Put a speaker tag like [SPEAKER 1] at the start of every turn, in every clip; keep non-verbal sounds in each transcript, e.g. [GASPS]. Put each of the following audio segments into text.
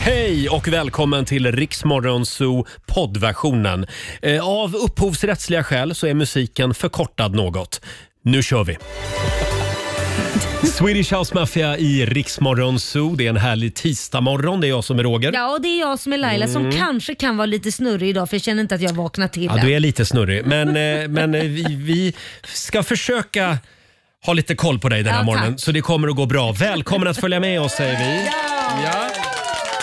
[SPEAKER 1] Hej och välkommen till Riksmorgon Zoo poddversionen. Eh, Av upphovsrättsliga skäl så är musiken förkortad något. Nu kör vi! Swedish House Mafia i Riksmorgon Zoo. Det är en härlig tisdagmorgon. Det är jag som är Roger.
[SPEAKER 2] Ja, och det är jag som är Laila som kanske kan vara lite snurrig idag för jag känner inte att jag vaknar till
[SPEAKER 1] Mm. Ja,
[SPEAKER 2] än.
[SPEAKER 1] du är lite snurrig. Men, eh, men eh, vi, vi ska försöka ha lite koll på dig den här
[SPEAKER 2] Ja,
[SPEAKER 1] morgonen.
[SPEAKER 2] tack.
[SPEAKER 1] Så det kommer att gå bra. Välkommen att följa med oss säger vi. Ja.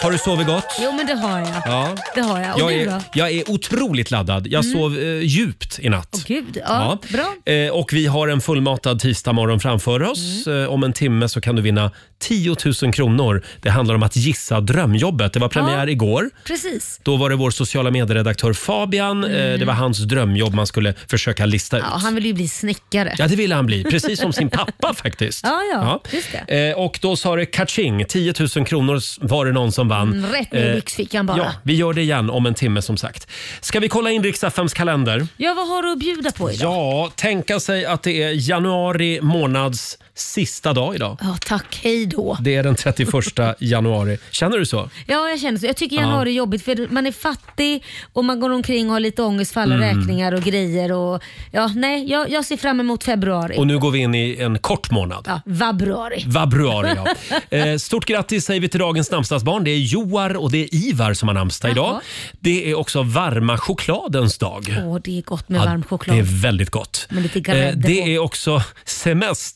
[SPEAKER 1] Har du sovit gott?
[SPEAKER 2] Jo, men det har jag.
[SPEAKER 1] Ja.
[SPEAKER 2] Det har jag. Eh, Och
[SPEAKER 1] Jag
[SPEAKER 2] du
[SPEAKER 1] är,
[SPEAKER 2] då?
[SPEAKER 1] jag är otroligt laddad. Jag sov eh, djupt i natt.
[SPEAKER 2] Åh, Gud, ja, bra.
[SPEAKER 1] Eh, och vi har en fullmatad tisdagmorgon framför oss.
[SPEAKER 2] Mm.
[SPEAKER 1] Eh, om en timme så kan du vinna 10 000 kronor. Det handlar om att gissa drömjobbet. Det var premiär
[SPEAKER 2] Ja.
[SPEAKER 1] igår.
[SPEAKER 2] Precis.
[SPEAKER 1] Då var det vår sociala medieredaktör Fabian. Eh, Det var hans drömjobb man skulle försöka lista ut.
[SPEAKER 2] Mm. Ja, han vill ju bli snickare.
[SPEAKER 1] Ja, det ville han bli. Precis som sin
[SPEAKER 2] [LAUGHS]
[SPEAKER 1] pappa faktiskt.
[SPEAKER 2] Ja, ja, just
[SPEAKER 1] Eh, och då sa det kaching. 10 000 kronor var det någon som vann.
[SPEAKER 2] Mm, Rätt ner i byxfickan bara.
[SPEAKER 1] Eh, Ja,
[SPEAKER 2] Ja.
[SPEAKER 1] vi gör det igen om en timme som sagt. Ska vi kolla in riksdagsfems kalender?
[SPEAKER 2] vad har du att bjuda på idag?
[SPEAKER 1] Ja, tänka sig att det är januari månads sista dag idag.
[SPEAKER 2] Ja, tack. Hej då.
[SPEAKER 1] Det är den 31
[SPEAKER 2] [LAUGHS]
[SPEAKER 1] januari. Känner du så?
[SPEAKER 2] Ja, jag känner så. Jag tycker januari är jobbigt för man är fattig och man går omkring och har lite ångest för alla
[SPEAKER 1] Mm.
[SPEAKER 2] räkningar och grejer. Och, ja, nej, jag, jag ser fram emot februari.
[SPEAKER 1] Och nu går vi in i en kort månad.
[SPEAKER 2] Ja, vabruari.
[SPEAKER 1] Vabruari,
[SPEAKER 2] [LAUGHS]
[SPEAKER 1] ja. Eh, Stort grattis säger vi till dagens namnsdagsbarn. Det är Joar och det är Ivar som har namnsdag idag.
[SPEAKER 2] Jaha.
[SPEAKER 1] Det är också varma chokladens dag.
[SPEAKER 2] Åh, det är gott med
[SPEAKER 1] Ja,
[SPEAKER 2] varm choklad.
[SPEAKER 1] Det är väldigt gott.
[SPEAKER 2] Med lite grädde
[SPEAKER 1] Eh, det
[SPEAKER 2] på.
[SPEAKER 1] är också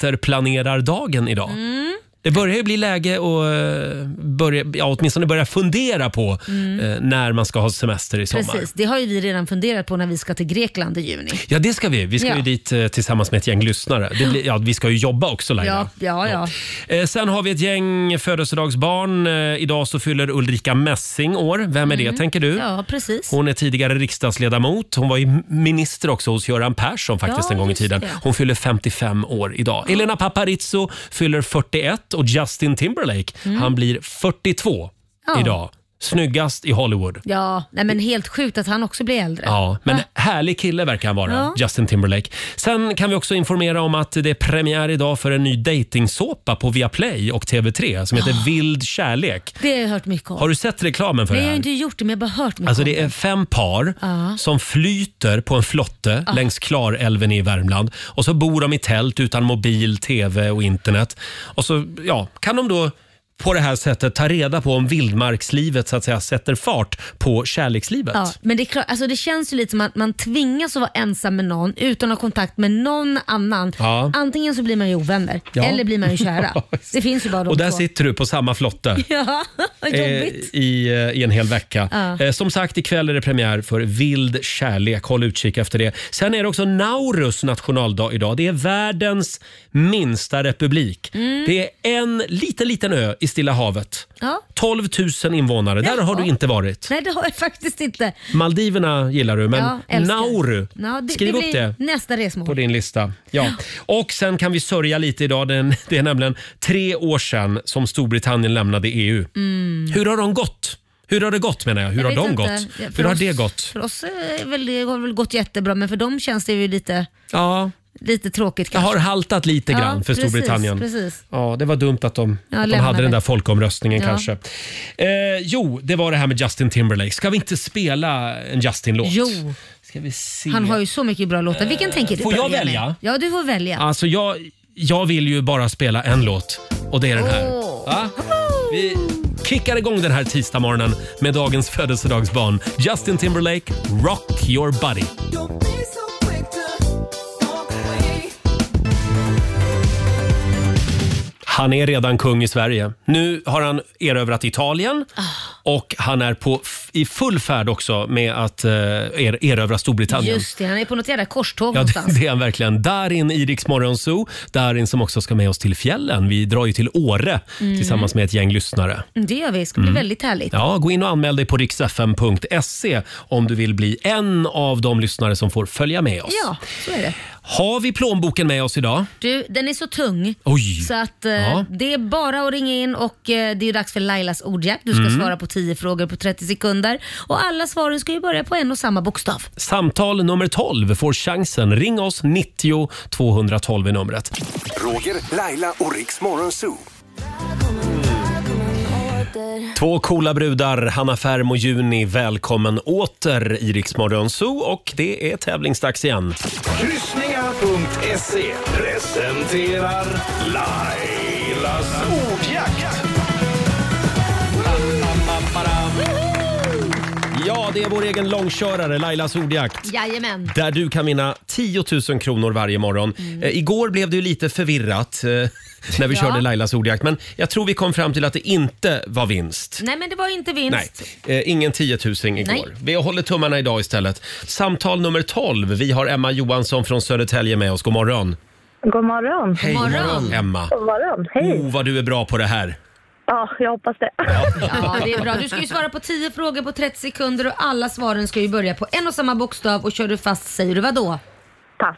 [SPEAKER 1] semesterplanerardagen idag.
[SPEAKER 2] Mm.
[SPEAKER 1] Det börjar ju bli läge att eh, börja, ja, åtminstone börja fundera på eh, när man ska ha semester i sommar.
[SPEAKER 2] Mm. Precis, det har ju vi redan funderat på när vi ska till Grekland i juni.
[SPEAKER 1] Ja, det ska vi. Vi ska
[SPEAKER 2] Ja.
[SPEAKER 1] ju dit eh, tillsammans med ett gäng lyssnare. Det blir, ja, vi ska ju jobba också Laila.
[SPEAKER 2] Ja, ja, ja.
[SPEAKER 1] Eh, Sen har vi ett gäng födelsedagsbarn. Eh, Idag så fyller Ulrika Messing år. Vem är det tänker du?
[SPEAKER 2] Mm. Ja, precis.
[SPEAKER 1] Hon är tidigare riksdagsledamot. Hon var ju minister också hos Göran Persson faktiskt
[SPEAKER 2] Ja,
[SPEAKER 1] en gång i
[SPEAKER 2] just
[SPEAKER 1] tiden.
[SPEAKER 2] det.
[SPEAKER 1] Hon fyller 55 år idag. Elena Paparizou fyller 41 och Justin Timberlake, han blir 42
[SPEAKER 2] Mm. Ja.
[SPEAKER 1] idag. Snyggast i Hollywood.
[SPEAKER 2] Ja, nej men helt sjukt att han också blir äldre.
[SPEAKER 1] Ja, men härlig kille verkar han vara,
[SPEAKER 2] Ja.
[SPEAKER 1] Justin Timberlake. Sen kan vi också informera om att det är premiär idag för en ny dejtingsåpa på Viaplay och TV3 som heter Vild kärlek.
[SPEAKER 2] Det har jag hört mycket om.
[SPEAKER 1] Har du sett reklamen för
[SPEAKER 2] Ah. nej,
[SPEAKER 1] det
[SPEAKER 2] jag har
[SPEAKER 1] här?
[SPEAKER 2] inte gjort det, men jag har bara hört mycket
[SPEAKER 1] Alltså
[SPEAKER 2] om
[SPEAKER 1] det är fem par som flyter på en flotte längs Klarälven i Värmland. Och så bor de i tält utan mobil, tv och internet. Och så ja, kan de då på det här sättet ta reda på om vildmarkslivet så att säga sätter fart på kärlekslivet.
[SPEAKER 2] Ja, men det, är klart, alltså det känns ju lite som att man tvingas att vara ensam med någon utan att ha kontakt med någon annan.
[SPEAKER 1] Ja.
[SPEAKER 2] Antingen så blir man ju ovänner
[SPEAKER 1] [LAUGHS] Ja.
[SPEAKER 2] eller blir man ju kära. det finns ju bara de
[SPEAKER 1] Och där
[SPEAKER 2] två.
[SPEAKER 1] sitter du på samma flotte.
[SPEAKER 2] [LAUGHS] Ja,
[SPEAKER 1] eh,
[SPEAKER 2] jobbigt.
[SPEAKER 1] i, eh, i en hel vecka.
[SPEAKER 2] Ja.
[SPEAKER 1] Eh, Som sagt, ikväll är det premiär för Vild kärlek. Håll utkik efter det. Sen är det också Naurus nationaldag idag. Det är världens minsta republik.
[SPEAKER 2] Mm.
[SPEAKER 1] Det är en liten, liten ö i Stilla havet.
[SPEAKER 2] Ja.
[SPEAKER 1] 12 000 invånare. Där har du inte varit.
[SPEAKER 2] Nej, det har jag faktiskt inte.
[SPEAKER 1] Maldiverna gillar du, men
[SPEAKER 2] ja, älskar.
[SPEAKER 1] Nauru.
[SPEAKER 2] Ja, det,
[SPEAKER 1] Skriv
[SPEAKER 2] det
[SPEAKER 1] upp
[SPEAKER 2] blir
[SPEAKER 1] det
[SPEAKER 2] Nästa
[SPEAKER 1] på
[SPEAKER 2] resmål.
[SPEAKER 1] din lista. Ja. Och sen kan vi sörja lite idag. Den- Det är nämligen tre år sedan som Storbritannien lämnade E EU. Mm.
[SPEAKER 2] Mm.
[SPEAKER 1] Hur har de gått? Hur har det gått menar jag? Hur
[SPEAKER 2] Jag
[SPEAKER 1] har
[SPEAKER 2] vet
[SPEAKER 1] de
[SPEAKER 2] inte.
[SPEAKER 1] gått?
[SPEAKER 2] Ja, för
[SPEAKER 1] Hur har
[SPEAKER 2] oss-
[SPEAKER 1] det gått?
[SPEAKER 2] För oss är väl, det har väl gått jättebra, men för dem känns det ju lite,
[SPEAKER 1] Ja,
[SPEAKER 2] lite tråkigt
[SPEAKER 1] det
[SPEAKER 2] kanske.
[SPEAKER 1] har haltat lite
[SPEAKER 2] Ja,
[SPEAKER 1] grann för
[SPEAKER 2] precis,
[SPEAKER 1] Storbritannien.
[SPEAKER 2] precis.
[SPEAKER 1] Ja, det var dumt att de,
[SPEAKER 2] Ja,
[SPEAKER 1] att de
[SPEAKER 2] lämnade.
[SPEAKER 1] hade den där folkomröstningen
[SPEAKER 2] Ja.
[SPEAKER 1] kanske. Eh, jo, det var det här med Justin Timberlake. Ska vi inte spela en Justin-låt?
[SPEAKER 2] Jo.
[SPEAKER 1] Ska vi se.
[SPEAKER 2] Han har ju så mycket bra låtar. Vilken tänker du
[SPEAKER 1] får jag
[SPEAKER 2] börja med?
[SPEAKER 1] välja?
[SPEAKER 2] Ja, du får välja.
[SPEAKER 1] Alltså jag, jag vill ju bara spela en låt och det är den här.
[SPEAKER 2] Åh.
[SPEAKER 1] Va? Vi kickar igång den här tisdagsmorgonen med dagens födelsedagsbarn Justin Timberlake, Rock your body.
[SPEAKER 3] Don't be so quick to walk away.
[SPEAKER 1] Han är redan kung i Sverige. Nu har han erövrat Italien
[SPEAKER 2] Ah.
[SPEAKER 1] och han är på, f- i full färd också med att eh, er, erövra Storbritannien.
[SPEAKER 2] Just det, han är på något jävla korståg
[SPEAKER 1] Ja,
[SPEAKER 2] någonstans.
[SPEAKER 1] [LAUGHS] det, det är han verkligen. Darin i Rix Morgon Zoo. Darin som också ska med oss till fjällen. Vi drar ju till Åre tillsammans med ett gäng lyssnare.
[SPEAKER 2] Mm, Det gör vi, det ska bli väldigt Mm. härligt.
[SPEAKER 1] Ja, gå in och anmäl dig på riksfm.se om du vill bli en av de lyssnare som får följa med oss.
[SPEAKER 2] Ja, så är det.
[SPEAKER 1] Har vi plånboken med oss idag?
[SPEAKER 2] Du, den är så tung.
[SPEAKER 1] Oj.
[SPEAKER 2] Så att eh,
[SPEAKER 1] Ja.
[SPEAKER 2] det är bara att ringa in och eh, det är ju dags för Lailas ordjakt. Du ska
[SPEAKER 1] Mm.
[SPEAKER 2] svara på 10 frågor på 30 sekunder. Och alla svaren ska ju börja på en och samma bokstav.
[SPEAKER 1] Samtal nummer 12 får chansen. Ring oss 90 212 är numret.
[SPEAKER 4] Roger, Laila och Riks Morgonzoo.
[SPEAKER 1] Två coola brudar, Hanna Färm och Juni. Välkommen åter i Rix Morgon Zoo och det är tävlingsdags igen.
[SPEAKER 4] Kryssningar.se presenterar Lailas ordjakt.
[SPEAKER 1] Ja, det är vår egen långkörare Lailas ordjakt.
[SPEAKER 2] Jajamän.
[SPEAKER 1] Där du kan vinna 10 000 kronor varje morgon. Eh, igår blev det ju lite förvirrat eh, [LAUGHS] när vi
[SPEAKER 2] Mm. Ja.
[SPEAKER 1] körde Lailas ordjakt. Men jag tror vi kom fram till att det inte var vinst.
[SPEAKER 2] Nej men det var inte vinst.
[SPEAKER 1] Nej, eh, ingen 10 000 igår.
[SPEAKER 2] Nej.
[SPEAKER 1] Vi håller tummarna idag istället. Samtal nummer 12. Vi har Emma Johansson från Södertälje med oss. God morgon.
[SPEAKER 5] God morgon.
[SPEAKER 1] Hej,
[SPEAKER 2] God morgon.
[SPEAKER 1] Emma.
[SPEAKER 5] God morgon. Hej.
[SPEAKER 1] Oh, vad du är bra på det här.
[SPEAKER 5] Ja, jag hoppas det.
[SPEAKER 2] Ja, det är bra. Du ska ju svara på 10 frågor på 30 sekunder och alla svaren ska ju börja på en och samma bokstav och kör du fast säger du vad då?
[SPEAKER 5] Pass.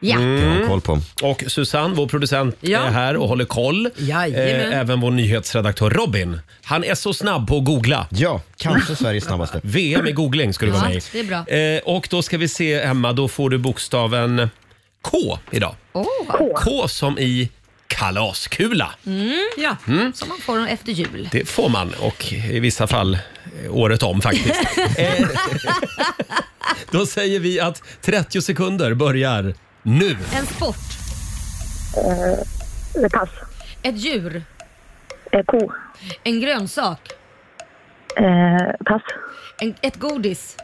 [SPEAKER 2] Ja.
[SPEAKER 6] Mm. koll på.
[SPEAKER 1] Och Susanne, vår producent,
[SPEAKER 7] Ja.
[SPEAKER 1] är här och håller koll. Eh,
[SPEAKER 7] Jajamän.
[SPEAKER 1] även vår nyhetsredaktör Robin. Han är så snabb på att googla.
[SPEAKER 6] Ja, kanske
[SPEAKER 1] [LAUGHS]
[SPEAKER 6] Sveriges snabbaste.
[SPEAKER 1] VM i googling ska du
[SPEAKER 2] Ja,
[SPEAKER 1] vara med i.
[SPEAKER 2] det är bra.
[SPEAKER 1] Eh, och då ska vi se, Emma, då får du bokstaven K idag.
[SPEAKER 2] Åh,
[SPEAKER 1] K som i kalaskula. Mm.
[SPEAKER 7] Ja.
[SPEAKER 2] Mm. som man får efter jul.
[SPEAKER 1] Det får man och i vissa fall eh, året om faktiskt.
[SPEAKER 2] [LAUGHS]
[SPEAKER 1] Eh, Då säger vi att 30 sekunder börjar nu.
[SPEAKER 2] En sport.
[SPEAKER 5] Eh, Pass.
[SPEAKER 2] Ett djur.
[SPEAKER 5] Eh, Ko.
[SPEAKER 2] En grönsak.
[SPEAKER 5] Eh, Pass.
[SPEAKER 2] En, ett godis.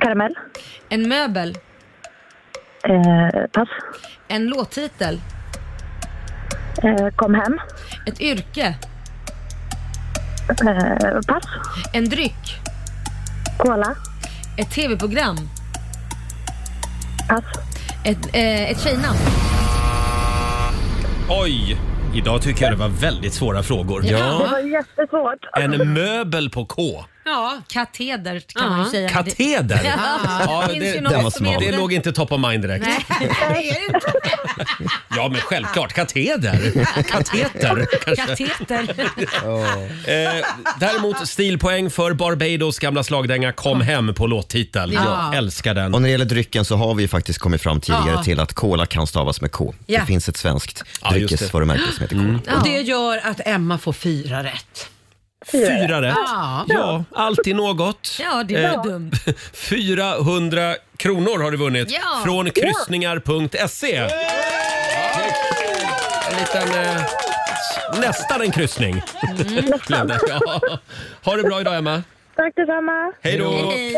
[SPEAKER 5] Karamell.
[SPEAKER 2] En möbel.
[SPEAKER 5] Eh, Pass.
[SPEAKER 2] En låttitel.
[SPEAKER 5] Eh, Kom hem.
[SPEAKER 2] Ett yrke.
[SPEAKER 5] Eh, Pass.
[SPEAKER 2] En dryck.
[SPEAKER 5] Cola.
[SPEAKER 2] Ett tv-program.
[SPEAKER 5] Pass.
[SPEAKER 2] Ett, eh, ett tjejnamn.
[SPEAKER 1] Oj! Idag tycker jag det var väldigt svåra frågor.
[SPEAKER 5] Det var jättesvårt.
[SPEAKER 1] En möbel på K.
[SPEAKER 7] Ja.
[SPEAKER 2] Kateder kan man ju säga. [LAUGHS]
[SPEAKER 1] Kateder. Ja,
[SPEAKER 2] finns
[SPEAKER 1] det,
[SPEAKER 2] ju något
[SPEAKER 6] den var
[SPEAKER 2] som
[SPEAKER 6] smal.
[SPEAKER 1] det
[SPEAKER 2] heter-
[SPEAKER 1] låg inte top of mind direkt. Ja, men självklart. Kateder. Kateter kanske.
[SPEAKER 2] Kateter.
[SPEAKER 1] Eh, däremot stilpoäng för Barbados gamla slagdänga Kom hem på låttitel.
[SPEAKER 7] Ja.
[SPEAKER 1] Älskar den.
[SPEAKER 6] Och när det gäller drycken så har vi ju faktiskt kommit fram tidigare
[SPEAKER 7] Ja.
[SPEAKER 6] till att cola kan stavas med K.
[SPEAKER 7] Ja.
[SPEAKER 6] Det finns ett
[SPEAKER 1] Ja,
[SPEAKER 6] svenskt
[SPEAKER 1] just det. Mm.
[SPEAKER 6] dryckesvarumärke som heter cola.
[SPEAKER 7] Och det gör att Emma får fyra rätt.
[SPEAKER 1] Fyra rätt.
[SPEAKER 7] Ja.
[SPEAKER 1] Ja, alltid något.
[SPEAKER 2] Ja, det var
[SPEAKER 1] [LAUGHS]
[SPEAKER 2] dumt.
[SPEAKER 1] 400 Eh, kronor har du vunnit
[SPEAKER 2] Ja.
[SPEAKER 1] från kryssningar.se. En liten, eh, nästan en kryssning.
[SPEAKER 2] Mm.
[SPEAKER 1] [LAUGHS] Glömde. Ja. Ha det bra idag Emma.
[SPEAKER 5] Tack detsamma.
[SPEAKER 1] Hej då.
[SPEAKER 2] Hej.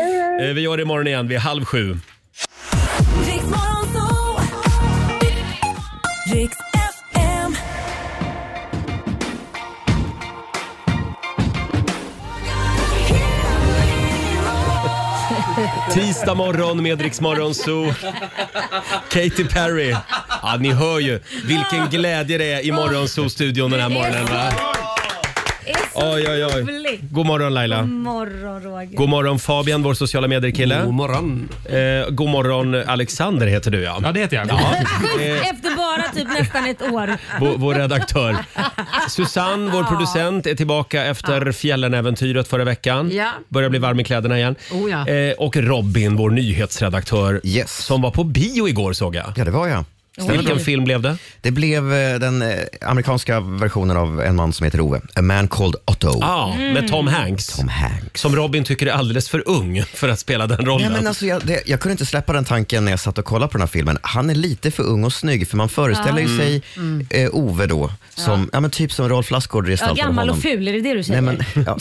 [SPEAKER 1] Eh, Vi gör det imorgon igen vid halv sju.
[SPEAKER 3] Riks Morgonzoo. Riks FM.
[SPEAKER 1] Tisdag morgon med Rix Morgon Zoo. Katy Perry. Ja, ni hör ju vilken glädje det är i Morgonzoo-studion den här morgonen. Va?
[SPEAKER 2] Det är så
[SPEAKER 1] Oj, oj, oj.
[SPEAKER 2] roligt.
[SPEAKER 1] God morgon Laila.
[SPEAKER 2] God morgon Roger.
[SPEAKER 1] God morgon Fabian, vår sociala medier-kille.
[SPEAKER 8] God morgon.
[SPEAKER 1] Eh, god morgon Alexander heter du ja. Eh,
[SPEAKER 8] Ja, det heter jag.
[SPEAKER 2] Sjukt efter bara typ nästan ett år.
[SPEAKER 1] Vår, vår redaktör. Susanne, vår producent, är tillbaka efter fjällenäventyret förra veckan.
[SPEAKER 7] Ja.
[SPEAKER 1] Börjar bli varm i kläderna igen.
[SPEAKER 7] Oh, ja.
[SPEAKER 1] eh, och Robin, vår nyhetsredaktör,
[SPEAKER 6] Yes.
[SPEAKER 1] som var på bio igår såg jag.
[SPEAKER 6] Ja, det var jag.
[SPEAKER 1] Vilken film blev det?
[SPEAKER 6] Det blev eh, den eh, amerikanska versionen av en man som heter Ove. A man called Otto.
[SPEAKER 1] Ja, Ah, med Tom Hanks.
[SPEAKER 6] Tom Hanks.
[SPEAKER 1] Som Robin tycker är alldeles för ung för att spela den
[SPEAKER 6] Nej,
[SPEAKER 1] rollen.
[SPEAKER 6] men alltså jag, det, jag kunde inte släppa den tanken när jag satt och kollade på den här filmen. Han är lite för ung och snygg, för man föreställer ju sig eh, Ove då, som, ja. men typ som Rolf Lassgård
[SPEAKER 2] Ja,
[SPEAKER 6] gestaltade
[SPEAKER 2] gammal
[SPEAKER 6] honom.
[SPEAKER 2] och ful, är det det du säger?
[SPEAKER 6] Nej, men, ja,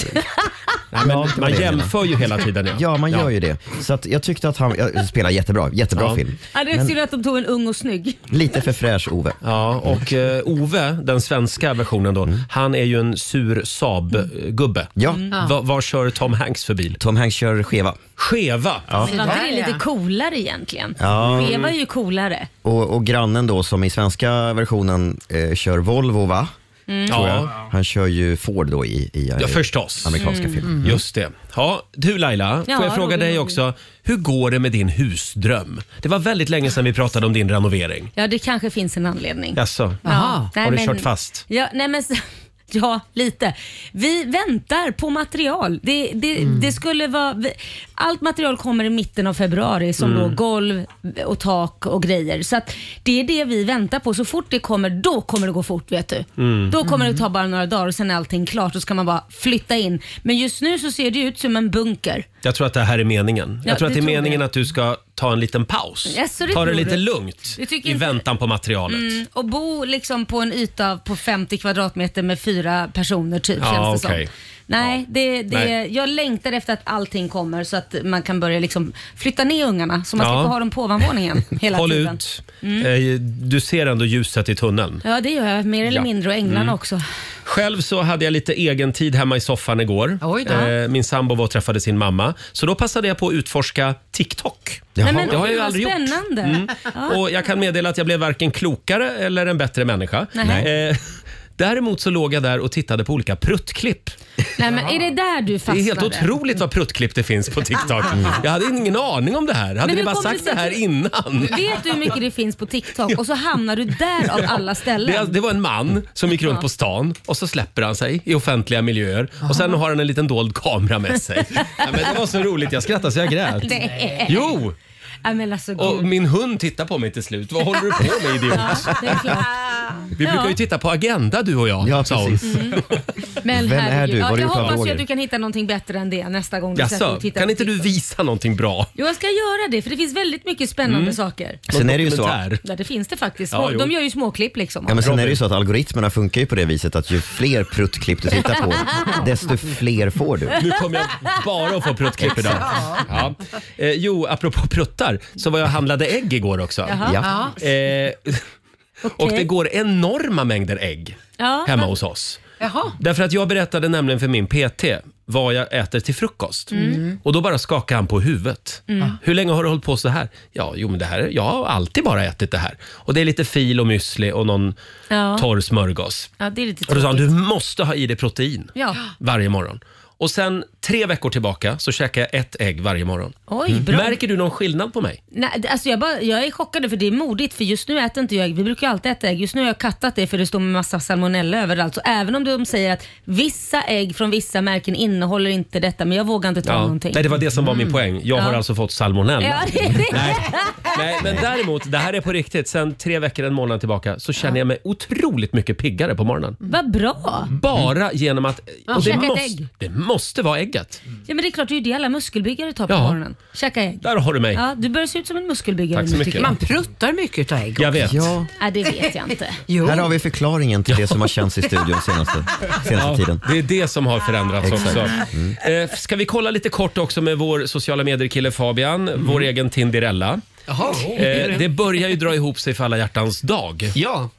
[SPEAKER 1] Nej, men
[SPEAKER 6] det var
[SPEAKER 1] man
[SPEAKER 6] det jag
[SPEAKER 1] jämför ju hela tiden. Ja.
[SPEAKER 6] ja, man gör ju det. Så att jag tyckte att han ja, spelar jättebra, jättebra
[SPEAKER 1] Ja.
[SPEAKER 6] film.
[SPEAKER 2] Ja, det är synd att de tog en ung och snygg.
[SPEAKER 6] Lite för fräsch Ove.
[SPEAKER 1] Ja, och eh, Ove, den svenska versionen då, han är ju en sur Saab-gubbe.
[SPEAKER 6] Mm. Ja.
[SPEAKER 2] Mm.
[SPEAKER 1] Va, vad kör Tom Hanks för bil?
[SPEAKER 6] Tom Hanks kör skeva.
[SPEAKER 1] Skeva!
[SPEAKER 2] Men var inte
[SPEAKER 7] Ja,
[SPEAKER 2] det
[SPEAKER 7] ja.
[SPEAKER 2] lite coolare egentligen? Ja. Eva är ju coolare.
[SPEAKER 6] Och, och grannen då som i svenska versionen eh, kör Volvo va?
[SPEAKER 2] Mm.
[SPEAKER 6] Tror jag.
[SPEAKER 1] Ja,
[SPEAKER 6] Han kör ju Ford då i, i eh,
[SPEAKER 1] ja, förstås.
[SPEAKER 6] amerikanska filmen.
[SPEAKER 1] Just det. Ja, du Laila,
[SPEAKER 2] Mm. Ja,
[SPEAKER 1] får jag fråga
[SPEAKER 2] Roger,
[SPEAKER 1] dig
[SPEAKER 2] Roger.
[SPEAKER 1] också. Hur går det med din husdröm? Det var väldigt länge sedan vi pratade om din renovering.
[SPEAKER 2] Ja, det kanske finns en anledning.
[SPEAKER 1] Jaså?
[SPEAKER 2] Ja.
[SPEAKER 1] Har du
[SPEAKER 2] men-
[SPEAKER 1] kört fast?
[SPEAKER 2] Ja, nej men... [LAUGHS] Ja, lite. Vi väntar på material. Det, det,
[SPEAKER 1] Mm.
[SPEAKER 2] det skulle vara, vi- allt material kommer i mitten av februari som
[SPEAKER 1] Mm.
[SPEAKER 2] då golv och tak och grejer. Så att det är det vi väntar på. Så fort det kommer, då kommer det gå fort vet du.
[SPEAKER 1] Mm.
[SPEAKER 2] Då kommer det ta bara några dagar och sen är allting klart och så kan man bara flytta in. Men just nu så ser det ut som en bunker.
[SPEAKER 1] Jag tror att det här är meningen.
[SPEAKER 2] Ja,
[SPEAKER 1] jag tror att det
[SPEAKER 2] du
[SPEAKER 1] är
[SPEAKER 2] tror
[SPEAKER 1] meningen
[SPEAKER 2] det.
[SPEAKER 1] att du ska ta en liten paus.
[SPEAKER 2] Ja, så det
[SPEAKER 1] ta det
[SPEAKER 2] tror
[SPEAKER 1] lite
[SPEAKER 2] du.
[SPEAKER 1] lugnt
[SPEAKER 2] Du tycker
[SPEAKER 1] i
[SPEAKER 2] inte-
[SPEAKER 1] väntan på materialet.
[SPEAKER 2] Mm, och bo liksom på en yta på 50 kvadratmeter med fyra personer typ
[SPEAKER 1] Ja,
[SPEAKER 2] känns det
[SPEAKER 1] okej.
[SPEAKER 2] som. Nej, det, det,
[SPEAKER 1] Nej.
[SPEAKER 2] jag längtar efter att allting kommer så att man kan börja liksom flytta ner ungarna så man
[SPEAKER 1] Ja.
[SPEAKER 2] slipper ha dem på
[SPEAKER 1] [LAUGHS]
[SPEAKER 2] ovanvåningen hela
[SPEAKER 1] Håll
[SPEAKER 2] tiden. Mm.
[SPEAKER 1] ut. Eh, Du ser ändå ljuset i tunneln.
[SPEAKER 2] Ja, det gör jag. Mer eller
[SPEAKER 1] Ja. Mm.
[SPEAKER 2] mindre och änglarna också.
[SPEAKER 1] Själv så hade jag lite egen tid hemma i soffan igår.
[SPEAKER 7] Oj då.
[SPEAKER 1] Eh, Min sambo var och träffade sin mamma. Så då passade jag på att utforska TikTok.
[SPEAKER 2] Nej, men,
[SPEAKER 1] det har jag ju
[SPEAKER 2] vad
[SPEAKER 1] aldrig gjort. Mm.
[SPEAKER 2] spännande.
[SPEAKER 1] Och jag kan meddela att jag blev varken klokare eller en bättre människa.
[SPEAKER 2] Nej.
[SPEAKER 1] Eh, [LAUGHS] Däremot så låg jag där och tittade på olika pruttklipp.
[SPEAKER 2] Nej, men är det där du
[SPEAKER 1] Det
[SPEAKER 2] fastnade?
[SPEAKER 1] är helt otroligt vad pruttklipp det finns på
[SPEAKER 2] [LAUGHS]
[SPEAKER 1] TikTok. Jag hade ingen aning om det här. Hade
[SPEAKER 2] Men
[SPEAKER 1] ni
[SPEAKER 2] hur
[SPEAKER 1] bara
[SPEAKER 2] kom
[SPEAKER 1] sagt
[SPEAKER 2] det
[SPEAKER 1] det
[SPEAKER 2] sig
[SPEAKER 1] här
[SPEAKER 2] att du-
[SPEAKER 1] innan?
[SPEAKER 2] Vet du hur mycket det finns
[SPEAKER 1] [LAUGHS]
[SPEAKER 2] på TikTok och så hamnar du där av alla ställen?
[SPEAKER 1] Det, alltså- det var en man som gick runt på stan och så släpper han sig i offentliga miljöer och sen har han en liten dold kamera med
[SPEAKER 2] [LAUGHS]
[SPEAKER 1] sig. ja, men det var så roligt, jag skrattade så jag grät.
[SPEAKER 2] Nej.
[SPEAKER 1] Jo!
[SPEAKER 2] Nej, men alltså, gud.
[SPEAKER 1] Och min hund tittar på mig till slut. Vad håller du på med idiot?
[SPEAKER 2] Ja, det är klart.
[SPEAKER 1] Vi brukar ju
[SPEAKER 2] Ja.
[SPEAKER 1] titta på Agenda du och jag,
[SPEAKER 6] Ja,
[SPEAKER 1] sa hon.
[SPEAKER 6] precis.
[SPEAKER 2] Mm. Men
[SPEAKER 6] Vem är
[SPEAKER 2] herregud.
[SPEAKER 6] du? Vad har
[SPEAKER 2] Ja,
[SPEAKER 6] du
[SPEAKER 2] jag
[SPEAKER 6] gjort av
[SPEAKER 2] hoppas ju
[SPEAKER 6] dålig?
[SPEAKER 2] att du kan hitta någonting bättre än det nästa gång du sätter dig
[SPEAKER 1] Jaså,
[SPEAKER 2] och tittar
[SPEAKER 1] kan
[SPEAKER 2] på
[SPEAKER 1] inte du
[SPEAKER 2] TikTok.
[SPEAKER 1] visa någonting bra?
[SPEAKER 2] Jo, jag ska göra det för det finns väldigt mycket spännande saker.
[SPEAKER 6] Mm. Sen är det ju så.
[SPEAKER 1] Dokumentär.
[SPEAKER 2] Ja, det finns det faktiskt.
[SPEAKER 1] Ja, jo.
[SPEAKER 2] de gör ju småklipp liksom.
[SPEAKER 6] Ja, men sen
[SPEAKER 1] Mm. Robin.
[SPEAKER 6] är det ju så att algoritmerna funkar ju på det viset att ju fler pruttklipp du tittar på, desto fler får du.
[SPEAKER 1] Nu kommer jag bara att få pruttklipp
[SPEAKER 2] [LAUGHS]
[SPEAKER 1] idag. Ja. Eh, jo, apropå pruttar så var jag och handlade ägg igår också.
[SPEAKER 2] Jaha.
[SPEAKER 6] Ja.
[SPEAKER 1] Eh, [LAUGHS] och
[SPEAKER 2] Okej.
[SPEAKER 1] det går enorma mängder ägg
[SPEAKER 2] Ja,
[SPEAKER 1] hemma hos oss.
[SPEAKER 7] Jaha.
[SPEAKER 1] Därför att jag berättade nämligen för min PT vad jag äter till frukost.
[SPEAKER 2] Mm.
[SPEAKER 1] Mm. Och då bara skakade han på huvudet. Ah. Hur länge har du hållit på så här? Ja, jo men det här, jag har alltid bara ätit det här. Och det är lite fil och müsli och någon
[SPEAKER 2] Ja.
[SPEAKER 1] torr smörgås.
[SPEAKER 2] ja, det är lite
[SPEAKER 1] Och då sa han,
[SPEAKER 2] tråkigt.
[SPEAKER 1] du måste ha i dig protein
[SPEAKER 2] Ja.
[SPEAKER 1] varje morgon. Och sen tre veckor tillbaka så käkar jag ett ägg varje morgon. Mm.
[SPEAKER 2] Oj, bra.
[SPEAKER 1] Märker du någon skillnad på mig?
[SPEAKER 2] Nej, alltså jag, bara, jag är chockad för det är modigt för just nu äter inte jag ägg. Vi brukar ju alltid äta ägg. Just nu har jag kattat det för det står med massa salmonella överallt. Så även om de säger att vissa ägg från vissa märken innehåller inte detta men jag vågar inte ta någonting. Mm.
[SPEAKER 1] Nej, det var det som var min poäng. Jag har
[SPEAKER 2] Ja.
[SPEAKER 1] alltså fått salmonella.
[SPEAKER 2] Ja, det är det.
[SPEAKER 1] Nej, men däremot, det här är på riktigt. Sen tre veckor, en månad tillbaka så känner jag mig otroligt mycket piggare på morgonen.
[SPEAKER 2] [LAUGHS] Vad bra!
[SPEAKER 1] Bara genom att... Och det,
[SPEAKER 2] Mm. käka ett
[SPEAKER 1] måste,
[SPEAKER 2] ägg.
[SPEAKER 1] det måste vara ägget.
[SPEAKER 2] Ja men det är klart, det är ju det alla muskelbyggare tar på
[SPEAKER 1] Ja.
[SPEAKER 2] morgonen. Käka ägg.
[SPEAKER 1] Där har du mig.
[SPEAKER 2] Ja, du börjar se ut som en muskelbyggare
[SPEAKER 1] Tack så
[SPEAKER 2] nu,
[SPEAKER 1] mycket.
[SPEAKER 2] tycker jag.
[SPEAKER 7] Man pruttar mycket av ägg.
[SPEAKER 1] Jag vet.
[SPEAKER 6] Ja,
[SPEAKER 2] Nej, det vet jag inte.
[SPEAKER 7] Jo.
[SPEAKER 6] här har vi förklaringen till det som har känts i studion
[SPEAKER 1] [LAUGHS]
[SPEAKER 6] senaste, senaste tiden.
[SPEAKER 1] Det är det som har förändrats också. Eh, Ska vi kolla lite kort också med vår sociala medier-kille Fabian,
[SPEAKER 8] Mm.
[SPEAKER 1] vår egen Tinderella.
[SPEAKER 8] Jaha.
[SPEAKER 1] Eh, det börjar ju dra ihop sig för alla hjärtans dag.
[SPEAKER 8] Ja, Mm.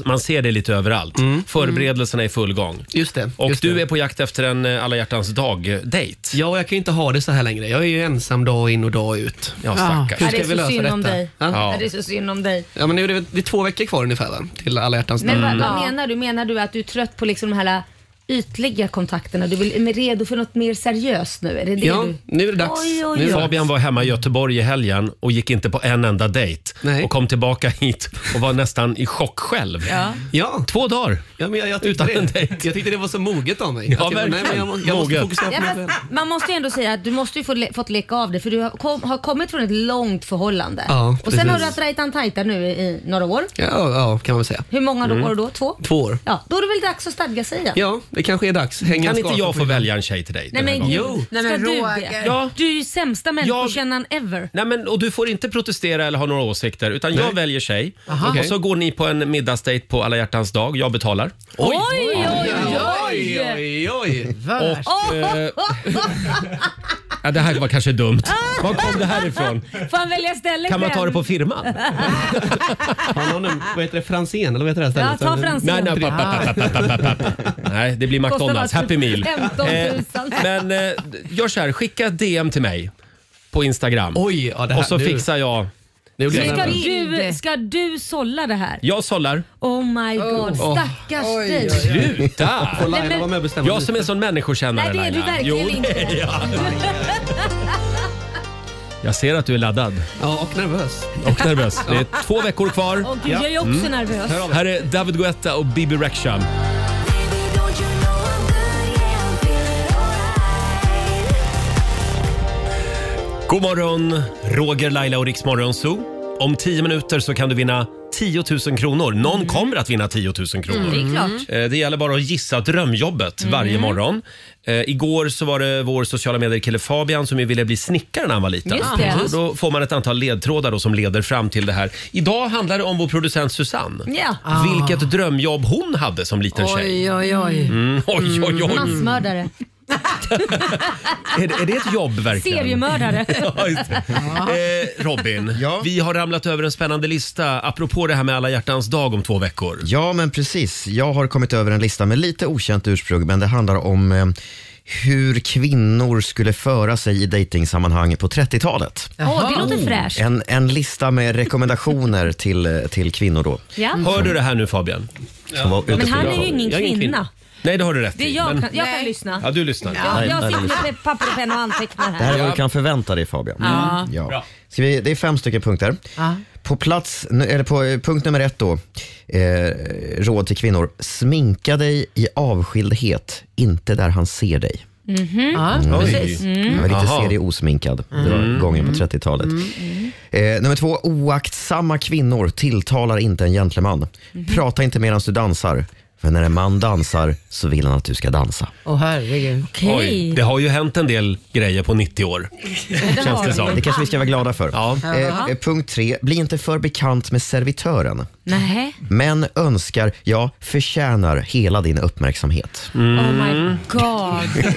[SPEAKER 1] Ja, Man ser det lite överallt. Förberedelserna är i full gång.
[SPEAKER 8] just det.
[SPEAKER 1] Och
[SPEAKER 8] just
[SPEAKER 1] du
[SPEAKER 8] det.
[SPEAKER 1] är på jakt efter en eh, alla hjärtans dag-dejt.
[SPEAKER 8] Ja, jag kan ju inte ha det så här längre. Jag är ju ensam dag in och dag ut.
[SPEAKER 1] Ja, stackars.
[SPEAKER 2] Ja, det
[SPEAKER 8] Ah, Hur
[SPEAKER 2] är
[SPEAKER 8] ska
[SPEAKER 2] så
[SPEAKER 8] vi lösa
[SPEAKER 2] synd om
[SPEAKER 8] detta?
[SPEAKER 2] dig.
[SPEAKER 8] Ja?
[SPEAKER 1] Ja.
[SPEAKER 2] Ja. Det är så synd om dig.
[SPEAKER 8] Ja, men nu är det, det är två veckor kvar ungefär va? till alla hjärtans dag.
[SPEAKER 2] Men
[SPEAKER 1] Mm.
[SPEAKER 2] vad, vad menar du? Menar du att du är trött på liksom de här ytliga kontakterna? Du vill, är redo för något mer seriöst nu? Är det det
[SPEAKER 8] Ja,
[SPEAKER 2] du...
[SPEAKER 8] nu är det dags.
[SPEAKER 2] Oj, oj,
[SPEAKER 8] Nu är det dags.
[SPEAKER 1] Fabian var hemma i Göteborg i helgen och gick inte på en enda dejt.
[SPEAKER 8] Nej.
[SPEAKER 1] Och kom tillbaka hit och var nästan i chock själv.
[SPEAKER 2] Ja.
[SPEAKER 8] Ja,
[SPEAKER 1] Två dagar.
[SPEAKER 8] ja men jag, jag, tyckte
[SPEAKER 1] Utan en
[SPEAKER 8] det,
[SPEAKER 1] dejt.
[SPEAKER 8] jag tyckte det var så moget av mig.
[SPEAKER 1] Ja,
[SPEAKER 8] jag, tyckte, nej, men jag, må- jag måste
[SPEAKER 1] verkligen.
[SPEAKER 8] fokusera på
[SPEAKER 2] Ja,
[SPEAKER 8] mig
[SPEAKER 2] men
[SPEAKER 8] själv.
[SPEAKER 2] man måste ju ändå säga att du måste ju få le, fått leka av det för du har, kom, har kommit från ett långt förhållande.
[SPEAKER 8] Ja,
[SPEAKER 2] och sen har du
[SPEAKER 8] precis.
[SPEAKER 2] haft rajtan tajta nu i, i några år.
[SPEAKER 8] Ja, ja, kan man väl säga.
[SPEAKER 2] Hur många mm. år då? Två?
[SPEAKER 8] Två år.
[SPEAKER 2] Ja, då är det väl dags att stadga sig igen.
[SPEAKER 8] Ja, det kanske är dags. Hänga
[SPEAKER 1] Kan
[SPEAKER 8] en
[SPEAKER 1] inte
[SPEAKER 8] skaka
[SPEAKER 1] jag
[SPEAKER 8] på
[SPEAKER 1] få
[SPEAKER 8] huvudet.
[SPEAKER 1] välja en tjej till dig?
[SPEAKER 2] Nej
[SPEAKER 1] den här
[SPEAKER 2] men
[SPEAKER 1] gången?
[SPEAKER 8] Jo.
[SPEAKER 2] gud,
[SPEAKER 7] Nej,
[SPEAKER 2] ska
[SPEAKER 7] men
[SPEAKER 2] du
[SPEAKER 7] Roger.
[SPEAKER 2] det?
[SPEAKER 1] Ja.
[SPEAKER 2] Du är ju sämsta människokännaren ever.
[SPEAKER 1] Nej, men, och du får inte protestera eller ha några åsikter, utan jag väljer tjej. Och
[SPEAKER 8] Okej.
[SPEAKER 1] så går ni på en middagsdejt på alla hjärtans dag. Jag betalar.
[SPEAKER 2] Oj, oj, oj!
[SPEAKER 8] Oj, oj, oj.
[SPEAKER 7] Värst.
[SPEAKER 1] Och, eh, ja, det här var kanske dumt. Var kom det här ifrån?
[SPEAKER 2] [LAUGHS] Får han välja ställe
[SPEAKER 1] Kan man ta
[SPEAKER 2] själv?
[SPEAKER 1] det på firman?
[SPEAKER 2] [LAUGHS]
[SPEAKER 8] Har någon en, vad heter det, Franzén eller vad heter det här
[SPEAKER 2] Ja,
[SPEAKER 8] stället?
[SPEAKER 2] ta Franzén.
[SPEAKER 1] Nej, nej, papp, papp, papp, papp, papp, papp. nej, det blir
[SPEAKER 2] Kostar bara
[SPEAKER 1] McDonalds. Happy Meal.
[SPEAKER 2] 15 000.
[SPEAKER 1] Eh, Men eh, gör så här, skicka ett DM till mig på Instagram.
[SPEAKER 8] Oj, ja, det här,
[SPEAKER 1] och så
[SPEAKER 8] nu-
[SPEAKER 1] fixar jag...
[SPEAKER 8] nu blir jag
[SPEAKER 2] Ska
[SPEAKER 8] nervös.
[SPEAKER 2] du, ska du sålla det här?
[SPEAKER 1] Jag sållar.
[SPEAKER 2] Oh my god, stackars dig.
[SPEAKER 1] Sluta!
[SPEAKER 8] Får
[SPEAKER 2] Nej,
[SPEAKER 8] Laila
[SPEAKER 2] men-
[SPEAKER 8] vara med och bestämma
[SPEAKER 1] Jag
[SPEAKER 8] lite?
[SPEAKER 1] som är en sån människokännare
[SPEAKER 2] Nej det är du
[SPEAKER 1] Laila.
[SPEAKER 2] verkligen
[SPEAKER 1] Jo,
[SPEAKER 2] inte.
[SPEAKER 1] [LAUGHS] Jag ser att du är laddad
[SPEAKER 8] Ja, och nervös. Mm.
[SPEAKER 1] och nervös. Det är två veckor kvar.
[SPEAKER 2] Och gud, jag är också nervös.
[SPEAKER 1] Här är David Guetta och Bibi Rexham.
[SPEAKER 3] Baby, don't
[SPEAKER 1] God morgon, Roger, Laila och Riksmorgon Zoo. Om 10 minuter så kan du vinna 10 000 kronor. Någon kommer att vinna 10 000 kronor.
[SPEAKER 2] Mm. Det är klart.
[SPEAKER 1] Eh, Det gäller bara att gissa drömjobbet
[SPEAKER 2] Mm.
[SPEAKER 1] varje morgon. Eh, igår så var det vår sociala medier-kille Fabian som ju ville bli snickare när han var liten.
[SPEAKER 2] Just det.
[SPEAKER 1] Så då får man ett antal ledtrådar då som leder fram till det här. Idag handlar det om vår producent Susanne.
[SPEAKER 2] Ja.
[SPEAKER 1] Vilket drömjobb hon hade som liten tjej.
[SPEAKER 7] Oj, Ah. oj, oj.
[SPEAKER 1] Mm, oj, oj, oj.
[SPEAKER 2] Massmördare.
[SPEAKER 1] Är, det- är det ett
[SPEAKER 2] [LAUGHS]
[SPEAKER 1] jobb verkligen?
[SPEAKER 2] Seriemördare.
[SPEAKER 1] [LAUGHS] Ja, just det. Eh,
[SPEAKER 2] [LAUGHS]
[SPEAKER 1] Robin,
[SPEAKER 6] Ja.
[SPEAKER 1] vi har ramlat över en spännande lista apropå det här med alla hjärtans dag om två veckor.
[SPEAKER 6] Ja, men precis. Jag har kommit över en lista med lite okänt ursprung, men det handlar om eh, hur kvinnor skulle föra sig i dejtingsammanhang på 30-talet.
[SPEAKER 2] Åh, det
[SPEAKER 3] Oh.
[SPEAKER 2] låter fräscht.
[SPEAKER 6] En, en lista med rekommendationer till, eh, till kvinnor då.
[SPEAKER 2] Ja.
[SPEAKER 1] Hör du det här nu Fabian?
[SPEAKER 6] Som var ute
[SPEAKER 2] Men
[SPEAKER 6] på
[SPEAKER 2] han är ju
[SPEAKER 6] Graham.
[SPEAKER 2] ingen
[SPEAKER 1] Jag är ingen
[SPEAKER 2] kvinna.
[SPEAKER 1] Nej, det har du rätt
[SPEAKER 2] Det är
[SPEAKER 1] i.
[SPEAKER 2] jag,
[SPEAKER 1] men-
[SPEAKER 2] kan, jag kan
[SPEAKER 7] Nej.
[SPEAKER 2] lyssna.
[SPEAKER 1] Ja, du lyssnar.
[SPEAKER 2] Jag, jag
[SPEAKER 6] nej, nej,
[SPEAKER 2] sitter med papper och penna och antecknar
[SPEAKER 6] Det här
[SPEAKER 2] här.
[SPEAKER 6] är vad du kan förvänta dig Fabian.
[SPEAKER 2] Ja.
[SPEAKER 6] Ja. Ska vi, det är fem stycken punkter. På, plats, eller på eh, punkt nummer ett då, eh, råd till kvinnor. Sminka dig i avskildhet, inte där han ser dig. Mm.
[SPEAKER 1] Oj.
[SPEAKER 2] Mm.
[SPEAKER 6] Jag var lite
[SPEAKER 1] Jaha.
[SPEAKER 6] serieosminkad.
[SPEAKER 1] Mm.
[SPEAKER 6] Det var gången på 30-talet.
[SPEAKER 2] mm.
[SPEAKER 6] Eh, nummer två, oaktsamma kvinnor tilltalar inte en gentleman.
[SPEAKER 2] Mhm.
[SPEAKER 6] Prata inte medan du dansar, för när en man dansar så vill han att du ska dansa.
[SPEAKER 7] Åh herregud.
[SPEAKER 1] Oj,
[SPEAKER 2] Okej.
[SPEAKER 1] det har ju hänt en del grejer på 90 år. Känns det som.
[SPEAKER 6] Det kanske vi ska vara glada för.
[SPEAKER 1] Ja.
[SPEAKER 6] Eh, eh, punkt tre, bli inte för bekant med servitören.
[SPEAKER 2] Nej.
[SPEAKER 6] Män önskar, ja, förtjänar hela din uppmärksamhet.
[SPEAKER 7] Mm.
[SPEAKER 2] Oh my god.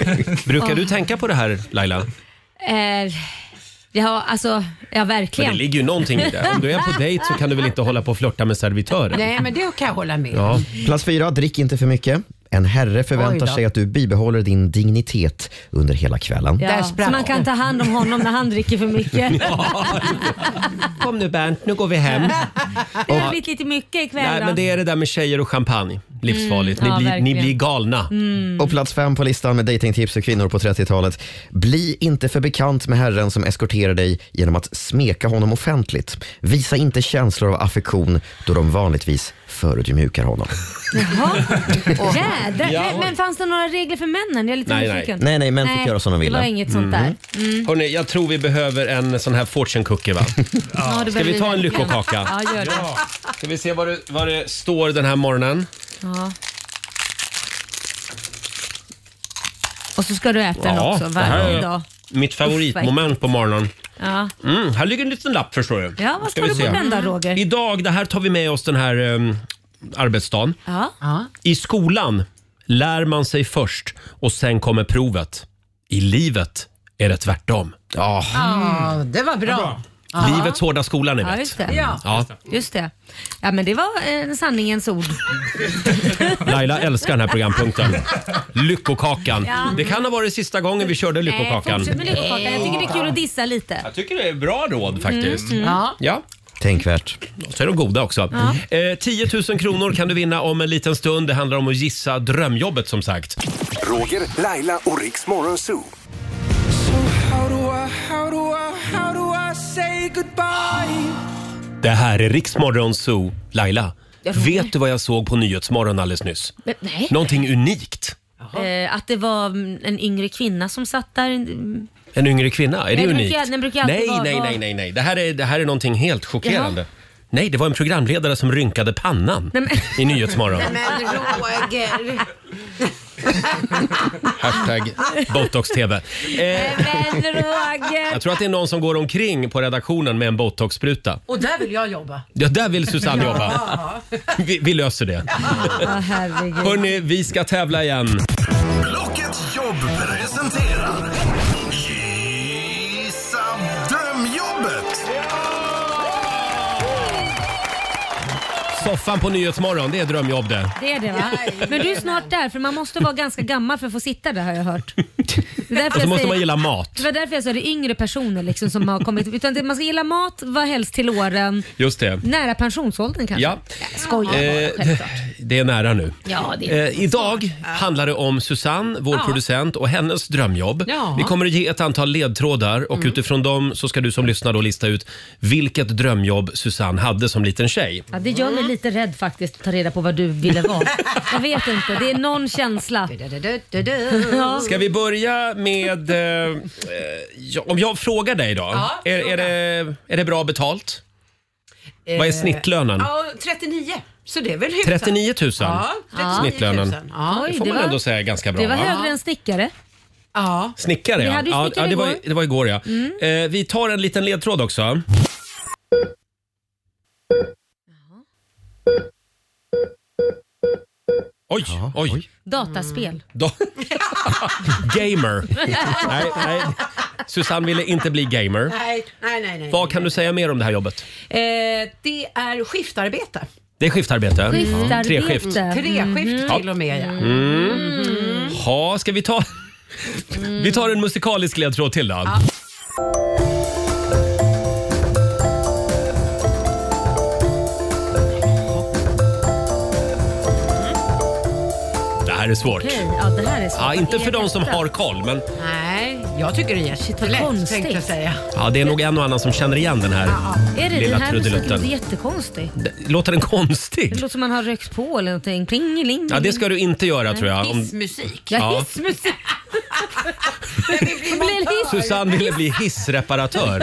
[SPEAKER 1] Mm. [LAUGHS] Brukar du tänka på det här Laila?
[SPEAKER 2] Eh, ja, alltså, ja
[SPEAKER 1] Men det
[SPEAKER 2] verkligen.
[SPEAKER 1] ligger ju någonting i det. Om du är på dejt så kan du väl inte hålla på och flörta med servitören?
[SPEAKER 7] Nej, men det kan jag hålla med
[SPEAKER 1] Ja.
[SPEAKER 6] Plats fyra, drick inte för mycket. En herre förväntar
[SPEAKER 7] Oj då.
[SPEAKER 6] sig att du bibehåller din dignitet under hela kvällen.
[SPEAKER 2] Ja,
[SPEAKER 7] Där
[SPEAKER 2] så
[SPEAKER 7] sprack
[SPEAKER 2] man kan ta hand om honom när han dricker
[SPEAKER 1] [LAUGHS]
[SPEAKER 2] för mycket.
[SPEAKER 1] Kom nu Bernt, nu går vi hem.
[SPEAKER 2] Det har blivit lite mycket ikväll
[SPEAKER 1] Nej,
[SPEAKER 2] då.
[SPEAKER 1] men
[SPEAKER 2] [LAUGHS]
[SPEAKER 1] det är det där med tjejer och champagne. Livsfarligt.
[SPEAKER 2] Mm. ja,
[SPEAKER 1] ni, blir, ni
[SPEAKER 2] verkligen.
[SPEAKER 1] blir galna.
[SPEAKER 6] Och plats fem på listan med datingtips för kvinnor på 30-talet. Bli inte för bekant med herren som eskorterar dig genom att smeka honom offentligt. Visa inte känslor av affektion då de vanligtvis förödmjukar honom.
[SPEAKER 2] Jaha. Jädrar. Men, men fanns det några regler för männen? Jag är lite
[SPEAKER 1] Nej, nej.
[SPEAKER 2] nyfiken.
[SPEAKER 6] Nej, nej, män fick göra som de ville.
[SPEAKER 2] Det var inget sånt där. Mm.
[SPEAKER 1] Hörrni, jag tror vi behöver en sån här fortune cookie va?
[SPEAKER 2] Ja, det
[SPEAKER 1] Ska vi
[SPEAKER 2] börjar
[SPEAKER 1] ta en
[SPEAKER 2] bli-
[SPEAKER 1] lyckokaka?
[SPEAKER 2] [LAUGHS] Ja, gör det.
[SPEAKER 1] Ska vi se vad det, vad det står den här morgonen?
[SPEAKER 2] Ja. Och så ska du äta den också
[SPEAKER 1] det här
[SPEAKER 2] varje
[SPEAKER 1] är
[SPEAKER 2] dag.
[SPEAKER 1] Mitt favoritmoment på morgonen.
[SPEAKER 2] Ja.
[SPEAKER 1] Mm, här ligger en liten lapp förstår du.
[SPEAKER 2] ja, vad
[SPEAKER 1] Ska vi
[SPEAKER 2] ska, du
[SPEAKER 1] se.
[SPEAKER 2] på den då Roger?
[SPEAKER 1] Idag, det här tar vi med oss den här um, arbetsdagen.
[SPEAKER 2] Ja.
[SPEAKER 1] I skolan lär man sig först och sen kommer provet. I livet är det tvärtom. Ja,
[SPEAKER 7] Ja, det var bra.
[SPEAKER 1] livets hårda skola ni
[SPEAKER 2] ja,
[SPEAKER 1] vet.
[SPEAKER 2] just det.
[SPEAKER 7] Ja.
[SPEAKER 1] Ja,
[SPEAKER 2] Just det. Ja, men det var en sanningens ord.
[SPEAKER 1] Laila älskar den här programpunkten. Lyckokakan.
[SPEAKER 2] Ja.
[SPEAKER 1] Det kan ha varit sista gången vi körde
[SPEAKER 2] Nej,
[SPEAKER 1] Lyckokakan.
[SPEAKER 2] Eh, fortsätt med lyckokakan. Jag tycker det Mm, är kul att dissa lite.
[SPEAKER 1] Jag tycker det är bra råd faktiskt.
[SPEAKER 7] Ja.
[SPEAKER 1] Ja,
[SPEAKER 6] Tänkvärt.
[SPEAKER 1] och så är de goda också. Eh, 10 000 kronor kan du vinna om en liten stund. Det handlar om att gissa drömjobbet som sagt.
[SPEAKER 4] Roger, Laila och Riks Morgonzoo.
[SPEAKER 1] Det här är Riksmorgon Zoo. Laila, vet du vad jag såg på Nyhetsmorgon alldeles nyss?
[SPEAKER 2] Men, nej.
[SPEAKER 1] Någonting unikt.
[SPEAKER 2] Eh, att det var mm, en yngre kvinna som satt där. Mm,
[SPEAKER 1] En yngre kvinna, är det
[SPEAKER 2] den brukar-
[SPEAKER 1] unikt?
[SPEAKER 2] den brukar alltid
[SPEAKER 1] nej,
[SPEAKER 2] vara-
[SPEAKER 1] nej, nej, nej, nej. Det här är, det här är någonting helt chockerande. Nej, det var en programledare som rynkade pannan
[SPEAKER 2] Nej,
[SPEAKER 1] i Nyhetsmorgon.
[SPEAKER 7] Men Roger.
[SPEAKER 1] Hashtag Botox-TV. Eh,
[SPEAKER 2] Men Roger!
[SPEAKER 1] jag tror att det är någon som går omkring på redaktionen med en botoxspruta.
[SPEAKER 7] Och där vill jag jobba.
[SPEAKER 1] Ja, där vill Susanne jobba. Vi, vi löser det.
[SPEAKER 2] Ja, herregud.
[SPEAKER 1] Hörni, vi ska tävla igen.
[SPEAKER 4] Blocket Jobb presenterar Gissa drömjobbet!
[SPEAKER 1] Soffan på Nyhetsmorgon, det är drömjobb det.
[SPEAKER 2] Det är det va? Men du är snart där för man måste vara ganska gammal för att få sitta där har jag hört. Det, är därför
[SPEAKER 1] Och så
[SPEAKER 2] jag
[SPEAKER 1] Alltså, måste
[SPEAKER 2] säger-
[SPEAKER 1] man gilla mat.
[SPEAKER 2] det var därför jag sa det är yngre personer liksom som har kommit. Utan det, man ska gilla mat vad helst till åren.
[SPEAKER 1] Just det.
[SPEAKER 2] Nära pensionsåldern kanske?
[SPEAKER 1] Ja.
[SPEAKER 2] Nej, Skojar bara,
[SPEAKER 1] Eh,
[SPEAKER 2] självklart.
[SPEAKER 1] [LAUGHS] det är nära nu.
[SPEAKER 2] Ja, det är...
[SPEAKER 1] Eh, idag handlar det om Susanne, vår
[SPEAKER 7] Ja.
[SPEAKER 1] producent, och hennes drömjobb.
[SPEAKER 7] Ja.
[SPEAKER 1] Vi kommer att ge ett antal ledtrådar och utifrån dem så ska du som lyssnar då lista ut vilket drömjobb Susanne hade som liten tjej.
[SPEAKER 2] Ja, det gör mig lite rädd faktiskt att ta reda på vad du ville vara. Jag vet inte, det är någon känsla. Ja.
[SPEAKER 1] Ska vi börja med... Eh, eh, ja, om jag frågar dig då.
[SPEAKER 7] Ja,
[SPEAKER 1] är, är,
[SPEAKER 7] fråga.
[SPEAKER 1] det, är det bra betalt? Vad är snittlönen?
[SPEAKER 7] Ja, 39. Så det är väl hyfsat.
[SPEAKER 1] 39 000?
[SPEAKER 7] Ja, 39 000.
[SPEAKER 1] Snittlönen.
[SPEAKER 7] Ja.
[SPEAKER 1] Det får man ändå säga är ganska bra.
[SPEAKER 2] det var
[SPEAKER 1] va?
[SPEAKER 2] högre än stickare.
[SPEAKER 7] ja.
[SPEAKER 1] Snickare,
[SPEAKER 2] Vi
[SPEAKER 1] ja.
[SPEAKER 2] hade ju
[SPEAKER 1] ja,
[SPEAKER 2] snickare
[SPEAKER 1] ja det, var,
[SPEAKER 2] igår. Mm.
[SPEAKER 1] det var igår, ja. Eh, vi tar en liten ledtråd också. Oj, oj.
[SPEAKER 2] Dataspel.
[SPEAKER 1] Då- gamer. nej, nej. Susanne ville inte bli gamer.
[SPEAKER 7] Nej, nej, nej. nej.
[SPEAKER 1] Vad kan du säga mer om det här jobbet?
[SPEAKER 7] Eh, det är skiftarbete. Mm.
[SPEAKER 1] Det är skiftarbete. Mm.
[SPEAKER 2] Skiftarbete. Mm.
[SPEAKER 1] Tre skift.
[SPEAKER 7] Treskift till och med. Ja.
[SPEAKER 1] Ja, Mm. ska vi ta... [LAUGHS] vi tar en musikalisk ledtråd till då. Det här är svårt.
[SPEAKER 2] Okej, ja, det här är svårt.
[SPEAKER 1] Ja, inte
[SPEAKER 2] Vad
[SPEAKER 1] för
[SPEAKER 2] är
[SPEAKER 1] de som
[SPEAKER 2] detta?
[SPEAKER 1] har koll, men
[SPEAKER 7] Nej, jag tycker det är jättelätt
[SPEAKER 2] konstigt.
[SPEAKER 7] tänkte jag säga.
[SPEAKER 1] ja, det är nog en och annan som känner igen den här.
[SPEAKER 2] Är det
[SPEAKER 1] lilla
[SPEAKER 2] den här musiken?
[SPEAKER 1] trudelutten.
[SPEAKER 2] Det är jättekonstig.
[SPEAKER 1] Låter den
[SPEAKER 2] Det
[SPEAKER 1] konstig?
[SPEAKER 2] låter som man har rökt på eller någonting. Plingeling.
[SPEAKER 1] Ja, det ska du inte göra tror jag. Om
[SPEAKER 7] Hissmusik.
[SPEAKER 1] Ja.
[SPEAKER 2] Ja, hissmusik. Det blir [LAUGHS] hiss.
[SPEAKER 1] Susanne ville bli hissreparatör.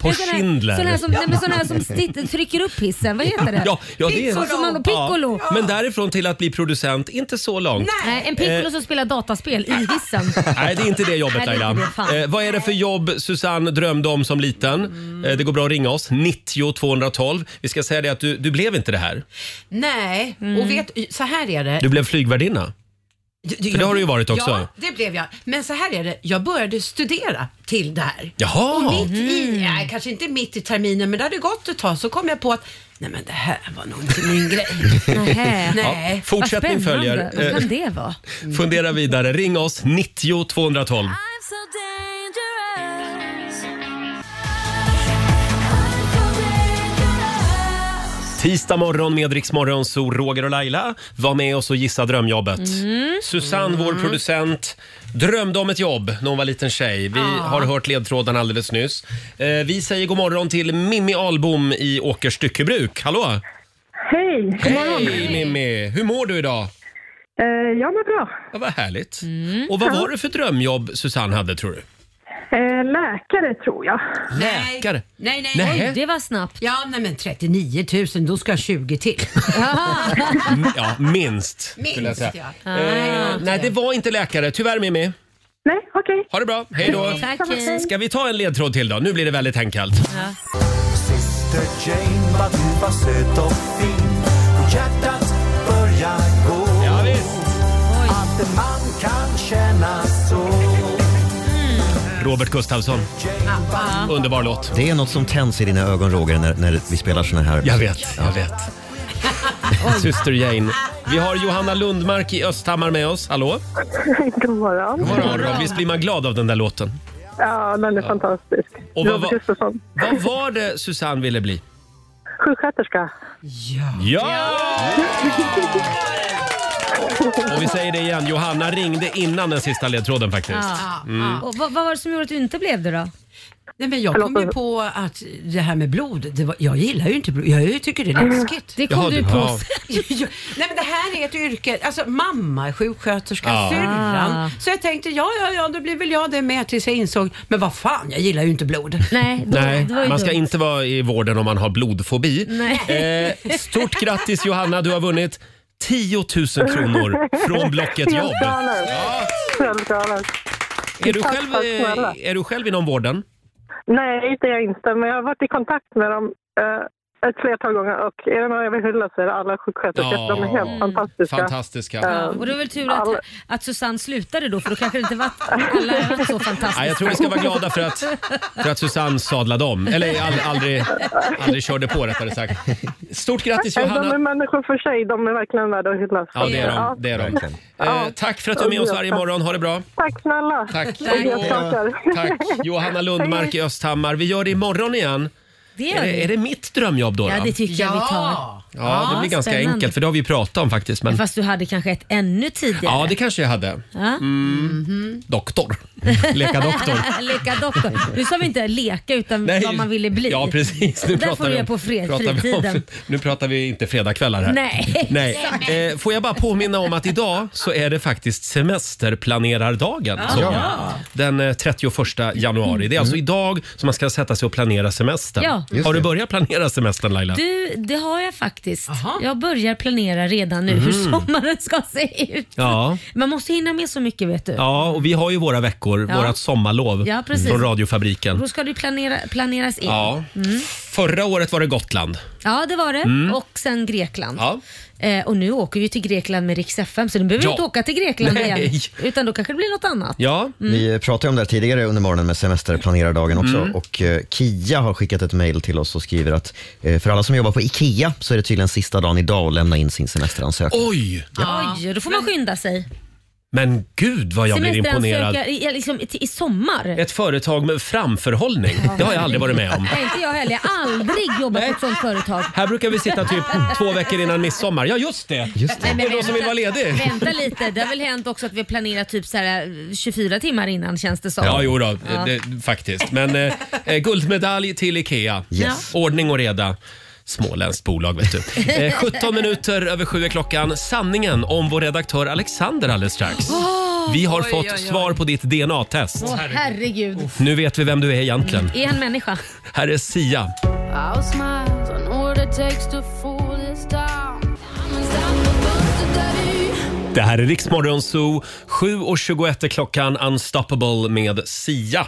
[SPEAKER 1] På
[SPEAKER 2] Sån här- Sån här
[SPEAKER 1] Schindler.
[SPEAKER 2] som, nej, men sån här som stitt, trycker upp hissen. Vad heter det?
[SPEAKER 1] Ja, ja, det är...
[SPEAKER 2] Så som man och piccolo.
[SPEAKER 1] Ja, men därifrån till att bli producent, inte så långt.
[SPEAKER 2] Nej, en piccolo som spelar dataspel i hissen.
[SPEAKER 1] Eh, [LAUGHS] Nej, det är inte det jobbet
[SPEAKER 2] Nej, det är
[SPEAKER 1] Laila.
[SPEAKER 2] inte det, fan.
[SPEAKER 1] eh, vad är det för jobb Susanne drömde om som liten? Eh, det går bra att ringa oss, 90 212. Vi ska säga det att du, du blev inte det här.
[SPEAKER 2] Eh.
[SPEAKER 7] Nej,
[SPEAKER 2] Mm.
[SPEAKER 7] och vet, så här är det.
[SPEAKER 1] Du blev flygvärdinna.
[SPEAKER 7] För
[SPEAKER 1] det har du ju varit också.
[SPEAKER 7] Ja, det blev jag. Men så här är det, jag började studera till det här.
[SPEAKER 1] Jaha!
[SPEAKER 7] Mitt i,
[SPEAKER 2] Mm.
[SPEAKER 7] nej, kanske inte mitt i terminen, men det hade gått ett tag så kom jag på att nej men det här var nog inte min grej.
[SPEAKER 2] [LAUGHS] Nähä.
[SPEAKER 7] nej.
[SPEAKER 2] Vad
[SPEAKER 1] Fortsättning
[SPEAKER 2] spännande.
[SPEAKER 1] följer.
[SPEAKER 2] Vad
[SPEAKER 1] Eh,
[SPEAKER 2] kan det vara?
[SPEAKER 1] fundera vidare. Ring oss, 90 212. Tisdag morgon med Rix Morgon, så Roger och Laila var med oss och gissa drömjobbet.
[SPEAKER 2] Mm.
[SPEAKER 1] Susanne, vår producent, drömde om ett jobb när hon var liten tjej. Vi har hört ledtråden alldeles nyss. Eh, vi säger god morgon till Mimmi Ahlbom i Åkers styckebruk. Hallå!
[SPEAKER 5] Hej!
[SPEAKER 1] Hej Mimmi! Hur mår du idag?
[SPEAKER 5] Eh, jag mår bra.
[SPEAKER 1] Ja, vad härligt. Och vad var det för drömjobb Susanne hade tror du?
[SPEAKER 5] Eh, läkare tror jag.
[SPEAKER 1] Läkare?
[SPEAKER 7] Nej, nej,
[SPEAKER 1] Nej.
[SPEAKER 7] nej.
[SPEAKER 2] Oj, det var snabbt.
[SPEAKER 7] Ja, nej men 39 000, då ska jag 20 till.
[SPEAKER 1] Mm, Ja, minst. skulle jag
[SPEAKER 7] Minst
[SPEAKER 1] säga.
[SPEAKER 7] ja.
[SPEAKER 1] Eh, nej, det var inte läkare. Tyvärr Mimmi.
[SPEAKER 5] Nej, okej.
[SPEAKER 1] Ha det bra. Hej då!
[SPEAKER 2] Tack hej.
[SPEAKER 1] Ska vi ta en ledtråd till då? Nu blir det väldigt enkelt.
[SPEAKER 4] Syster Jane, vad du var söt och fin Och hjärtat börjar gå
[SPEAKER 1] Ja, visst.
[SPEAKER 4] Att en man kan känna så
[SPEAKER 1] Robert Gustafsson. Underbar låt.
[SPEAKER 6] Det är något som tänds i dina ögon Roger när, när vi spelar såna här.
[SPEAKER 1] Jag vet, jag vet. Syster Jane. Vi har Johanna Lundmark i Östhammar med oss. Hallå?
[SPEAKER 5] [LAUGHS] God morgon.
[SPEAKER 1] God morgon. Visst blir man glad av den där låten?
[SPEAKER 5] Ja, den är fantastisk.
[SPEAKER 1] Och vad
[SPEAKER 5] Robert
[SPEAKER 1] var-
[SPEAKER 5] Gustafsson.
[SPEAKER 1] Vad var det Susanne ville bli?
[SPEAKER 5] Sjuksköterska.
[SPEAKER 1] Ja! Och vi säger det igen, Johanna ringde innan den sista ledtråden faktiskt. Mm.
[SPEAKER 2] Ja. Och vad, vad var det som gjorde att du inte blev det då?
[SPEAKER 7] Nej, men jag kom ju på att det här med blod, det var, jag gillar ju inte blod. Jag tycker det är läskigt.
[SPEAKER 2] Det kom
[SPEAKER 1] Jaha,
[SPEAKER 2] du
[SPEAKER 1] du-
[SPEAKER 2] på
[SPEAKER 1] ja.
[SPEAKER 2] sen.
[SPEAKER 7] [LAUGHS] Ja, Nej men det här är ett yrke, alltså mamma är sjuksköterska,
[SPEAKER 1] Ja.
[SPEAKER 2] Ah.
[SPEAKER 7] syrran. Så jag tänkte ja, ja, ja, då blir väl jag det med tills jag insåg, men vad fan, jag gillar ju inte blod.
[SPEAKER 2] Nej, då,
[SPEAKER 1] Nej,
[SPEAKER 2] det var ju
[SPEAKER 1] man ska
[SPEAKER 2] dumt.
[SPEAKER 1] inte vara i vården om man har blodfobi.
[SPEAKER 2] Nej.
[SPEAKER 1] Eh, stort grattis Johanna, du har vunnit 10 000 kronor från
[SPEAKER 5] [LAUGHS]
[SPEAKER 1] Blocket Jobb.
[SPEAKER 5] Helt galet. Helt galet.
[SPEAKER 1] Är du
[SPEAKER 5] Tack,
[SPEAKER 1] själv,
[SPEAKER 5] tack
[SPEAKER 1] eh,
[SPEAKER 5] snälla.
[SPEAKER 1] är du själv inom vården?
[SPEAKER 5] Nej, inte jag inte. Men jag har varit i kontakt med dem eh, ett flertal gånger och är det någon jag vill hylla så är det alla sjuksköterskor.
[SPEAKER 1] Ja. Mm.
[SPEAKER 5] De är helt fantastiska.
[SPEAKER 1] Fantastiska.
[SPEAKER 2] Och det var väl tur att,
[SPEAKER 5] Alla-
[SPEAKER 2] att Susanne slutade då för då kanske det inte var alla var så
[SPEAKER 1] Ja, jag
[SPEAKER 2] fantastiska.
[SPEAKER 1] tror vi ska vara glada för att, för att Susanne sadlade om. Eller all, aldrig, aldrig körde på rättare sagt. Stort grattis
[SPEAKER 5] Nej, Eh, De är
[SPEAKER 1] Johanna!
[SPEAKER 5] människor för sig. De är verkligen värda att hyllas.
[SPEAKER 1] Ja, det är
[SPEAKER 5] Ja.
[SPEAKER 1] de. Det är de.
[SPEAKER 6] Verkligen.
[SPEAKER 1] Eh, tack för att du är med oss varje morgon. Ha det bra!
[SPEAKER 5] Tack snälla.
[SPEAKER 1] Tack!
[SPEAKER 5] Jag tackar.
[SPEAKER 1] Tack! Johanna Lundmark i Östhammar. Vi gör det imorgon igen.
[SPEAKER 2] Det
[SPEAKER 1] Är
[SPEAKER 2] gör
[SPEAKER 1] det, är
[SPEAKER 2] vi.
[SPEAKER 1] det mitt drömjobb då?
[SPEAKER 2] Ja,
[SPEAKER 1] då?
[SPEAKER 2] det tycker jag vi tar.
[SPEAKER 1] Ja,
[SPEAKER 2] Ja,
[SPEAKER 1] det blir ganska
[SPEAKER 2] spännande.
[SPEAKER 1] enkelt för det har vi ju pratat om faktiskt. Men...
[SPEAKER 2] Fast du hade kanske ett ännu tidigare.
[SPEAKER 1] Ja, det kanske jag hade.
[SPEAKER 2] Ja. Mhm. [LAUGHS]
[SPEAKER 1] Doktor. Mm. Leka doktor.
[SPEAKER 2] leka doktor. Nu sa vi inte leka utan Mm, vad man ville bli.
[SPEAKER 1] Ja, precis. Nu
[SPEAKER 2] Där
[SPEAKER 1] pratar
[SPEAKER 2] får du
[SPEAKER 1] vi
[SPEAKER 2] göra
[SPEAKER 1] om,
[SPEAKER 2] på fred,
[SPEAKER 1] pratar vi om-
[SPEAKER 2] fritiden.
[SPEAKER 1] nu pratar vi inte fredagskvällar här.
[SPEAKER 2] Nej,
[SPEAKER 1] [LAUGHS] Nej. Eh, får jag bara påminna om att idag så är det faktiskt semesterplanerardagen. som
[SPEAKER 6] Ja.
[SPEAKER 1] är. Den eh, 31 januari. Det är alltså idag som man ska sätta sig och planera semestern.
[SPEAKER 2] Mm. Ja.
[SPEAKER 6] Just
[SPEAKER 1] Har du
[SPEAKER 6] det.
[SPEAKER 1] börjat planera semestern Laila?
[SPEAKER 2] Du, det har jag faktiskt.
[SPEAKER 7] Aha.
[SPEAKER 2] Jag börjar planera redan
[SPEAKER 1] Mhm.
[SPEAKER 2] nu hur sommaren ska se ut.
[SPEAKER 1] Ja.
[SPEAKER 2] Man måste hinna med så mycket vet du.
[SPEAKER 1] Ja, och vi har ju våra veckor,
[SPEAKER 2] Ja.
[SPEAKER 1] vårat sommarlov
[SPEAKER 2] Ja, precis.
[SPEAKER 1] från radiofabriken.
[SPEAKER 2] Då ska det ju planera, planeras in. Ja.
[SPEAKER 1] Ja. Förra året var det Gotland.
[SPEAKER 2] det var det. Och sen Grekland.
[SPEAKER 1] Mm. Ja.
[SPEAKER 2] Eh, och nu åker vi till Grekland med Rix FM så nu behöver
[SPEAKER 1] Ja.
[SPEAKER 2] vi inte åka till Grekland
[SPEAKER 1] Nej.
[SPEAKER 2] igen. Utan då kanske det blir något annat.
[SPEAKER 1] Ja,
[SPEAKER 6] Vi pratade om det här tidigare under morgonen med semesterplanerardagen också.
[SPEAKER 1] Mm.
[SPEAKER 6] Och eh, Kia har skickat ett mejl till oss och skriver att eh, för alla som jobbar på IKEA så är det tydligen sista dagen idag att lämna in sin semesteransökan.
[SPEAKER 1] oj!
[SPEAKER 2] Oj, då får man skynda sig.
[SPEAKER 1] Men gud vad jag blir imponerad.
[SPEAKER 2] Semesteransöka i, liksom, i, i sommar.
[SPEAKER 1] Ett företag med framförhållning, det har jag aldrig varit med om.
[SPEAKER 2] Nej, inte jag heller. Jag har aldrig jobbat på ett sånt företag.
[SPEAKER 1] Här brukar vi sitta typ två veckor innan midsommar. Ja, just det!
[SPEAKER 6] Just det.
[SPEAKER 1] Det är någon som vill vara ledig.
[SPEAKER 2] Vänta lite, det har väl hänt också att vi planerar typ så här 24 timmar innan känns det som.
[SPEAKER 1] Ja, jo då, Det, faktiskt. Men eh, eh, guldmedalj till IKEA.
[SPEAKER 6] Yes.
[SPEAKER 1] Ordning och reda. Småländskt bolag, vet du. Eh, 17 minuter över sju är klockan. Sanningen om vår redaktör Alexander alldeles strax.
[SPEAKER 2] Ah,
[SPEAKER 1] Vi har fått svar på ditt DNA-test.
[SPEAKER 2] Åh, herregud.
[SPEAKER 1] Nu vet vi vem du är egentligen.
[SPEAKER 2] Är han människa?
[SPEAKER 1] Här är Sia. Det här är Riksmorgon Zoo. 7.21 är klockan. Unstoppable med Sia.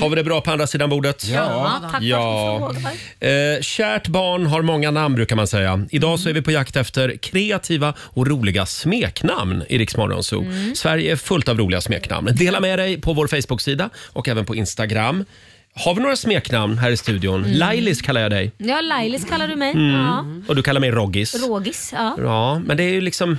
[SPEAKER 1] Har vi det bra på andra sidan bordet?
[SPEAKER 2] Mm. Ja, tack för
[SPEAKER 1] ja. Eh, Kärt barn har många namn brukar man säga. Idag så är vi på jakt efter kreativa och roliga smeknamn i Riksmorgon Zoo.
[SPEAKER 2] Mm.
[SPEAKER 1] Sverige är fullt av roliga smeknamn. Dela med dig på vår Facebook-sida och även på Instagram. Har vi några smeknamn här i studion? Lailis kallar jag dig
[SPEAKER 2] Ja, Lailis kallar du mig. Mm.
[SPEAKER 1] Mm.
[SPEAKER 2] Ja.
[SPEAKER 1] och du kallar mig Roggis.
[SPEAKER 2] Rogis, ja.
[SPEAKER 1] Ja, men det är ju liksom...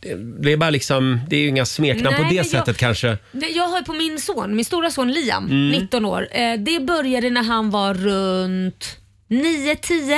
[SPEAKER 1] det- Det är bara liksom... Det är ju inga smeknamn
[SPEAKER 2] Nej,
[SPEAKER 1] på det
[SPEAKER 2] men jag-
[SPEAKER 1] sättet kanske.
[SPEAKER 2] Nej, Jag har ju på min son, min stora son Liam, 19 år. Eh, Det började när han var runt 9-10.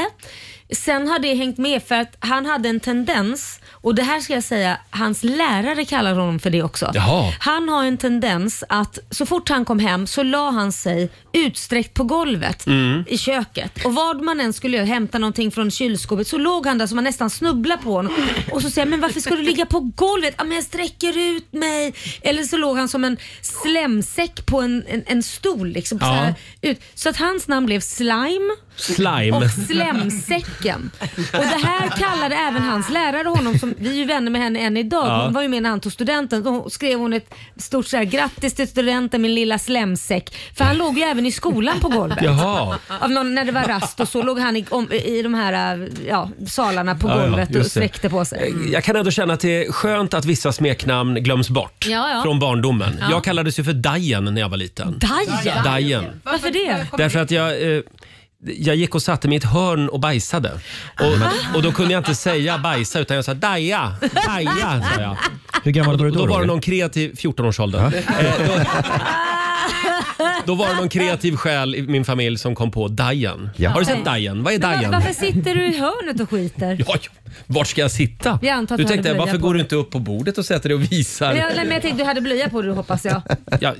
[SPEAKER 2] Sen har det hängt med för att han hade en tendens, och det här ska jag säga, hans lärare kallar honom för det också.
[SPEAKER 1] Jaha.
[SPEAKER 2] Han har en tendens att så fort han kom hem så la han sig utsträckt på golvet i köket. Och vad man än skulle göra, hämta någonting från kylskåpet, så låg han där så man nästan snubblade på honom. Och så säger jag, men varför ska du ligga på golvet? Ja, men jag sträcker ut mig. Eller så låg han som en slemsäck på en, en, en stol. Liksom, så,
[SPEAKER 1] Ja.
[SPEAKER 2] här, ut. så att hans namn blev Slime
[SPEAKER 1] Slime.
[SPEAKER 2] och slemsäcken. Och det här kallade även hans lärare honom, som, vi är ju vänner med henne än idag,
[SPEAKER 1] Ja.
[SPEAKER 2] hon var ju med när han tog studenten. Då skrev hon ett stort så här, grattis till studenten min lilla slemsäck. För han låg ju även i skolan på golvet.
[SPEAKER 1] Jaha.
[SPEAKER 2] Av någon, när det var rast och så låg han i, om, i de här äh, ja, salarna på
[SPEAKER 1] Ja, ja,
[SPEAKER 2] golvet och
[SPEAKER 1] just det.
[SPEAKER 2] sträckte på sig.
[SPEAKER 1] Jag kan ändå känna att det är skönt att vissa smeknamn glöms bort
[SPEAKER 2] Ja, ja.
[SPEAKER 1] från barndomen. Jag kallades ju för Dajen när jag var liten.
[SPEAKER 2] Dajen!
[SPEAKER 1] Dajen.
[SPEAKER 2] Varför det?
[SPEAKER 1] Därför att jag... Eh, jag gick och satte mig i ett hörn och bajsade. Och, och då kunde jag inte säga bajsa utan jag sa daja, daja. Sa [LAUGHS] jag.
[SPEAKER 9] Hur gammal var du då?
[SPEAKER 1] Då var det
[SPEAKER 9] Roger?
[SPEAKER 1] någon kreativ, 14-årsåldern. Eh, då, då var det någon kreativ själ i min familj som kom på Dajen.
[SPEAKER 6] Ja.
[SPEAKER 1] Har du sett Dajen? Vad är
[SPEAKER 2] Men
[SPEAKER 1] Dajen?
[SPEAKER 2] var- varför sitter du i hörnet och skiter?
[SPEAKER 1] Ja, ja. Vart ska jag sitta?
[SPEAKER 2] Jag antar att
[SPEAKER 1] du
[SPEAKER 2] du hade
[SPEAKER 1] tänkte,
[SPEAKER 2] blöja
[SPEAKER 1] varför
[SPEAKER 2] på
[SPEAKER 1] går du inte upp på bordet och sätter dig och visar?
[SPEAKER 2] Ja, nej, men jag tänkte du hade blöja på dig hoppas jag.
[SPEAKER 1] Ja,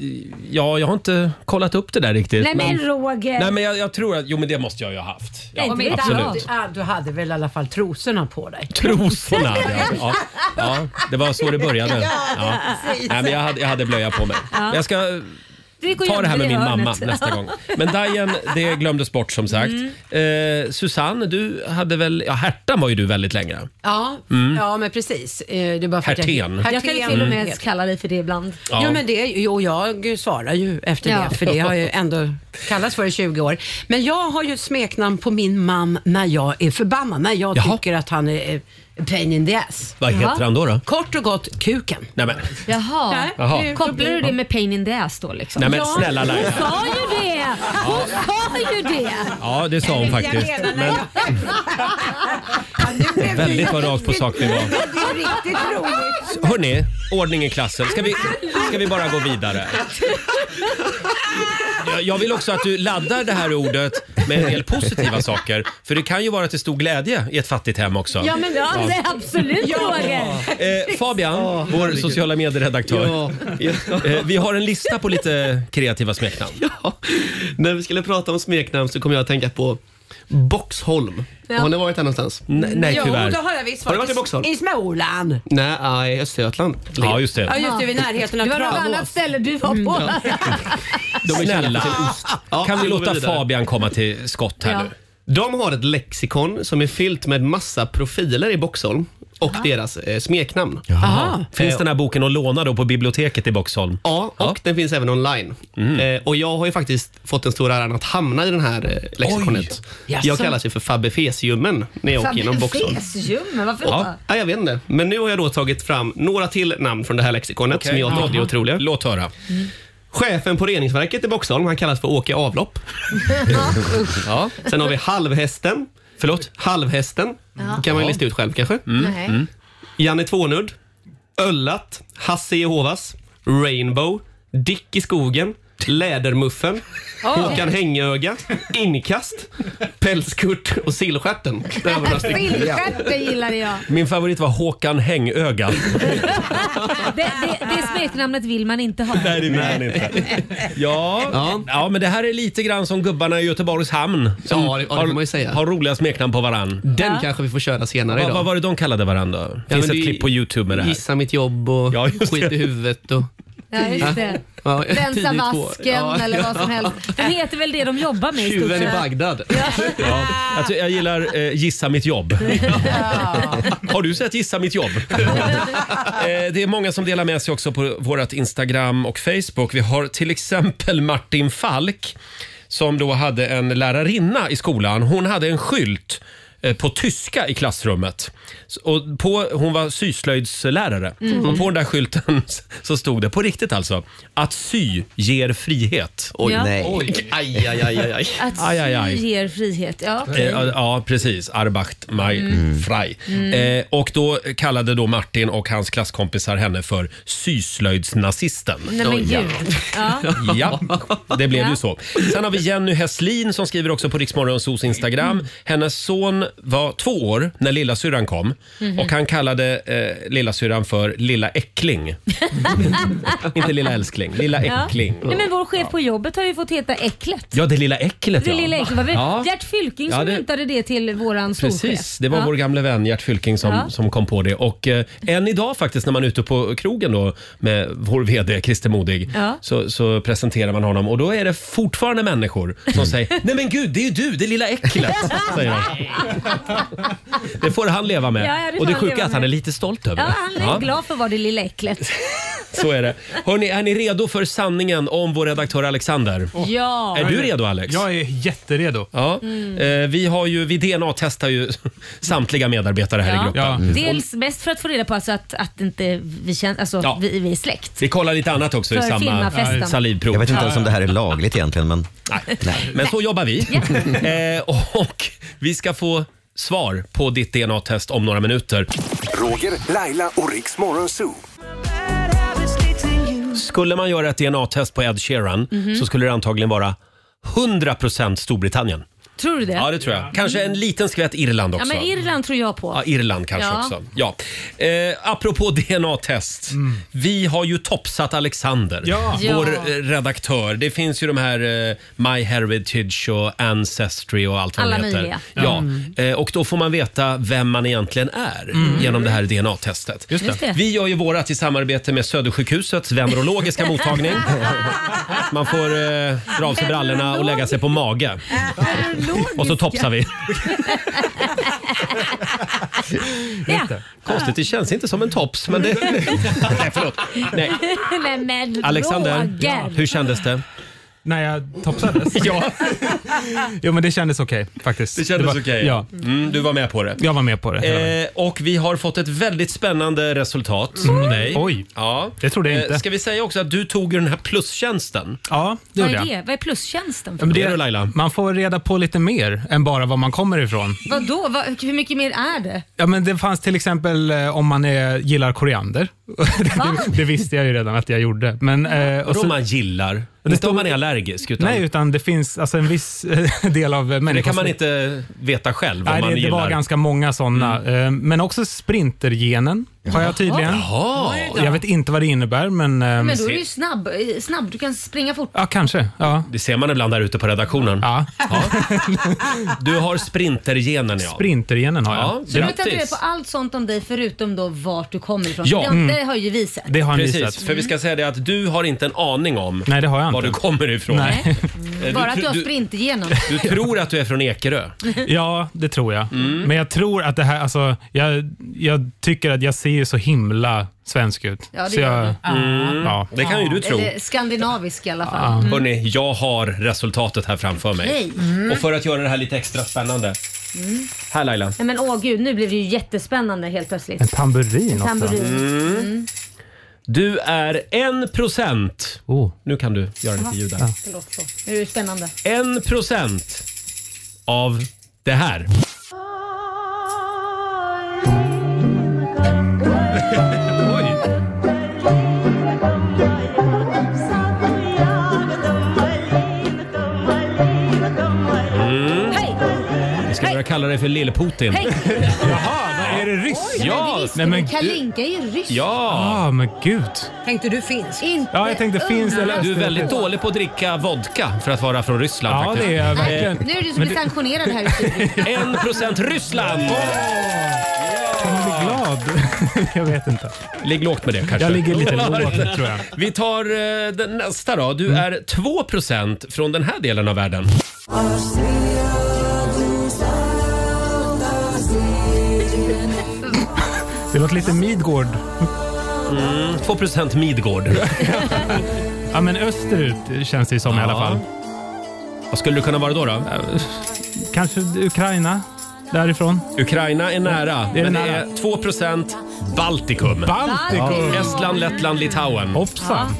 [SPEAKER 1] ja, jag har inte kollat upp det där riktigt.
[SPEAKER 2] Nej men Roger!
[SPEAKER 1] nej, men jag, jag tror att, jo men det måste jag ju ha haft. Ja,
[SPEAKER 2] Nej, men inte
[SPEAKER 1] absolut.
[SPEAKER 2] alls.
[SPEAKER 7] Du, ah, du hade väl i alla fall trosorna på dig?
[SPEAKER 1] Trosorna! Ja, ja, ja, det var så det
[SPEAKER 2] [LAUGHS]
[SPEAKER 1] började. Ja. Nej, men jag, hade, jag hade blöja på mig. Men Jag ska
[SPEAKER 2] Du gick och
[SPEAKER 1] Ta det här med
[SPEAKER 2] gömde dig
[SPEAKER 1] min
[SPEAKER 2] i hörnet.
[SPEAKER 1] mamma nästa
[SPEAKER 2] [LAUGHS]
[SPEAKER 3] [LAUGHS]
[SPEAKER 1] gång. Men Dajen, det glömdes bort som sagt. Eh, Susanne, du hade väl... Ja, Hertan var ju du väldigt länge.
[SPEAKER 7] Ja,
[SPEAKER 1] Mm.
[SPEAKER 7] ja men precis. Eh, Det är bara för att
[SPEAKER 1] Hertén.
[SPEAKER 7] Jag,
[SPEAKER 2] Jag kan ju till och med kalla dig för det ibland.
[SPEAKER 1] Ja.
[SPEAKER 7] Ja. Jo, men det, jo, jag svarar ju efter
[SPEAKER 2] Ja.
[SPEAKER 7] det, för det har ju ändå kallats för i 20 år. Men jag har ju ett smeknamn på min man när jag är förbannad, när jag
[SPEAKER 1] Jaha.
[SPEAKER 7] tycker att han är eh, pain in the ass.
[SPEAKER 1] Vad heter
[SPEAKER 2] Ja.
[SPEAKER 1] han då? då?
[SPEAKER 7] Kort och gott, kuken.
[SPEAKER 1] Nej, men,
[SPEAKER 2] Jaha.
[SPEAKER 1] Jaha.
[SPEAKER 7] nu-
[SPEAKER 2] Kopplar du det med pain in the ass då liksom?
[SPEAKER 1] nej, men
[SPEAKER 7] Ja.
[SPEAKER 1] snälla Laila.
[SPEAKER 2] Hon sa ju det! Hon sa ju det!
[SPEAKER 1] Ja, det sa hon faktiskt. Men väldigt vad rakt på sak vi var.
[SPEAKER 7] Det är riktigt roligt.
[SPEAKER 1] Hörni, ordning i klassen. Ska vi, ska vi
[SPEAKER 2] [LAUGHS]
[SPEAKER 1] bara gå vidare? Jag- Jag vill också att du laddar det här ordet med en del positiva saker. För det kan ju vara till stor glädje i ett fattigt hem också.
[SPEAKER 7] Ja, men
[SPEAKER 2] Ja, det är absolut Roger.
[SPEAKER 1] Eh, Fabian, vår
[SPEAKER 8] herregud.
[SPEAKER 1] sociala medieredaktör.
[SPEAKER 8] Ja, ja.
[SPEAKER 1] Eh, vi har en lista på lite kreativa smeknamn.
[SPEAKER 8] Ja, när vi skulle prata om smeknamn så kom jag att tänka på Boxholm. Har ni varit där någonstans?
[SPEAKER 1] N- nej,
[SPEAKER 7] Jo,
[SPEAKER 1] tyvärr.
[SPEAKER 7] då har jag visst
[SPEAKER 8] Har du
[SPEAKER 7] varit.
[SPEAKER 8] varit i Boxholm?
[SPEAKER 7] I Småland.
[SPEAKER 8] Nej, ja, i Östergötland.
[SPEAKER 1] Ja, just
[SPEAKER 7] Ja,
[SPEAKER 1] det.
[SPEAKER 7] just det, vid närheten av Mm.
[SPEAKER 2] Det var något annat
[SPEAKER 7] Tranås.
[SPEAKER 2] ställe du var på.
[SPEAKER 8] De är kända
[SPEAKER 1] Snälla,
[SPEAKER 8] för sin ost. Ja,
[SPEAKER 1] kan vi
[SPEAKER 8] går
[SPEAKER 1] låta
[SPEAKER 8] vidare.
[SPEAKER 1] Fabian komma till skott här
[SPEAKER 2] Ja.
[SPEAKER 1] nu?
[SPEAKER 8] De har ett lexikon som är fyllt med massa profiler i Boxholm och deras eh, smeknamn.
[SPEAKER 7] Aha.
[SPEAKER 1] Finns den här boken att låna då på biblioteket i Boxholm?
[SPEAKER 8] Eh,
[SPEAKER 1] Mm.
[SPEAKER 8] Ja, och den finns även online. Eh, och jag har ju faktiskt fått den stora äran att hamna i den här eh, lexikonet. Jag
[SPEAKER 7] Jaså?
[SPEAKER 8] kallas ju för Fabbe Fesiumen när jag åker genom Boxholm.
[SPEAKER 2] Fesljummen, varför
[SPEAKER 8] Ja.
[SPEAKER 2] då?
[SPEAKER 8] ja, jag vet inte. Men nu har jag då tagit fram några till namn från det här lexikonet som jag tycker är otroliga.
[SPEAKER 1] Låt höra.
[SPEAKER 8] Chefen på reningsverket i Boxholm, han kallas för Åke Avlopp.
[SPEAKER 1] [LAUGHS]
[SPEAKER 8] ja. Sen har vi halvhästen.
[SPEAKER 1] Förlåt?
[SPEAKER 8] Halvhästen kan man ju lista ut själv kanske.
[SPEAKER 2] Nej.
[SPEAKER 8] Janne Tvånudd, Öllat, Hasse Jehovas, Rainbow, Dick i skogen, Lädermuffen, Håkan Hängöga, Inkast, Pälskurt och Sillstjärten. Det här var några stycken.
[SPEAKER 2] Filmstjärten gillade jag.
[SPEAKER 1] Min favorit var Håkan Hängöga.
[SPEAKER 2] Det, det, det smeknamnet vill man inte ha.
[SPEAKER 1] Nej, det vill han inte. Ja.
[SPEAKER 8] Ja.
[SPEAKER 1] ja, men det här är lite grann som gubbarna i Göteborgs hamn. Som
[SPEAKER 8] Ja, det- ja, det får man ju säga.
[SPEAKER 1] har, har roliga smeknamn på varann.
[SPEAKER 8] Den kanske vi får köra senare
[SPEAKER 1] Vad
[SPEAKER 8] idag.
[SPEAKER 1] vad var det de kallade varandra?
[SPEAKER 8] Ja,
[SPEAKER 1] Finns
[SPEAKER 8] men
[SPEAKER 1] ett
[SPEAKER 8] det-
[SPEAKER 1] klipp på Youtube med det här.
[SPEAKER 8] Gissa mitt jobb och
[SPEAKER 1] Ja, just
[SPEAKER 8] skit
[SPEAKER 1] det.
[SPEAKER 8] i huvudet. Och,
[SPEAKER 2] Ja, just det. [LAUGHS]
[SPEAKER 8] ja, tidigt
[SPEAKER 2] Rensa
[SPEAKER 8] på-
[SPEAKER 2] vasken
[SPEAKER 8] ja,
[SPEAKER 2] eller vad som
[SPEAKER 8] ja.
[SPEAKER 2] helst. De heter väl det de jobbar med i stort
[SPEAKER 8] Tjuven i
[SPEAKER 2] sett.
[SPEAKER 8] Bagdad.
[SPEAKER 1] Ja. Jag, tror- jag gillar eh, Gissa mitt jobb. Har du sett Gissa mitt
[SPEAKER 2] [LAUGHS]
[SPEAKER 1] jobb? eh, det är många som delar med sig också på vårt Instagram och Facebook. Vi har till exempel Martin Falk som då hade en lärarinna i skolan. Hon hade en skylt eh, på tyska i klassrummet. S- Och på, hon var syslöjdslärare
[SPEAKER 2] Mm.
[SPEAKER 1] och på den där skylten [LAUGHS] så stod det, på riktigt alltså, att sy ger frihet.
[SPEAKER 6] Oj,
[SPEAKER 2] Ja.
[SPEAKER 6] nej.
[SPEAKER 8] Oj, aj, aj, aj, aj, aj.
[SPEAKER 2] Att
[SPEAKER 1] Aj, aj, aj.
[SPEAKER 2] sy ger frihet. Ja.
[SPEAKER 1] Eh, Ja, ja, precis. Arbacht Mai
[SPEAKER 2] Mm.
[SPEAKER 1] Frei.
[SPEAKER 8] Mm.
[SPEAKER 1] Eh, och då kallade då Martin och hans klasskompisar henne för syslöjdsnazisten.
[SPEAKER 2] Nej men gud. Ja.
[SPEAKER 1] [LAUGHS] Ja, det blev
[SPEAKER 2] Ja.
[SPEAKER 1] ju så. Sen har vi Jenny Hässlin som skriver också på Riksmorgonsos Instagram. Hennes son var två år när lilla syrran kom
[SPEAKER 2] Mhm.
[SPEAKER 1] och han kallade eh, lilla syrran för lilla äckling. Inte lilla älskling, lilla
[SPEAKER 2] Ja.
[SPEAKER 1] äckling.
[SPEAKER 2] Nej, men vår chef på jobbet har ju fått heta Äcklet.
[SPEAKER 1] Ja, det lilla äcklet
[SPEAKER 2] Det
[SPEAKER 1] ja.
[SPEAKER 2] lilla äcklet. Var väl
[SPEAKER 1] Ja.
[SPEAKER 2] Gert Fylking
[SPEAKER 1] Ja,
[SPEAKER 2] som
[SPEAKER 1] det-
[SPEAKER 2] myntade det till våran storchef.
[SPEAKER 1] Precis, det var
[SPEAKER 2] ja.
[SPEAKER 1] vår gamle vän Gert Fylking som,
[SPEAKER 2] Ja.
[SPEAKER 1] som kom på det. Och eh, än idag faktiskt när man är ute på krogen då med vår VD Christer Modig
[SPEAKER 2] Ja.
[SPEAKER 1] så, så presenterar man honom och då är det fortfarande människor som säger “Nej men gud, det är ju du, det lilla
[SPEAKER 2] [LAUGHS]
[SPEAKER 1] äcklet”. säger de. Det får han leva med.
[SPEAKER 2] Ja, ja, det får
[SPEAKER 1] och det
[SPEAKER 2] han
[SPEAKER 1] sjuka
[SPEAKER 2] leva
[SPEAKER 1] är att han är
[SPEAKER 2] med.
[SPEAKER 1] lite stolt över
[SPEAKER 2] Ja,
[SPEAKER 1] det.
[SPEAKER 2] han är
[SPEAKER 1] Ja,
[SPEAKER 2] glad för vad det
[SPEAKER 1] [LAUGHS]
[SPEAKER 2] lilla Äcklet.
[SPEAKER 1] Så är det. Hörrni, är ni redo för sanningen om vår redaktör Alexander?
[SPEAKER 2] Ja. Mm.
[SPEAKER 1] Är du redo Alex?
[SPEAKER 9] Jag är jätteredo.
[SPEAKER 1] Ja. Eh, vi har ju, vi DNA-testar ju [LAUGHS] samtliga medarbetare här i
[SPEAKER 2] Ja.
[SPEAKER 1] gruppen. Mm.
[SPEAKER 9] Ja.
[SPEAKER 2] Dels mest för att få reda på alltså att, att inte vi, känns, alltså,
[SPEAKER 1] Ja.
[SPEAKER 2] vi, vi är släkt.
[SPEAKER 1] Vi kollar lite annat också i
[SPEAKER 2] För
[SPEAKER 1] samma
[SPEAKER 2] firmafesten.
[SPEAKER 1] salivprov.
[SPEAKER 6] Jag vet inte ens om det här är lagligt egentligen, men
[SPEAKER 1] Nej. Men så jobbar vi. [LAUGHS] eh, och vi ska få svar på ditt DNA-test om några minuter.
[SPEAKER 10] Roger, Laila och Riks Morgonzoo.
[SPEAKER 1] Skulle man göra ett DNA-test på Ed Sheeran
[SPEAKER 2] Mhm.
[SPEAKER 1] så skulle det antagligen vara 100% Storbritannien.
[SPEAKER 2] Tror du det?
[SPEAKER 1] Ja, det tror jag. Kanske en liten skvätt Irland
[SPEAKER 2] Ja,
[SPEAKER 1] också.
[SPEAKER 2] men Irland tror jag på.
[SPEAKER 1] Ja,
[SPEAKER 2] [LAUGHS]
[SPEAKER 1] Irland kanske
[SPEAKER 2] Ja.
[SPEAKER 1] också. Ja. Eh, apropå [LAUGHS] DNA-test. Vi har ju topsat Alexander,
[SPEAKER 9] Mm. Ja.
[SPEAKER 1] vår
[SPEAKER 2] Ja.
[SPEAKER 1] eh, redaktör. Det finns ju de här eh, My Heritage och Ancestry och allt vad
[SPEAKER 2] Alla
[SPEAKER 1] de heter.
[SPEAKER 2] möjliga.
[SPEAKER 1] Ja. Eh, och då får man veta vem man egentligen är genom det här DNA-testet.
[SPEAKER 9] Mm. Just
[SPEAKER 2] Just
[SPEAKER 9] det.
[SPEAKER 2] det.
[SPEAKER 1] Vi gör ju vårat i samarbete med Södersjukhusets
[SPEAKER 2] [LAUGHS]
[SPEAKER 1] venerologiska mottagning. Man får eh, dra av sig brallorna och lägga sig på mage. Och så topsar vi.
[SPEAKER 2] Ja.
[SPEAKER 1] Konstigt, det känns inte som en tops. Men det... [LAUGHS] Nej, förlåt. Nej.
[SPEAKER 2] Nej, men
[SPEAKER 1] Alexander,
[SPEAKER 2] Roger.
[SPEAKER 1] hur kändes det?
[SPEAKER 9] När jag topsades?
[SPEAKER 1] Ja,
[SPEAKER 9] jo, men det kändes okej faktiskt.
[SPEAKER 1] det kändes
[SPEAKER 9] var-
[SPEAKER 1] okej.
[SPEAKER 9] Ja,
[SPEAKER 1] Mm, du var med på det.
[SPEAKER 9] jag var med på det. hela vägen.
[SPEAKER 1] Eh, och vi har fått ett väldigt spännande resultat på dig.
[SPEAKER 9] Oj.
[SPEAKER 1] Ja. Eh,
[SPEAKER 9] Det trodde jag inte.
[SPEAKER 1] ska vi säga också att du tog ju den här plustjänsten?
[SPEAKER 9] Ja, det
[SPEAKER 2] Vad
[SPEAKER 9] gjorde
[SPEAKER 2] är
[SPEAKER 9] jag.
[SPEAKER 2] det? Vad är plustjänsten?
[SPEAKER 9] Ja, men
[SPEAKER 1] Det är du, Laila.
[SPEAKER 9] Man får reda på lite mer än bara var man kommer ifrån.
[SPEAKER 2] Vadå? Vad, hur mycket mer är det?
[SPEAKER 9] Ja, men det fanns till exempel eh, om man är, gillar koriander. [LAUGHS] det, det visste jag ju redan att jag gjorde. Men, eh,
[SPEAKER 1] Vadå man gillar? Inte om man är allergisk? Utan,
[SPEAKER 9] Nej, utan det finns alltså, en viss eh, del av eh,
[SPEAKER 1] det
[SPEAKER 9] människans...
[SPEAKER 1] kan man inte veta själv om
[SPEAKER 9] Nej,
[SPEAKER 1] man
[SPEAKER 9] det, det
[SPEAKER 1] gillar. Mm.
[SPEAKER 9] var ganska många sådana. Eh, Men också sprintergenen har jag tydligen.
[SPEAKER 2] Jaha. Oj då.
[SPEAKER 9] Jag vet inte vad det innebär, men... eh,
[SPEAKER 2] Men då är du ju snabb, eh, snabb. Du kan springa fort.
[SPEAKER 9] Ja, kanske. Ja.
[SPEAKER 1] Det ser man ibland där ute på redaktionen.
[SPEAKER 9] Ja.
[SPEAKER 1] Du har sprintergenen ja.
[SPEAKER 9] Sprintergenen har jag.
[SPEAKER 1] Ja,
[SPEAKER 2] Så du tar reda
[SPEAKER 1] grattis.
[SPEAKER 2] på allt sånt om dig förutom då vart du kommer ifrån.
[SPEAKER 1] Ja. mm.
[SPEAKER 2] Ja. Det, har- det har ju vi sett.
[SPEAKER 1] Precis, för vi ska säga det att du har inte en aning om
[SPEAKER 9] Nej, det har jag inte.
[SPEAKER 1] var du kommer ifrån.
[SPEAKER 9] Nej.
[SPEAKER 1] Eh,
[SPEAKER 2] Bara
[SPEAKER 1] du,
[SPEAKER 2] att
[SPEAKER 1] tr-
[SPEAKER 2] jag
[SPEAKER 1] du,
[SPEAKER 2] sprinter igenom. [LAUGHS]
[SPEAKER 1] du tror att du är från Ekerö.
[SPEAKER 9] Ja, det tror jag.
[SPEAKER 1] Mm.
[SPEAKER 9] Men jag tror att det här, alltså, jag, jag tycker att jag ser ju så himla svensk ut.
[SPEAKER 2] Ja, det
[SPEAKER 9] så
[SPEAKER 2] gör
[SPEAKER 9] jag,
[SPEAKER 2] du.
[SPEAKER 1] Mm.
[SPEAKER 9] ja.
[SPEAKER 1] Det kan ju du tro.
[SPEAKER 2] Eller skandinavisk i alla fall.
[SPEAKER 1] Ja.
[SPEAKER 2] Mm.
[SPEAKER 1] Hörni, jag har resultatet här framför mig.
[SPEAKER 2] Okej. Mm.
[SPEAKER 1] Och för att göra det här lite extra spännande.
[SPEAKER 2] Mm.
[SPEAKER 1] Här Laila.
[SPEAKER 2] Nej, men åh gud, nu blev det ju jättespännande helt plötsligt.
[SPEAKER 9] En tamburin
[SPEAKER 2] En tamburin.
[SPEAKER 1] Mm.
[SPEAKER 2] Mm.
[SPEAKER 1] Du är en procent.
[SPEAKER 9] Oh.
[SPEAKER 1] Nu kan du göra lite ljud där.
[SPEAKER 2] Ja, Förlåt, så. Nu är det spännande.
[SPEAKER 1] En procent av det här. Mm.
[SPEAKER 2] Hej!
[SPEAKER 1] Vi ska börja kalla dig för Lill-Putin.
[SPEAKER 2] Hej!
[SPEAKER 9] Jaha, är det ryss?
[SPEAKER 1] Ja,
[SPEAKER 2] Nej, men Kalinka är ju ryss.
[SPEAKER 1] Ja!
[SPEAKER 9] Ja, men gud.
[SPEAKER 7] Tänkte du finsk?
[SPEAKER 2] Inte
[SPEAKER 9] Ja, jag tänkte finns eller
[SPEAKER 1] Du är väldigt
[SPEAKER 9] östeuropeiskt.
[SPEAKER 1] dålig på att dricka vodka för att vara från Ryssland.
[SPEAKER 9] Ja,
[SPEAKER 1] faktiskt.
[SPEAKER 9] det är jag verkligen.
[SPEAKER 2] Nu är det du som
[SPEAKER 9] Men
[SPEAKER 2] är sanktionerad här i [LAUGHS] studion.
[SPEAKER 1] En procent Ryssland!
[SPEAKER 9] Jag blir glad. [LAUGHS] jag vet inte.
[SPEAKER 1] Ligg lågt med det kanske.
[SPEAKER 9] Jag ligger
[SPEAKER 1] [LAUGHS]
[SPEAKER 9] lite lågt tror jag. Mm.
[SPEAKER 1] Vi tar eh, den nästa då. Du är 2 procent från den här delen av världen.
[SPEAKER 9] Det låter
[SPEAKER 2] [LAUGHS]
[SPEAKER 9] lite Midgård.
[SPEAKER 1] Mm, 2 procent Midgård.
[SPEAKER 9] [LAUGHS] Ja, men österut känns det ju som i alla
[SPEAKER 1] Ja.
[SPEAKER 9] fall.
[SPEAKER 1] Vad skulle det kunna vara då? då?
[SPEAKER 9] Kanske Ukraina, därifrån.
[SPEAKER 1] Ukraina är nära,
[SPEAKER 9] Det är
[SPEAKER 1] men det
[SPEAKER 9] nära.
[SPEAKER 1] är 2 procent Baltikum.
[SPEAKER 9] Baltikum.
[SPEAKER 1] Estland, Lettland, Litauen.
[SPEAKER 9] Hoppsan.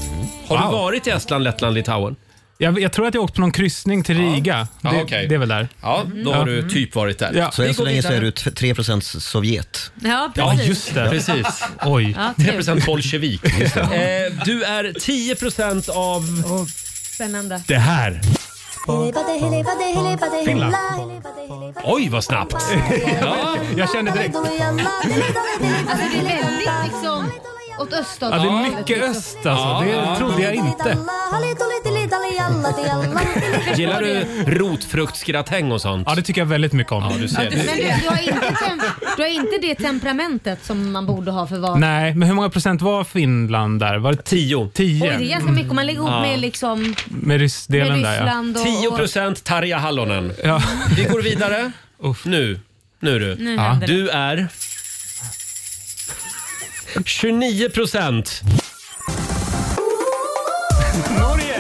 [SPEAKER 1] Har du
[SPEAKER 9] Wow.
[SPEAKER 1] varit i Estland, Lettland, Litauen?
[SPEAKER 9] Jag, jag tror att jag åkt på någon kryssning till Riga.
[SPEAKER 1] Ja,
[SPEAKER 9] det,
[SPEAKER 1] okej.
[SPEAKER 9] det är väl där.
[SPEAKER 1] Ja, då har du typ varit där.
[SPEAKER 9] Ja.
[SPEAKER 6] Så än
[SPEAKER 1] Vi
[SPEAKER 6] så
[SPEAKER 1] går
[SPEAKER 6] länge så
[SPEAKER 1] vidare.
[SPEAKER 6] är du t- 3 Sovjet.
[SPEAKER 2] Ja,
[SPEAKER 1] Ja,
[SPEAKER 2] precis.
[SPEAKER 1] just det.
[SPEAKER 9] [LAUGHS]
[SPEAKER 1] Precis.
[SPEAKER 9] Oj.
[SPEAKER 2] Ja,
[SPEAKER 1] 3
[SPEAKER 2] trevligt.
[SPEAKER 1] procent bolsjevik.
[SPEAKER 6] [LAUGHS]
[SPEAKER 1] Eh, Du är 10 procent av
[SPEAKER 2] Spännande.
[SPEAKER 1] det här.
[SPEAKER 9] Finland.
[SPEAKER 1] Oj, vad snabbt! Ja.
[SPEAKER 9] Jag kände direkt.
[SPEAKER 2] Alltså det är väldigt liksom åt
[SPEAKER 9] Ja,
[SPEAKER 2] öststaterna.
[SPEAKER 9] det är mycket öst alltså.
[SPEAKER 1] Ja,
[SPEAKER 9] det
[SPEAKER 1] ja.
[SPEAKER 9] trodde jag inte.
[SPEAKER 1] Gillar du rotfruktsgratäng och sånt?
[SPEAKER 9] Ja, det tycker jag väldigt mycket om.
[SPEAKER 1] Ja, du ser.
[SPEAKER 2] Men du, du, har inte tem- du har inte det temperamentet som man borde ha för vad...
[SPEAKER 9] Nej, men hur många procent var Finland där? Var det tio?
[SPEAKER 1] Tio.
[SPEAKER 2] Oj, det är
[SPEAKER 9] tio?
[SPEAKER 2] ganska mycket om man lägger ihop med, liksom,
[SPEAKER 9] Med
[SPEAKER 2] med
[SPEAKER 9] ryssdelen där ja.
[SPEAKER 2] Ryssland och...
[SPEAKER 1] 10
[SPEAKER 2] och-
[SPEAKER 1] procent Tarja Halonen.
[SPEAKER 9] ja.
[SPEAKER 1] Vi går vidare.
[SPEAKER 9] Uff.
[SPEAKER 1] Nu. Nu du.
[SPEAKER 2] Nu händer det.
[SPEAKER 1] Du är... 29 procent.
[SPEAKER 9] Norge!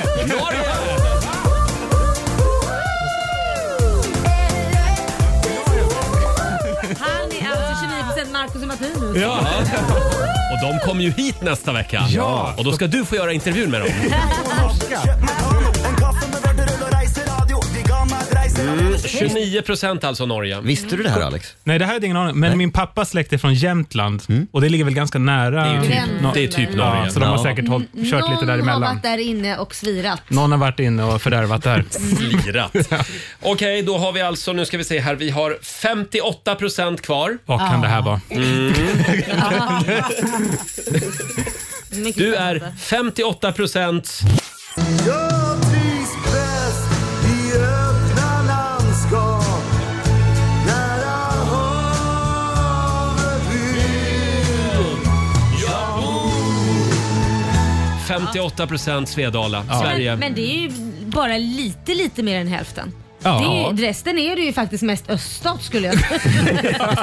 [SPEAKER 2] Han är alltså 29 procent Marcus och Martinus.
[SPEAKER 9] Ja.
[SPEAKER 2] [LAUGHS]
[SPEAKER 1] Och de kommer ju hit nästa vecka.
[SPEAKER 9] Ja.
[SPEAKER 1] Och då ska du få göra intervjun med dem. Mm, 29 procent alltså Norge.
[SPEAKER 6] Visste du det här Alex?
[SPEAKER 9] Nej, det här är ingen aning Men min pappas släkt är från Jämtland och det ligger väl ganska nära.
[SPEAKER 1] Mm. Det är ju
[SPEAKER 2] typ-
[SPEAKER 9] Nor-
[SPEAKER 1] Det är typ
[SPEAKER 9] Ja,
[SPEAKER 1] Norge.
[SPEAKER 9] så de har
[SPEAKER 6] Ja.
[SPEAKER 9] säkert hållit, kört lite
[SPEAKER 2] Någon har
[SPEAKER 9] däremellan.
[SPEAKER 2] varit där inne och svirat.
[SPEAKER 9] Någon har varit inne och fördärvat där.
[SPEAKER 1] [LAUGHS] Slirat. Okej, då har vi alltså, nu ska vi se här, vi har 58 procent kvar. Mm.
[SPEAKER 9] Vad kan det här vara?
[SPEAKER 2] Mycket
[SPEAKER 1] Du
[SPEAKER 2] spännande.
[SPEAKER 11] [LAUGHS]
[SPEAKER 1] är 58 procent.
[SPEAKER 4] Jag trivs bäst i öppna landskap Nära havet vill
[SPEAKER 1] 58 procent Svedala, Sverige.
[SPEAKER 2] Men, men det är ju bara lite, lite mer än hälften.
[SPEAKER 9] Ja.
[SPEAKER 2] Det är ju, resten är det ju faktiskt mest öststat skulle jag säga.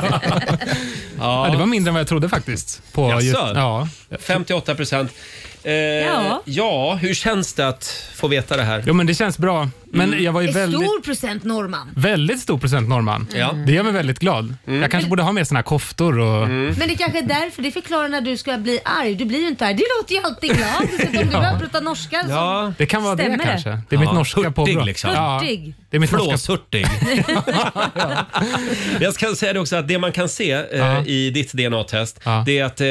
[SPEAKER 9] Ja, det var mindre än vad jag trodde faktiskt. På
[SPEAKER 1] Jaså?
[SPEAKER 9] ja.
[SPEAKER 1] 58 procent. Eh, ja. hur känns det att få veta det här?
[SPEAKER 9] Jo, men det känns bra. Men
[SPEAKER 1] Mm.
[SPEAKER 9] jag var ju
[SPEAKER 2] En
[SPEAKER 9] väldigt...
[SPEAKER 2] stor procent norrman.
[SPEAKER 9] Väldigt stor procent norrman.
[SPEAKER 2] Ja.
[SPEAKER 9] Det gör mig väldigt glad.
[SPEAKER 1] Mm.
[SPEAKER 9] Jag kanske borde ha med såna här koftor och...
[SPEAKER 2] Men det kanske är därför, det förklarar när du ska bli arg. Du blir ju inte arg. Du låter ju alltid glad. Så
[SPEAKER 9] [LAUGHS]
[SPEAKER 2] att om du börjar prata norska så
[SPEAKER 9] Det kan vara
[SPEAKER 2] stämmer
[SPEAKER 9] det kanske. Det är mitt
[SPEAKER 1] Ja,
[SPEAKER 9] norska påbrå.
[SPEAKER 1] Hurtig liksom.
[SPEAKER 2] Hurtig.
[SPEAKER 9] Det är mitt norska [LAUGHS]
[SPEAKER 1] Flåshurtig. Jag ska säga det också att det man kan se eh, i ditt DNA-test det är att eh,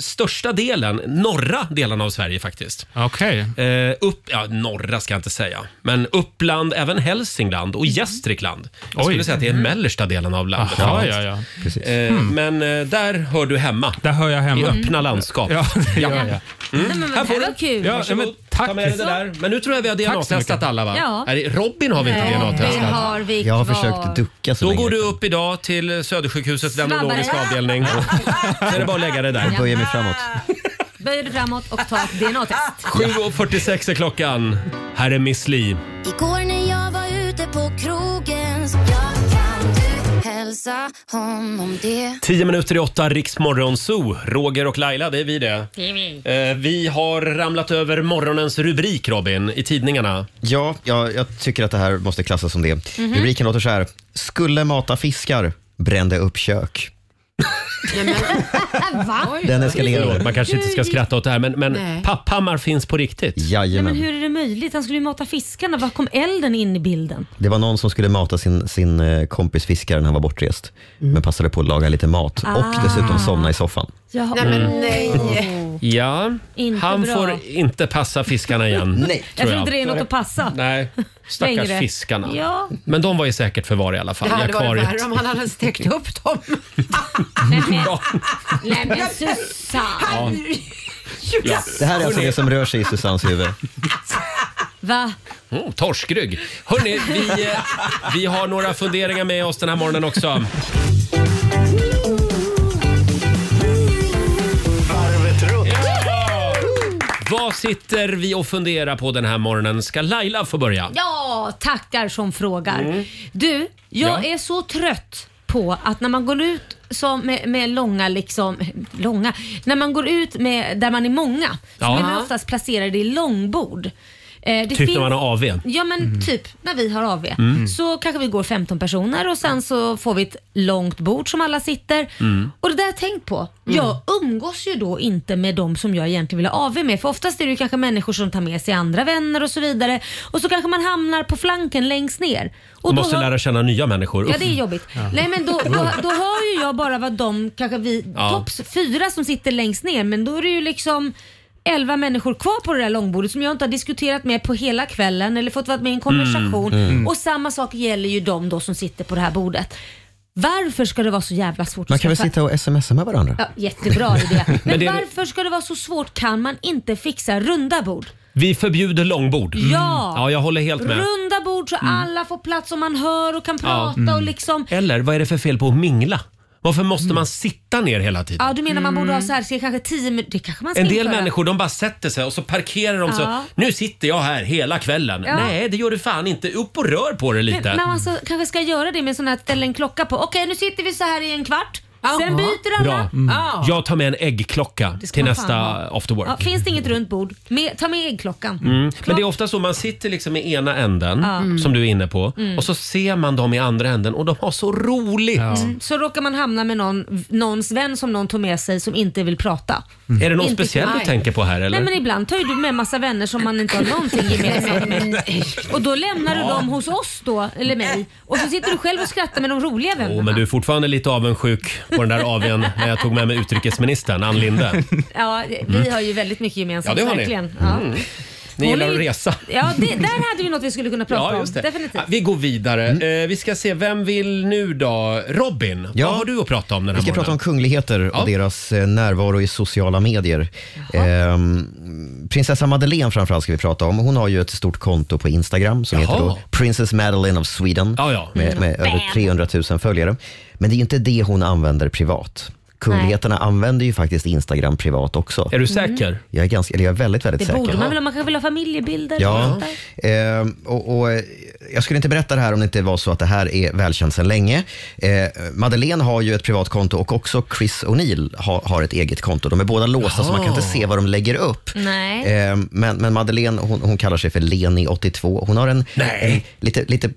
[SPEAKER 1] största delen, norra delen av Sverige faktiskt.
[SPEAKER 9] Okej.
[SPEAKER 1] Eh, upp, ja, norra ska jag inte säga, men Uppland, även Hälsingland och Gästrikland. Jag skulle
[SPEAKER 9] Mm. Oj.
[SPEAKER 1] säga att det är mellersta delen av landet.
[SPEAKER 9] Jaha, ja, ja.
[SPEAKER 1] Eh, Men eh, där hör du hemma.
[SPEAKER 9] Där hör jag hemma. Mm.
[SPEAKER 1] I öppna landskap. Mm.
[SPEAKER 9] Ja, det gör jag.
[SPEAKER 2] Nej, men
[SPEAKER 1] Här
[SPEAKER 2] vad
[SPEAKER 1] får
[SPEAKER 2] var kul.
[SPEAKER 9] Ja,
[SPEAKER 1] Varsågod,
[SPEAKER 9] men tack.
[SPEAKER 1] Ta med dig det där. Men nu tror jag vi har
[SPEAKER 9] så
[SPEAKER 1] DNA-testat
[SPEAKER 9] mycket.
[SPEAKER 1] alla va?
[SPEAKER 2] Ja.
[SPEAKER 1] Nej, Robin har vi inte
[SPEAKER 2] Nej, Eh, det
[SPEAKER 1] DNA-testat.
[SPEAKER 2] har vi
[SPEAKER 6] Jag har
[SPEAKER 2] kvar.
[SPEAKER 6] försökt ducka så
[SPEAKER 1] Då
[SPEAKER 6] länge.
[SPEAKER 1] går du upp idag till Södersjukhusets
[SPEAKER 2] Snabbare.
[SPEAKER 1] venerologiska
[SPEAKER 2] [LAUGHS]
[SPEAKER 1] avdelning. Så är det bara att lägga det där.
[SPEAKER 6] Jag böjer mig framåt.
[SPEAKER 2] Böj dig framåt och ta ett DNA-test.
[SPEAKER 6] [LAUGHS]
[SPEAKER 1] 7.46 är klockan. Här är Miss Li.
[SPEAKER 3] Igår när jag var ute på krogen så jag kan du hälsa honom det.
[SPEAKER 1] 10 minuter i åtta, Riksmorgon Zoo. Roger och Laila, det är vi det. Eh, Vi har ramlat över morgonens rubrik, Robin, i tidningarna.
[SPEAKER 6] Ja, jag, jag tycker att det här måste klassas som det.
[SPEAKER 2] Mhm.
[SPEAKER 6] Rubriken låter så här. Skulle mata fiskar, brände upp kök.
[SPEAKER 2] [LAUGHS] Va?
[SPEAKER 6] Den eskalerar.
[SPEAKER 1] Man kanske inte ska skratta åt det här, men, men
[SPEAKER 7] Nej.
[SPEAKER 1] Papphammar finns på riktigt.
[SPEAKER 2] Nej, men
[SPEAKER 6] Jajamän.
[SPEAKER 2] hur är det möjligt? Han skulle ju mata fiskarna. Var kom elden in i bilden?
[SPEAKER 6] Det var någon som skulle mata sin, sin eh, kompis fiskare när han var bortrest,
[SPEAKER 2] Mm.
[SPEAKER 6] men passade på att laga lite mat
[SPEAKER 2] Ah.
[SPEAKER 6] och dessutom somna i soffan.
[SPEAKER 2] Jaha.
[SPEAKER 7] Nej, men nej.
[SPEAKER 1] Ja,
[SPEAKER 2] Inte
[SPEAKER 1] han
[SPEAKER 2] bra.
[SPEAKER 1] får inte passa fiskarna igen.
[SPEAKER 6] Nej.
[SPEAKER 1] tror
[SPEAKER 2] Jag tror
[SPEAKER 1] jag.
[SPEAKER 2] inte det är något att passa.
[SPEAKER 1] Nej, stackars
[SPEAKER 2] [LAUGHS] Längre.
[SPEAKER 1] fiskarna.
[SPEAKER 2] Ja.
[SPEAKER 1] Men de var ju säkert förvar i alla fall.
[SPEAKER 7] Det hade
[SPEAKER 1] i
[SPEAKER 7] varit
[SPEAKER 1] akvariet.
[SPEAKER 7] värre om han hade stekt
[SPEAKER 1] [LAUGHS]
[SPEAKER 7] upp dem.
[SPEAKER 2] Nej men, nej, men Susanne.
[SPEAKER 6] Det här är alltså det som rör sig i Susannes huvud.
[SPEAKER 2] Va?
[SPEAKER 1] Mm, torskrygg. Hörni, vi, eh, vi har några funderingar med oss den här morgonen också. Ja! Vad sitter vi och funderar på den här morgonen? Ska Laila få börja?
[SPEAKER 2] Ja, tackar som frågar. Du, jag
[SPEAKER 1] Mm. Ja.
[SPEAKER 2] är så trött på att när man går ut som med, med långa, liksom, långa, när man går ut med, där man är många,
[SPEAKER 1] Ja.
[SPEAKER 2] så blir man oftast placerade i långbord. Eh, det
[SPEAKER 1] Typ när man har Mm. AV.
[SPEAKER 2] Ja men typ när vi har AV
[SPEAKER 1] Mm.
[SPEAKER 2] så kanske vi går 15 personer och sen så får vi ett långt bord som alla sitter.
[SPEAKER 1] Mm.
[SPEAKER 2] Och det där har jag tänkt på. Jag umgås ju då inte med de som jag egentligen vill ha AV med för oftast är det ju kanske människor som tar med sig andra vänner och så vidare och så kanske man hamnar på flanken längst ner. Och
[SPEAKER 1] Man
[SPEAKER 2] då
[SPEAKER 1] måste
[SPEAKER 2] hör-
[SPEAKER 1] lära känna nya människor.
[SPEAKER 2] Ja det är jobbigt. Nej men då, då, då hör ju jag bara vad de, kanske vi
[SPEAKER 1] Ja.
[SPEAKER 2] topps fyra som sitter längst ner men då är det ju liksom 11 människor kvar på det där långbordet som jag inte har diskuterat med på hela kvällen eller fått vara med i en konversation. Och samma sak gäller ju de då som sitter på det här bordet. Varför ska det vara så jävla svårt
[SPEAKER 6] Man
[SPEAKER 2] att
[SPEAKER 6] kan väl
[SPEAKER 2] skaffa-
[SPEAKER 6] sitta och smsa med varandra?
[SPEAKER 2] Ja, jättebra idé. Men,
[SPEAKER 1] Men det-
[SPEAKER 2] varför ska det vara så svårt? Kan man inte fixa runda bord?
[SPEAKER 1] Vi förbjuder långbord.
[SPEAKER 2] Ja.
[SPEAKER 1] Mm. ja, jag håller helt med. Mm.
[SPEAKER 2] Runda bord så alla får plats och man hör och kan prata och liksom
[SPEAKER 1] Eller vad är det för fel på att mingla? Varför måste man sitta ner hela tiden?
[SPEAKER 2] Mm. Ja, du menar man borde ha så här, så kanske tio minuter. Det kanske man ska
[SPEAKER 1] Mm. En del
[SPEAKER 2] införa.
[SPEAKER 1] människor de bara sätter sig och så parkerar de så.
[SPEAKER 2] Ja.
[SPEAKER 1] Nu sitter jag här hela kvällen.
[SPEAKER 2] Ja.
[SPEAKER 1] Nej, det gör du fan inte. Upp och rör på dig lite.
[SPEAKER 2] Men, men alltså, kanske ska göra det med sån här ställ en klocka på. Okej, nu sitter vi så här i en kvart. Sen
[SPEAKER 7] Ja.
[SPEAKER 2] byter alla.
[SPEAKER 1] Bra. Mm.
[SPEAKER 7] Ja.
[SPEAKER 1] Jag tar med en äggklocka
[SPEAKER 2] Det ska
[SPEAKER 1] till
[SPEAKER 2] man
[SPEAKER 1] nästa
[SPEAKER 2] fan ha.
[SPEAKER 1] after work. Mm.
[SPEAKER 2] Ja, finns det inget runt bord, med, ta med äggklockan.
[SPEAKER 1] Men det är ofta så, man sitter liksom i ena änden,
[SPEAKER 2] Mm.
[SPEAKER 1] som du är inne på, och så ser man dem i andra änden och de har så roligt.
[SPEAKER 2] Så råkar man hamna med någon, någons vän som någon tog med sig som inte vill prata.
[SPEAKER 1] Är det någon
[SPEAKER 2] Inte
[SPEAKER 1] speciell du
[SPEAKER 2] knark.
[SPEAKER 1] tänker på här eller?
[SPEAKER 2] Nej men ibland tar ju du med massa vänner som man inte
[SPEAKER 1] [LAUGHS]
[SPEAKER 2] har någonting gemensamt med. Och då lämnar du dem hos oss då, eller mig. Och så sitter du själv och skrattar med de roliga vännerna.
[SPEAKER 1] Oh, men du är fortfarande lite avundsjuk på den där
[SPEAKER 2] [LAUGHS]
[SPEAKER 1] AWn när jag tog med mig utrikesministern Ann Linde.
[SPEAKER 2] Ja, vi har ju väldigt mycket gemensamt.
[SPEAKER 1] Mm. Ja, det har ni. Mm.
[SPEAKER 2] verkligen. Ja.
[SPEAKER 1] Ni
[SPEAKER 2] Hon
[SPEAKER 1] gillar
[SPEAKER 2] är
[SPEAKER 1] att
[SPEAKER 2] ju-
[SPEAKER 1] resa.
[SPEAKER 2] Ja, det, där hade vi något vi skulle kunna prata
[SPEAKER 1] Ja, just det.
[SPEAKER 2] om. Definitivt.
[SPEAKER 1] Ja, Vi går vidare. Eh, vi ska se, vem vill nu då? Robin,
[SPEAKER 6] Mm. Ja.
[SPEAKER 1] vad har du att prata om den här
[SPEAKER 6] Vi ska
[SPEAKER 1] morgonen?
[SPEAKER 6] prata om kungligheter
[SPEAKER 1] Ja.
[SPEAKER 6] och deras eh, närvaro i sociala medier. Ehm, prinsessa Madeleine framförallt ska vi prata om. Hon har ju ett stort konto på Instagram som
[SPEAKER 1] Jaha.
[SPEAKER 6] heter då Princess Madeleine of Sweden
[SPEAKER 1] Ja, ja.
[SPEAKER 2] Mm.
[SPEAKER 6] med, med över 300 000 följare. Men det är ju inte det hon använder privat. Kungligheterna använder ju faktiskt Instagram privat också.
[SPEAKER 1] Är du säker? Mm.
[SPEAKER 6] Jag är, ganska, eller jag är väldigt, väldigt
[SPEAKER 2] Det
[SPEAKER 6] säker.
[SPEAKER 2] borde man väl ha? Man kanske vill ha familjebilder? och
[SPEAKER 6] Ja,
[SPEAKER 2] sånt där.
[SPEAKER 6] ehm, och, och, eh, jag skulle inte berätta det här om det inte var så att det här är välkänt sedan länge. Eh, Madeleine har ju ett privat konto och också Chris O'Neill har, har ett eget konto. De är båda låsta så man kan inte se vad de lägger upp.
[SPEAKER 2] Nej.
[SPEAKER 6] Eh, men, men Madeleine, hon, hon kallar sig för Leni82. Hon har en, en lite, lite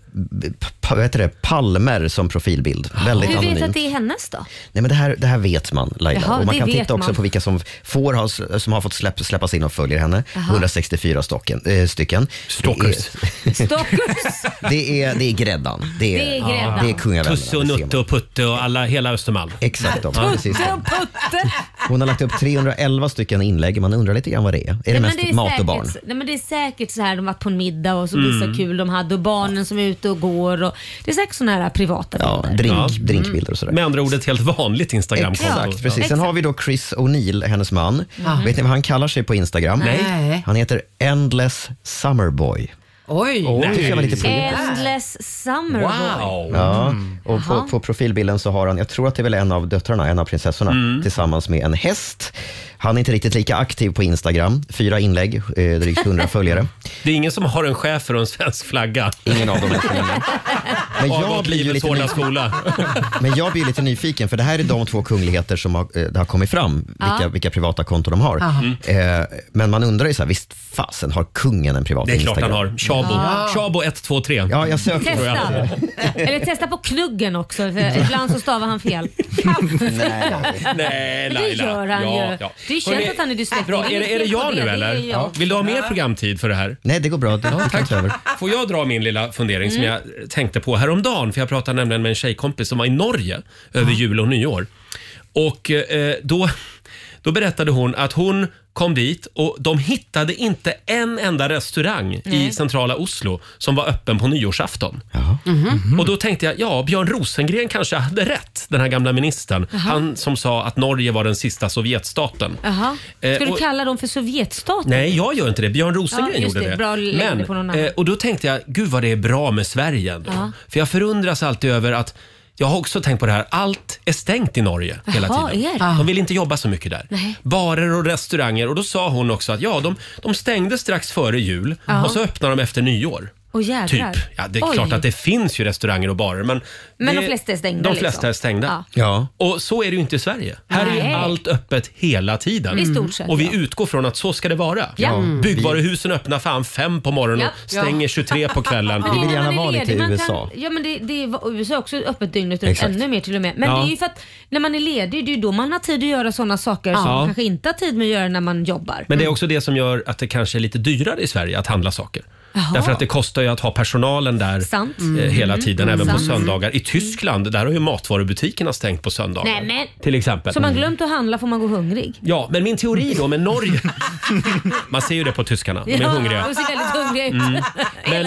[SPEAKER 6] pa, vad heter det, palmer som profilbild. Väldigt
[SPEAKER 2] Hur
[SPEAKER 6] anonym.
[SPEAKER 2] vet att det är hennes då?
[SPEAKER 6] Nej, men det, här, det här vet man Laila.
[SPEAKER 2] Jaha,
[SPEAKER 6] och man
[SPEAKER 2] det
[SPEAKER 6] kan
[SPEAKER 2] vet
[SPEAKER 6] titta också
[SPEAKER 2] man.
[SPEAKER 6] på vilka som, får ha, som har fått släpp, släppas in och följer henne.
[SPEAKER 2] Jaha.
[SPEAKER 6] 164 stocken, eh, stycken. Stalkers.
[SPEAKER 2] [LAUGHS] Stockholms?
[SPEAKER 6] [LAUGHS] Det är, det är gräddan. Det är,
[SPEAKER 2] Det är gräddan.
[SPEAKER 6] Det är kungaväljarna.
[SPEAKER 1] Tusse och Nutte och Putte och alla, hela Östermalm.
[SPEAKER 6] Exakt. De,
[SPEAKER 1] Ja.
[SPEAKER 6] precis de.
[SPEAKER 2] Putte!
[SPEAKER 6] Hon har lagt upp 311 stycken inlägg. Man undrar lite grann vad det är. Är det
[SPEAKER 2] Nej, men
[SPEAKER 6] mest
[SPEAKER 2] är
[SPEAKER 6] mat och
[SPEAKER 2] säkert,
[SPEAKER 6] barn?
[SPEAKER 2] Nej, men det är säkert så här de varit på en middag och så
[SPEAKER 6] Mm.
[SPEAKER 2] visar kul de hade och barnen som är ute och går. Och, det är säkert såna här privata bilder.
[SPEAKER 6] drinkbilder och sådär.
[SPEAKER 1] Mm. Med andra ord ett helt vanligt Instagramkonto.
[SPEAKER 6] Exakt, precis. Sen har vi då Chris O'Neill, hennes man.
[SPEAKER 2] Mm.
[SPEAKER 6] Vet ni vad han kallar sig på Instagram?
[SPEAKER 2] Nej.
[SPEAKER 6] Han heter Endless Summerboy.
[SPEAKER 7] Oj!
[SPEAKER 6] Oj. Det tycker jag var lite poetiskt.
[SPEAKER 2] Endless summer boy.
[SPEAKER 6] Ja,
[SPEAKER 1] Mm.
[SPEAKER 6] och på,
[SPEAKER 2] Jaha.
[SPEAKER 6] på profilbilden så har han, jag tror att det är väl en av döttrarna, en av prinsessorna,
[SPEAKER 1] Mm.
[SPEAKER 6] tillsammans med en häst. Han är inte riktigt lika aktiv på Instagram. Fyra inlägg, eh,
[SPEAKER 1] [LAUGHS]
[SPEAKER 6] drygt 100 följare.
[SPEAKER 1] Det är ingen som har en chefer och en svensk flagga. [LAUGHS]
[SPEAKER 6] Ingen av dem är Men
[SPEAKER 1] Har
[SPEAKER 6] jag
[SPEAKER 1] gått
[SPEAKER 6] blir ju
[SPEAKER 1] livets
[SPEAKER 6] lite
[SPEAKER 1] hårda
[SPEAKER 6] ny-
[SPEAKER 1] skola.
[SPEAKER 6] Men jag blir lite nyfiken, för det här är de två kungligheter som har, eh, det har kommit fram, vilka,
[SPEAKER 1] Ja.
[SPEAKER 6] vilka privata konton de har.
[SPEAKER 1] Aha.
[SPEAKER 6] Eh, men man undrar ju så här, visst fasen har kungen en privat
[SPEAKER 1] Det är klart
[SPEAKER 6] Instagram?
[SPEAKER 1] han har. Tjabo.
[SPEAKER 2] Ja.
[SPEAKER 1] Tjabo 123.
[SPEAKER 6] Ja, jag söker.
[SPEAKER 1] Tror jag.
[SPEAKER 2] [LAUGHS] Testa. Eller testa på knuggen också. För ibland så stavar han fel. [LAUGHS]
[SPEAKER 1] Nej,
[SPEAKER 2] Men det
[SPEAKER 1] Laila.
[SPEAKER 2] gör han
[SPEAKER 1] Ja,
[SPEAKER 2] ju.
[SPEAKER 1] ja.
[SPEAKER 2] Det är ju
[SPEAKER 1] Hörrni,
[SPEAKER 2] känt att han är dyslektiker.
[SPEAKER 1] Bra. Är,
[SPEAKER 2] inget
[SPEAKER 1] det- är det
[SPEAKER 2] fel på
[SPEAKER 1] jag nu
[SPEAKER 2] det är
[SPEAKER 1] eller?
[SPEAKER 2] ju jag.
[SPEAKER 1] Vill du ha mer programtid för det här?
[SPEAKER 6] Nej, det går bra. Det, det kan ta över.
[SPEAKER 1] Får jag dra min lilla fundering som
[SPEAKER 2] Mm.
[SPEAKER 1] jag tänkte på häromdagen? För jag pratade nämligen med en tjejkompis som var i Norge över jul och nyår. Och eh, då, då berättade hon att hon kom dit och de hittade inte en enda restaurang i
[SPEAKER 2] Nej.
[SPEAKER 1] centrala Oslo som var öppen på nyårsafton.
[SPEAKER 7] Mm-hmm.
[SPEAKER 1] Och då tänkte jag, ja, Björn Rosengren kanske hade rätt, den här gamla ministern.
[SPEAKER 2] Jaha.
[SPEAKER 1] Han som sa att Norge var den sista Sovjetstaten.
[SPEAKER 2] Jaha.
[SPEAKER 1] Eh,
[SPEAKER 2] Ska du
[SPEAKER 1] och-
[SPEAKER 2] kalla dem för Sovjetstaten?
[SPEAKER 1] Nej, jag gör inte det. Björn Rosengren
[SPEAKER 2] Ja, just
[SPEAKER 1] gjorde
[SPEAKER 2] det.
[SPEAKER 1] det.
[SPEAKER 2] Bra, lägg det på någon
[SPEAKER 1] Men,
[SPEAKER 2] annan.
[SPEAKER 1] eh, och då tänkte jag, gud vad det är bra med Sverige ändå.
[SPEAKER 2] Ja.
[SPEAKER 1] För jag förundras alltid över att jag har också tänkt på det här, allt är stängt i Norge hela
[SPEAKER 2] Jaha,
[SPEAKER 1] tiden.
[SPEAKER 2] är det?
[SPEAKER 1] De vill inte jobba så mycket där.
[SPEAKER 2] Nej.
[SPEAKER 1] Barer och restauranger och då sa hon också att ja, de, de stängde strax före jul
[SPEAKER 2] Ja.
[SPEAKER 1] och så öppnar de efter nyår.
[SPEAKER 2] Och jävlar.
[SPEAKER 1] Typ. Ja, det är
[SPEAKER 2] Oj.
[SPEAKER 1] klart att det finns ju restauranger och barer men...
[SPEAKER 2] Men
[SPEAKER 1] det,
[SPEAKER 2] de flesta är stängda,
[SPEAKER 1] De flesta
[SPEAKER 2] liksom.
[SPEAKER 1] är stängda.
[SPEAKER 6] Ja.
[SPEAKER 1] Och så är det ju inte i Sverige. Här är
[SPEAKER 2] Nej.
[SPEAKER 1] ju allt öppet hela tiden.
[SPEAKER 2] I stort sett,
[SPEAKER 1] Och vi
[SPEAKER 2] ja.
[SPEAKER 1] utgår från att så ska det vara.
[SPEAKER 2] Ja. Mm.
[SPEAKER 1] Byggvaruhusen öppnar fan fem på morgonen
[SPEAKER 2] Ja.
[SPEAKER 1] och stänger 23 på kvällen.
[SPEAKER 2] Men det är när man är ledig, man Kan, ja, men det, det är, USA är också öppet dygnet runt,
[SPEAKER 1] Exakt.
[SPEAKER 2] ännu mer till och med. Men
[SPEAKER 1] Ja.
[SPEAKER 2] det är ju för att när man är ledig, det är ju då man har tid att göra sådana saker som
[SPEAKER 1] Ja.
[SPEAKER 2] man kanske inte har tid med att göra när man jobbar. Mm.
[SPEAKER 1] Men det är också det som gör att det kanske är lite dyrare i Sverige att handla saker.
[SPEAKER 2] Jaha.
[SPEAKER 1] Därför att det kostar ju att ha personalen där
[SPEAKER 2] Sant.
[SPEAKER 1] eh, hela tiden,
[SPEAKER 2] Mm.
[SPEAKER 1] även på
[SPEAKER 2] Sant.
[SPEAKER 1] söndagar. I Tyskland, där har ju matvarubutikerna stängt på söndagar.
[SPEAKER 2] Nej, men-
[SPEAKER 1] Till exempel.
[SPEAKER 2] Så man glömt att handla får man gå hungrig.
[SPEAKER 1] Ja, men min teori då med
[SPEAKER 2] [LAUGHS]
[SPEAKER 1] Norge. Man ser ju det på tyskarna, de är
[SPEAKER 2] Ja,
[SPEAKER 1] hungriga.
[SPEAKER 2] De ser väldigt hungriga ut.
[SPEAKER 1] Mm.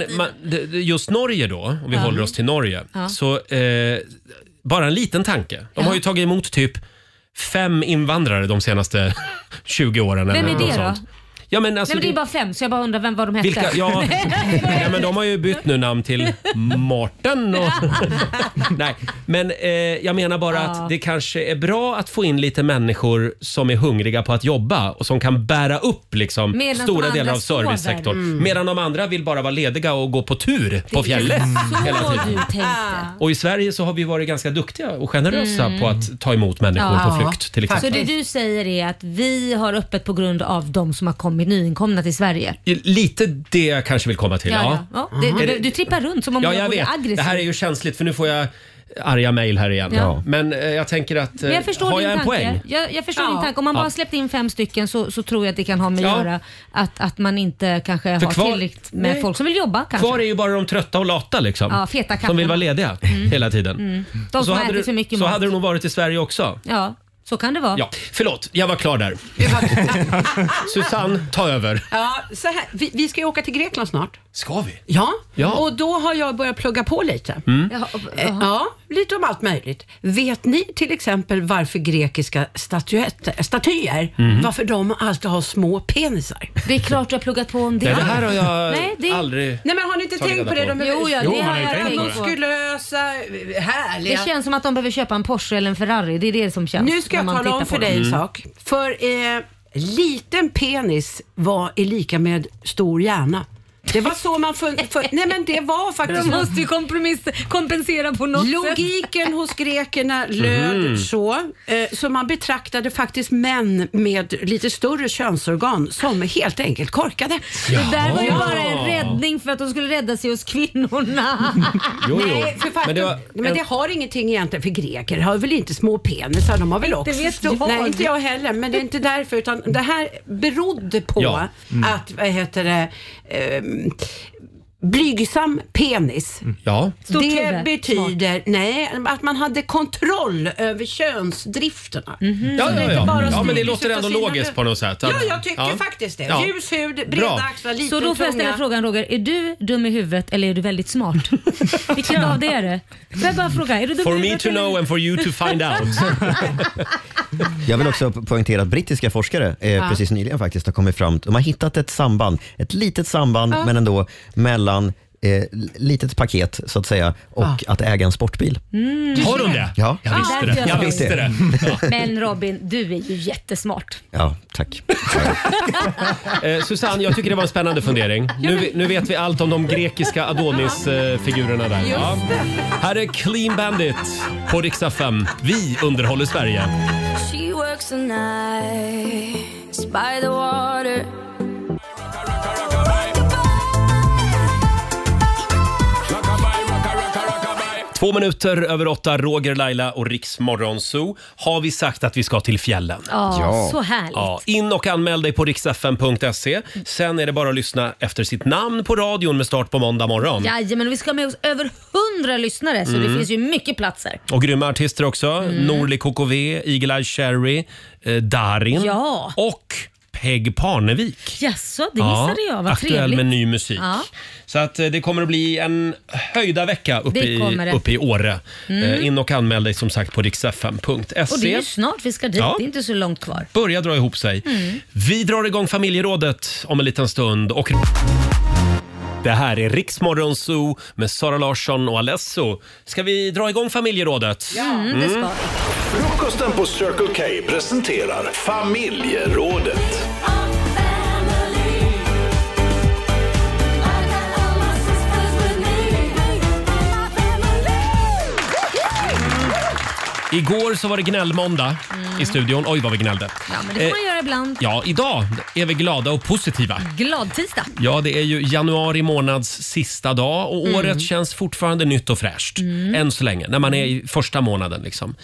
[SPEAKER 1] Men man, d- d- just Norge då, om vi
[SPEAKER 2] Ja.
[SPEAKER 1] håller oss till Norge.
[SPEAKER 2] Ja.
[SPEAKER 1] Så eh, bara en liten tanke. De har ju tagit emot typ fem invandrare de senaste [LAUGHS] 20 åren.
[SPEAKER 2] Vem
[SPEAKER 1] eller
[SPEAKER 2] är
[SPEAKER 1] något
[SPEAKER 2] det då?
[SPEAKER 1] sånt. Ja, men alltså,
[SPEAKER 2] Nej, men det är bara fem, så jag bara undrar vem var de hette.
[SPEAKER 1] vilka,
[SPEAKER 2] [LAUGHS]
[SPEAKER 1] ja, nej, men de har ju bytt nu namn till Martin. [LAUGHS] Och, nej, men eh, jag menar bara
[SPEAKER 2] Ja.
[SPEAKER 1] att det kanske är bra att få in lite människor som är hungriga på att jobba och som kan bära upp liksom,
[SPEAKER 2] Medan de
[SPEAKER 1] stora
[SPEAKER 2] andra
[SPEAKER 1] delar av
[SPEAKER 2] sover.
[SPEAKER 1] servicesektorn.
[SPEAKER 2] Mm.
[SPEAKER 1] Medan de andra vill bara vara lediga och gå på tur på fjället hela
[SPEAKER 2] Så du
[SPEAKER 1] tiden.
[SPEAKER 2] tänkte.
[SPEAKER 1] Och i Sverige så har vi varit ganska duktiga och generösa
[SPEAKER 2] Mm.
[SPEAKER 1] på att ta emot människor
[SPEAKER 2] Ja.
[SPEAKER 1] på flykt till exempel.
[SPEAKER 2] Så det du säger är att vi har öppet på grund av de som har kommit nyinkomna till Sverige?
[SPEAKER 1] Lite det jag kanske vill komma till. Mm.
[SPEAKER 2] Ja, ja. ja.
[SPEAKER 1] Är
[SPEAKER 2] Det,
[SPEAKER 1] det-
[SPEAKER 2] du, du trippar runt som om
[SPEAKER 1] Ja,
[SPEAKER 2] du
[SPEAKER 1] jag
[SPEAKER 2] vore
[SPEAKER 1] vet.
[SPEAKER 2] aggressiv.
[SPEAKER 1] Det här är ju känsligt för nu får jag arga mejl här igen.
[SPEAKER 2] Ja.
[SPEAKER 1] Men eh, jag tänker att... eh,
[SPEAKER 2] Men jag förstår
[SPEAKER 1] har
[SPEAKER 2] din
[SPEAKER 1] jag en
[SPEAKER 2] tanke.
[SPEAKER 1] poäng?
[SPEAKER 2] Jag, jag förstår
[SPEAKER 1] Ja.
[SPEAKER 2] din tanke. Om man bara
[SPEAKER 1] Ja.
[SPEAKER 2] har släppt in fem stycken så, så tror jag att det kan ha med att
[SPEAKER 1] Ja.
[SPEAKER 2] göra att, att man inte kanske
[SPEAKER 1] För
[SPEAKER 2] har
[SPEAKER 1] kvar-
[SPEAKER 2] tillräckligt med
[SPEAKER 1] Nej.
[SPEAKER 2] folk som vill jobba kanske.
[SPEAKER 1] Kvar är ju bara de trötta och lata liksom.
[SPEAKER 2] Ja, feta katterna.
[SPEAKER 1] som vill vara lediga [LAUGHS] hela tiden.
[SPEAKER 2] Mm.
[SPEAKER 1] Och
[SPEAKER 2] De
[SPEAKER 1] så
[SPEAKER 2] som
[SPEAKER 1] hade
[SPEAKER 2] äter
[SPEAKER 1] du-
[SPEAKER 2] för mycket
[SPEAKER 1] Så
[SPEAKER 2] mat.
[SPEAKER 1] hade det nog varit i Sverige också.
[SPEAKER 2] Ja, så kan det vara.
[SPEAKER 1] Ja, förlåt, jag var klar där. [LAUGHS] Susanne, ta
[SPEAKER 2] Mm.
[SPEAKER 1] över.
[SPEAKER 7] Ja, så här, vi, vi ska ju åka till Grekland snart.
[SPEAKER 1] Ska vi?
[SPEAKER 7] Ja,
[SPEAKER 1] Ja.
[SPEAKER 7] och då har jag börjat plugga på lite.
[SPEAKER 1] Mm.
[SPEAKER 7] Eh, Ja, lite om allt möjligt. Vet ni till exempel varför grekiska statyetter, statyer,
[SPEAKER 1] Mhm.
[SPEAKER 7] varför de alltid har små penisar?
[SPEAKER 2] Det är klart du har pluggat på om
[SPEAKER 1] det. Nej, det här har jag aldrig
[SPEAKER 7] Nej men har ni inte
[SPEAKER 1] tagit
[SPEAKER 7] tänkt på det?
[SPEAKER 1] reda
[SPEAKER 7] De
[SPEAKER 1] på.
[SPEAKER 7] är
[SPEAKER 1] Jo, ja, Jo, det man har har ju jag tänkt tänkt på det. på.
[SPEAKER 7] muskulösa, härliga.
[SPEAKER 2] Det känns som att de behöver köpa en Porsche eller en Ferrari. Det är det som känns.
[SPEAKER 7] Nu ska jag
[SPEAKER 2] när man
[SPEAKER 7] tala om
[SPEAKER 2] tittar på
[SPEAKER 7] för dig en
[SPEAKER 2] dem.
[SPEAKER 1] Mm.
[SPEAKER 7] sak. För eh, liten penis var är lika med stor hjärna. Det var så man fun- fun-
[SPEAKER 2] [LAUGHS]
[SPEAKER 7] Nej men det var faktiskt...
[SPEAKER 2] De måste ju kompensera på något sätt.
[SPEAKER 7] Logiken hos grekerna löd
[SPEAKER 2] Mhm.
[SPEAKER 7] så. Eh, så man betraktade faktiskt män med lite större könsorgan som helt enkelt korkade.
[SPEAKER 2] Det där var ju bara en räddning för att de skulle rädda sig hos kvinnorna.
[SPEAKER 7] Jo, jo. Nej, för faktum, men, det men det har ingenting egentligen för greker. har väl inte små penisar? De har väl också...
[SPEAKER 2] Inte vet jag.
[SPEAKER 7] Nej, inte jag heller. Men det är inte därför. Utan det här berodde på
[SPEAKER 2] Ja.
[SPEAKER 1] Mm.
[SPEAKER 7] att, vad heter det, ehm, blygsam penis.
[SPEAKER 1] Ja.
[SPEAKER 2] Stort
[SPEAKER 7] det
[SPEAKER 2] huvud.
[SPEAKER 7] betyder nej, att man hade kontroll över könsdrifterna. Så
[SPEAKER 1] Mm-hmm. Ja,
[SPEAKER 7] det är
[SPEAKER 1] ja,
[SPEAKER 7] inte bara
[SPEAKER 1] ja. ja, men det
[SPEAKER 7] snygg
[SPEAKER 1] låter
[SPEAKER 7] ut
[SPEAKER 1] ändå
[SPEAKER 7] och sina-
[SPEAKER 1] logiskt på något sätt.
[SPEAKER 7] Ja,
[SPEAKER 1] Att-
[SPEAKER 7] jag tycker faktiskt det.
[SPEAKER 1] Ja.
[SPEAKER 7] Ljus hud, breda
[SPEAKER 1] Mm. Bra.
[SPEAKER 7] axlar, liten
[SPEAKER 2] Så då får jag ställa
[SPEAKER 7] tunga.
[SPEAKER 2] frågan Roger, är du dum i huvudet eller är du
[SPEAKER 1] [LAUGHS]
[SPEAKER 2] väldigt smart? Vilken av det är det? Får jag bara fråga, är du dum
[SPEAKER 1] For
[SPEAKER 2] i
[SPEAKER 1] me
[SPEAKER 2] huvudet
[SPEAKER 1] to
[SPEAKER 2] eller-
[SPEAKER 1] know and for you to find out.
[SPEAKER 7] [LAUGHS]
[SPEAKER 6] Jag vill också po- poängtera att brittiska forskare eh,
[SPEAKER 2] Ja.
[SPEAKER 6] precis nyligen faktiskt har kommit fram De har hittat ett samband, ett litet samband
[SPEAKER 2] Ja.
[SPEAKER 6] men ändå mellan eh, litet paket så att säga och att äga en sportbil.
[SPEAKER 2] Mm.
[SPEAKER 6] Har de det? Ja. Jag visste det.
[SPEAKER 2] därför
[SPEAKER 6] Jag visste det. Ja.
[SPEAKER 2] Men Robin, du är ju jättesmart.
[SPEAKER 6] Ja, tack.
[SPEAKER 1] [LAUGHS] Eh, Susanne, jag tycker det var en spännande fundering. Nu, nu vet vi allt om de grekiska Adonis-figurerna där. Ja. Här är Clean Bandit på riksdag 5. Vi underhåller Sverige.
[SPEAKER 3] She works the nights by the water.
[SPEAKER 1] Två minuter över åtta, Roger, Laila och Riksmorgon Zoo. Har vi sagt att vi ska till fjällen?
[SPEAKER 2] Ja, så härligt.
[SPEAKER 1] Ja, in och anmäl dig på riksfn.se. Sen är det bara att lyssna efter sitt namn på radion med start på måndag morgon.
[SPEAKER 2] Jajamän, och vi ska ha med oss över 100 lyssnare så det
[SPEAKER 1] Mm.
[SPEAKER 2] finns ju mycket platser.
[SPEAKER 1] Och grymma artister också.
[SPEAKER 2] Mm.
[SPEAKER 1] Norli KKV, Eagle-Eye Cherry, eh, Darin
[SPEAKER 2] Ja.
[SPEAKER 1] och Peg Parnevik.
[SPEAKER 2] Jaså, det missade jag. Vad
[SPEAKER 1] aktuell
[SPEAKER 2] trevligt.
[SPEAKER 1] med ny musik.
[SPEAKER 2] Ja.
[SPEAKER 1] Så att eh, det kommer att bli en höjda vecka uppe,
[SPEAKER 2] Det kommer
[SPEAKER 1] i,
[SPEAKER 2] det.
[SPEAKER 1] uppe i Åre.
[SPEAKER 2] Mm.
[SPEAKER 1] Eh, in och anmäl dig som sagt på riksfm.se.
[SPEAKER 2] Och det är ju snart vi ska dit,
[SPEAKER 1] E. Ja.
[SPEAKER 2] det är inte så långt kvar.
[SPEAKER 1] Börja dra ihop sig.
[SPEAKER 2] Mm.
[SPEAKER 1] Vi drar igång familjerådet om en liten stund. Och... Det här är Riksmorgon Zoo med Sara Larsson och Alesso. Ska vi dra igång familjerådet?
[SPEAKER 10] Mm, det ska vi. Frukosten på Circle K presenterar familjerådet.
[SPEAKER 1] Igår så var det gnällmåndag i studion. Oj, vad vi gnällde.
[SPEAKER 2] Mm. Ja, men det får man göra ibland.
[SPEAKER 1] Eh, Ja, idag är vi glada och positiva.
[SPEAKER 2] Glad tisdag.
[SPEAKER 1] Ja, det är ju januari månads sista dag och
[SPEAKER 2] Mm.
[SPEAKER 1] året känns fortfarande nytt och fräscht.
[SPEAKER 2] Mm.
[SPEAKER 1] Än så länge, när man är i första månaden. Liksom.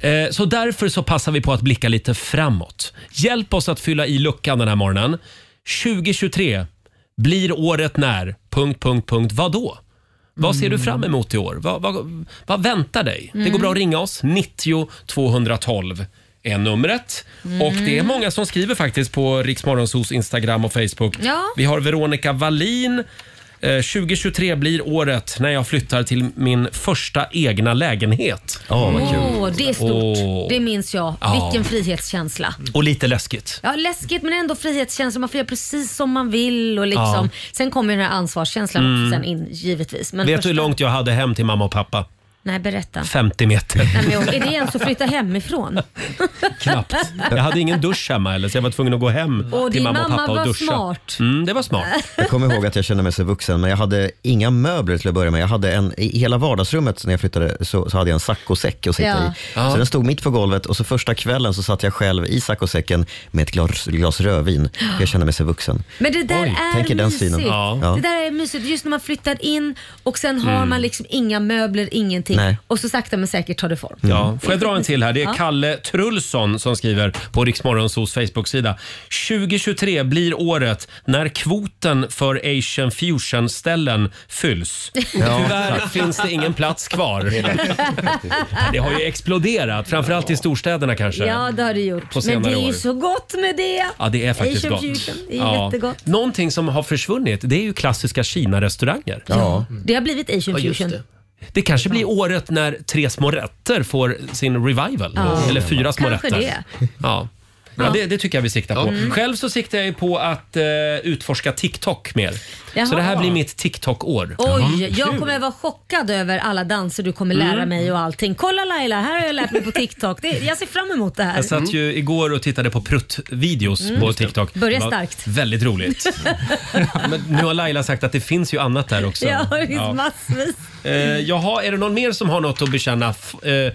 [SPEAKER 1] Eh, så därför så passar vi på att blicka lite framåt. Hjälp oss att fylla i luckan den här morgonen. 2023 blir året när... Punkt, punkt, punkt. Vad då? Vad ser
[SPEAKER 2] Mm.
[SPEAKER 1] du fram emot i år? Vad, vad, vad väntar dig? Det går
[SPEAKER 12] Mm.
[SPEAKER 1] bra att ringa oss. 90 212 är numret. Och det är
[SPEAKER 2] Mm.
[SPEAKER 1] många som skriver faktiskt på Riksmorgonsos Instagram och Facebook.
[SPEAKER 2] Ja.
[SPEAKER 1] Vi har Veronica Wallin. Eh, 2023 blir året när jag flyttar till min första egna lägenhet.
[SPEAKER 6] Åh,
[SPEAKER 2] Åh, det är stort.
[SPEAKER 1] Åh.
[SPEAKER 2] Det minns jag.
[SPEAKER 1] Ja.
[SPEAKER 2] Vilken frihetskänsla.
[SPEAKER 1] Och lite läskigt.
[SPEAKER 2] Ja, läskigt men ändå frihetskänsla. Man får göra precis som man vill. Och liksom. Sen kommer ju den här ansvarskänslan också
[SPEAKER 1] Mm.
[SPEAKER 2] sen in givetvis. Men
[SPEAKER 1] Vet
[SPEAKER 2] först-
[SPEAKER 1] du hur långt jag hade hem till mamma och pappa?
[SPEAKER 2] Nej, berätta.
[SPEAKER 1] 50 meter.
[SPEAKER 2] Nej, men, jag- är det ens att flytta hemifrån?
[SPEAKER 1] [LAUGHS] Knappt. Jag hade ingen dusch hemma heller, så jag var tvungen att gå hem
[SPEAKER 2] Och
[SPEAKER 1] till
[SPEAKER 2] din
[SPEAKER 1] mamma och
[SPEAKER 2] mamma
[SPEAKER 1] pappa
[SPEAKER 2] var
[SPEAKER 1] och duscha.
[SPEAKER 2] smart.
[SPEAKER 1] Mm, det var
[SPEAKER 2] [LAUGHS]
[SPEAKER 1] smart.
[SPEAKER 6] Jag kommer ihåg att jag kände mig så vuxen, men jag hade inga möbler till att börja med. Jag hade en, I hela vardagsrummet när jag flyttade så, så hade jag en saccosäck att sitta
[SPEAKER 2] Ja.
[SPEAKER 6] i.
[SPEAKER 2] Ja.
[SPEAKER 6] Så den stod mitt på golvet och så första kvällen så satt jag själv i saccosäcken med ett glas,
[SPEAKER 2] [GASPS]
[SPEAKER 6] glas rödvin. Jag kände mig så vuxen.
[SPEAKER 2] Men det där
[SPEAKER 6] Oj, tänk
[SPEAKER 2] är
[SPEAKER 6] er den
[SPEAKER 2] mysigt.
[SPEAKER 6] synen. Ja. Ja.
[SPEAKER 2] Det där är mysigt. Just när man flyttar in och sen har
[SPEAKER 1] Mm.
[SPEAKER 2] man liksom inga möbler, ingenting.
[SPEAKER 1] Nej.
[SPEAKER 2] Och så sakta men säkert tar det form.
[SPEAKER 1] Ja. Får jag dra en till här? Det är
[SPEAKER 2] Mm. Ja. [LAUGHS]
[SPEAKER 1] Kalle Trulsson som skriver på Riksmorgonsos Facebook-sida. 2023 blir året när kvoten för Asian fusion-ställen
[SPEAKER 2] [LAUGHS]
[SPEAKER 1] fylls.
[SPEAKER 12] Ja,
[SPEAKER 1] Tyvärr
[SPEAKER 12] exakt.
[SPEAKER 1] finns det ingen plats kvar. Det har ju exploderat, framförallt i storstäderna kanske.
[SPEAKER 2] Ja, det har det gjort.
[SPEAKER 1] På
[SPEAKER 2] Men det
[SPEAKER 1] senare
[SPEAKER 2] är ju
[SPEAKER 1] år.
[SPEAKER 2] så gott med det.
[SPEAKER 1] Ja, det är faktiskt
[SPEAKER 2] Asian
[SPEAKER 1] gott.
[SPEAKER 2] fusion, Det är
[SPEAKER 1] Ja.
[SPEAKER 2] jättegott.
[SPEAKER 1] Någonting som har försvunnit, det är ju klassiska Kina-restauranger.
[SPEAKER 2] Det har blivit Asian
[SPEAKER 1] Ja, just
[SPEAKER 2] fusion.
[SPEAKER 1] det. Det kanske blir året när Tre små rätter får sin revival.
[SPEAKER 2] Ja.
[SPEAKER 1] Eller Fyra små
[SPEAKER 2] Kanske
[SPEAKER 1] rätter.
[SPEAKER 2] det.
[SPEAKER 1] Ja.
[SPEAKER 2] Ja.
[SPEAKER 1] Ja, det, det tycker jag vi siktar på.
[SPEAKER 2] Mm.
[SPEAKER 1] Själv så siktar jag ju på att eh, utforska TikTok mer.
[SPEAKER 2] Jaha.
[SPEAKER 1] Så det här blir mitt TikTok-år.
[SPEAKER 2] Oj, jag kommer vara chockad över alla danser du kommer lära
[SPEAKER 1] Mm.
[SPEAKER 2] mig och allting. Kolla Laila, här har jag lärt mig på TikTok. Det, jag ser fram emot det här.
[SPEAKER 1] Jag satt ju igår och tittade på pruttvideos
[SPEAKER 2] Mm.
[SPEAKER 1] på TikTok.
[SPEAKER 2] Börjar
[SPEAKER 1] Det var
[SPEAKER 2] starkt.
[SPEAKER 1] Väldigt
[SPEAKER 2] [LAUGHS]
[SPEAKER 1] roligt. Men nu har Laila sagt att det finns ju annat där också.
[SPEAKER 2] Ja, det finns
[SPEAKER 1] Ja.
[SPEAKER 2] massvis.
[SPEAKER 1] Eh, jaha, är det någon mer som har något att bekänna? F- eh,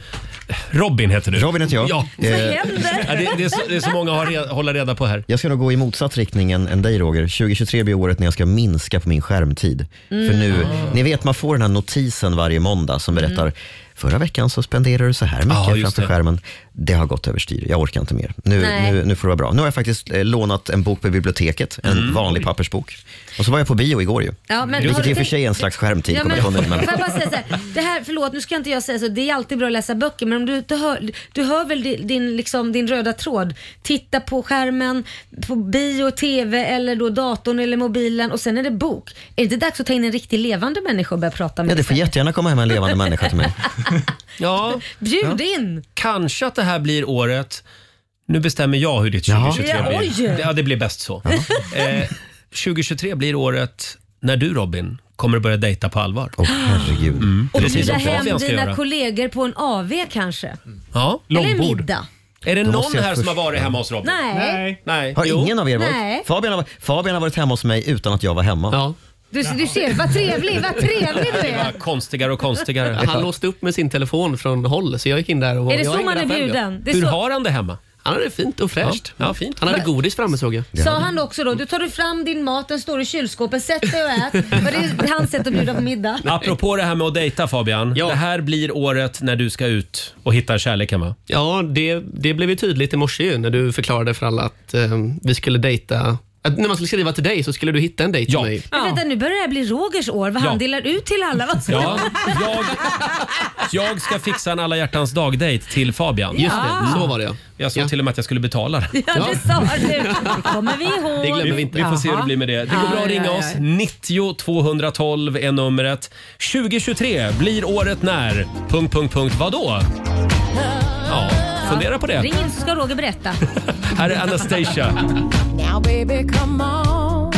[SPEAKER 1] Robin heter du. Robin heter jag. Eh, Ja.
[SPEAKER 6] Vad händer?
[SPEAKER 1] Ja, det, det, är så, det är så många har re- hålla reda på här.
[SPEAKER 6] Jag ska nog gå i motsatt riktning än, än dig Roger. 2023 blir året när jag ska minska på min skärmtid.
[SPEAKER 12] Mm.
[SPEAKER 6] För nu, ni vet man får den här notisen varje måndag som berättar
[SPEAKER 12] Mm.
[SPEAKER 6] Förra veckan så spenderade du så här mycket
[SPEAKER 12] Ja, just
[SPEAKER 6] framför
[SPEAKER 12] det.
[SPEAKER 6] skärmen. Det har gått överstyr. Jag orkar inte mer. Nu,
[SPEAKER 12] Nej.
[SPEAKER 6] nu, nu får det vara bra. Nu har jag faktiskt eh, lånat en bok på biblioteket. En vanlig pappersbok. Och så var jag på bio igår ju.
[SPEAKER 2] Ja, men har
[SPEAKER 6] Vilket
[SPEAKER 2] du
[SPEAKER 6] i och för
[SPEAKER 2] tänkt-
[SPEAKER 6] sig är en slags skärmtid.
[SPEAKER 2] Ja,
[SPEAKER 6] kommer
[SPEAKER 2] men,
[SPEAKER 6] jag på nu, men...
[SPEAKER 2] Får jag bara säga så här, det här, förlåt nu ska inte jag säga så, det är alltid bra att läsa böcker men om du inte hör, du hör väl din, din, liksom, din röda tråd? Titta på skärmen, på bio, tv eller då datorn eller mobilen och sen är det bok. Är det inte dags att ta in en riktigt levande människa och börja prata med?
[SPEAKER 6] Ja, det får jättegärna komma hem en levande människa till mig.
[SPEAKER 1] [LAUGHS] Ja.
[SPEAKER 2] Bjud in!
[SPEAKER 1] Kanske att det här blir året... Nu bestämmer jag hur ditt 2023
[SPEAKER 2] Ja,
[SPEAKER 1] blir.
[SPEAKER 2] oj.
[SPEAKER 1] Ja, det blir bäst så. [LAUGHS] Eh, 2023 blir året när du Robin kommer att börja dejta på allvar.
[SPEAKER 6] Åh herregud.
[SPEAKER 1] Mm.
[SPEAKER 2] Och
[SPEAKER 1] Precis
[SPEAKER 2] bjuda
[SPEAKER 1] som
[SPEAKER 2] hem
[SPEAKER 1] Fabian ska
[SPEAKER 2] dina
[SPEAKER 1] göra.
[SPEAKER 2] kollegor på en AV kanske?
[SPEAKER 1] Ja.
[SPEAKER 2] Eller en middag?
[SPEAKER 1] Är det
[SPEAKER 6] Då
[SPEAKER 1] någon
[SPEAKER 6] måste jag
[SPEAKER 1] här som har
[SPEAKER 6] först-
[SPEAKER 1] varit hemma hos Robin?
[SPEAKER 2] Nej. Nej.
[SPEAKER 1] Nej.
[SPEAKER 6] Har
[SPEAKER 1] Jo.
[SPEAKER 6] ingen av er
[SPEAKER 2] Nej.
[SPEAKER 6] varit? Fabian har, Fabian har varit hemma hos mig utan att jag var hemma.
[SPEAKER 2] Du, du ser, vad trevlig, vad trevlig du
[SPEAKER 8] Det var
[SPEAKER 2] är.
[SPEAKER 1] Konstigare och konstigare.
[SPEAKER 8] Han låste upp med sin telefon från håll, så jag gick in där och
[SPEAKER 2] Är det
[SPEAKER 8] jag
[SPEAKER 2] så
[SPEAKER 8] hängde
[SPEAKER 2] man är
[SPEAKER 8] där själv,
[SPEAKER 2] bjuden?
[SPEAKER 8] ja.
[SPEAKER 2] Det är så-
[SPEAKER 1] han det hemma?
[SPEAKER 8] Han hade det fint och fräscht. Ja, fint. Han hade godis framme såg jag.
[SPEAKER 2] Sa han också då, du tar du fram din mat, den står i kylskåpet, sätt dig
[SPEAKER 1] [LAUGHS]
[SPEAKER 2] och ät. Var det hans sätt att bjuda på middag?
[SPEAKER 1] Apropå det här med att dejta Fabian. Det här blir året när du ska ut och hitta kärleken va?
[SPEAKER 8] Ja, det, det blev ju tydligt i morse ju, när du förklarade för alla att eh, vi skulle dejta. Att när man skulle skriva till dig så skulle du hitta en dejt till mig.
[SPEAKER 2] Men vänta, nu börjar det här bli Rogers år, vad han
[SPEAKER 8] Ja.
[SPEAKER 2] delar ut till alla. Vad
[SPEAKER 1] Ja, jag, jag ska fixa en alla hjärtans dag-dejt till Fabian.
[SPEAKER 2] Just det, Ja. så
[SPEAKER 8] var det ja.
[SPEAKER 1] Jag sa till och med att jag skulle betala det.
[SPEAKER 2] [LAUGHS] Ja, det sa du. Det kommer vi ihåg.
[SPEAKER 1] Vi får se hur det blir med det. Det går bra att ringa oss. 90 212 är numret. 2023 blir året när... Punkt, punkt, punkt. Vadå? Ja, fundera på det.
[SPEAKER 2] Ring in så ska Roger berätta.
[SPEAKER 1] Här är Anastasia.
[SPEAKER 13] Now baby come on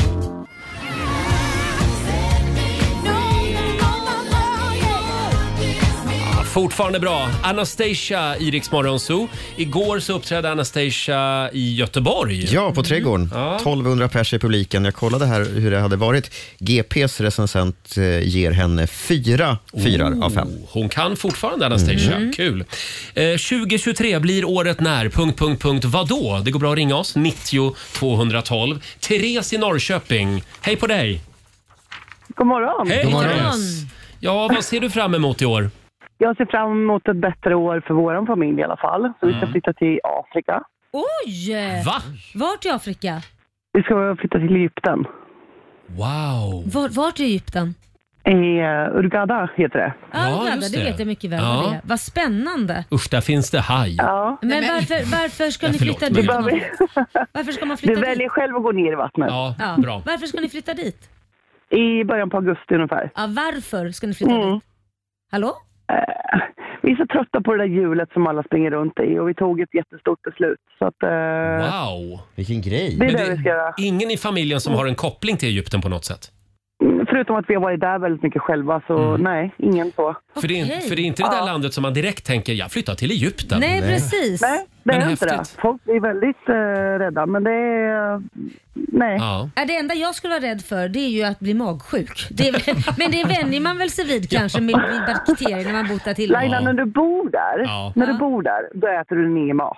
[SPEAKER 1] Fortfarande bra. Anastasia i Rix Morgon Zoo. Igår så uppträdde Anastasia i Göteborg.
[SPEAKER 6] Ja, på Trädgården. 1200 pers i publiken. Jag kollade här hur det hade varit. GPs recensent eh, ger henne fyra fyrar av fem.
[SPEAKER 1] Hon kan fortfarande Anastasia.
[SPEAKER 6] Mm.
[SPEAKER 1] Kul. Eh, 2023 blir året när... Punkt, punkt, punkt. Vadå? Det går bra att ringa oss. 90 212. Therese i Norrköping. Hej på dig!
[SPEAKER 5] God morgon.
[SPEAKER 1] Hej Therese! Ja, vad ser du fram emot i år?
[SPEAKER 5] Jag ser fram emot ett bättre år för vår familj i alla fall. Så vi ska flytta till Afrika.
[SPEAKER 2] Oj!
[SPEAKER 1] Va?
[SPEAKER 2] Vart i Afrika?
[SPEAKER 5] Vi ska flytta till Egypten.
[SPEAKER 1] Wow!
[SPEAKER 2] Vart, vart i Egypten?
[SPEAKER 5] Eh, Hurghada heter det.
[SPEAKER 2] Ja,
[SPEAKER 1] Ja,
[SPEAKER 2] Uganda,
[SPEAKER 1] just
[SPEAKER 2] det
[SPEAKER 1] det.
[SPEAKER 2] vet jag mycket väl
[SPEAKER 1] Ja.
[SPEAKER 2] vad det är. Vad spännande.
[SPEAKER 1] Usch, där finns det haj.
[SPEAKER 2] Men varför, varför ska
[SPEAKER 1] Ja,
[SPEAKER 2] ni
[SPEAKER 1] förlåt,
[SPEAKER 2] flytta
[SPEAKER 1] men-
[SPEAKER 2] dit?
[SPEAKER 1] Du
[SPEAKER 2] Varför ska man flytta
[SPEAKER 5] Du väljer
[SPEAKER 2] dit?
[SPEAKER 5] själv att gå ner i vattnet.
[SPEAKER 2] Ja. Varför ska ni flytta dit?
[SPEAKER 5] I början på augusti ungefär.
[SPEAKER 2] Ja, varför ska ni flytta
[SPEAKER 5] Mm.
[SPEAKER 2] dit? Hallå?
[SPEAKER 5] Vi är så trötta på det där hjulet som alla springer runt i och vi tog ett jättestort beslut. Så att, eh,
[SPEAKER 1] Wow!
[SPEAKER 6] Vilken grej!
[SPEAKER 5] Det är det vi ska göra.
[SPEAKER 1] ingen i familjen som har en koppling till Egypten på något sätt?
[SPEAKER 5] mm, Förutom att vi har varit där väldigt mycket själva så nej, ingen så.
[SPEAKER 1] För, det är, för det är inte det där landet som man direkt tänker, jag flyttar till Egypten.
[SPEAKER 5] Nej, Nej.
[SPEAKER 2] precis.
[SPEAKER 5] Nej, det
[SPEAKER 1] Men
[SPEAKER 5] är inte det.
[SPEAKER 1] häftigt.
[SPEAKER 5] Folk är väldigt eh, rädda men det är... Nej.
[SPEAKER 1] Ja.
[SPEAKER 2] Ja, det enda jag skulle vara rädd för det är ju att bli magsjuk. Det är, väl- men det vänjer man väl sig vid kanske med, med bakterier när man botar till
[SPEAKER 5] Laila, när du bor där,
[SPEAKER 1] Ja.
[SPEAKER 5] när du bor där, då äter du ner mat.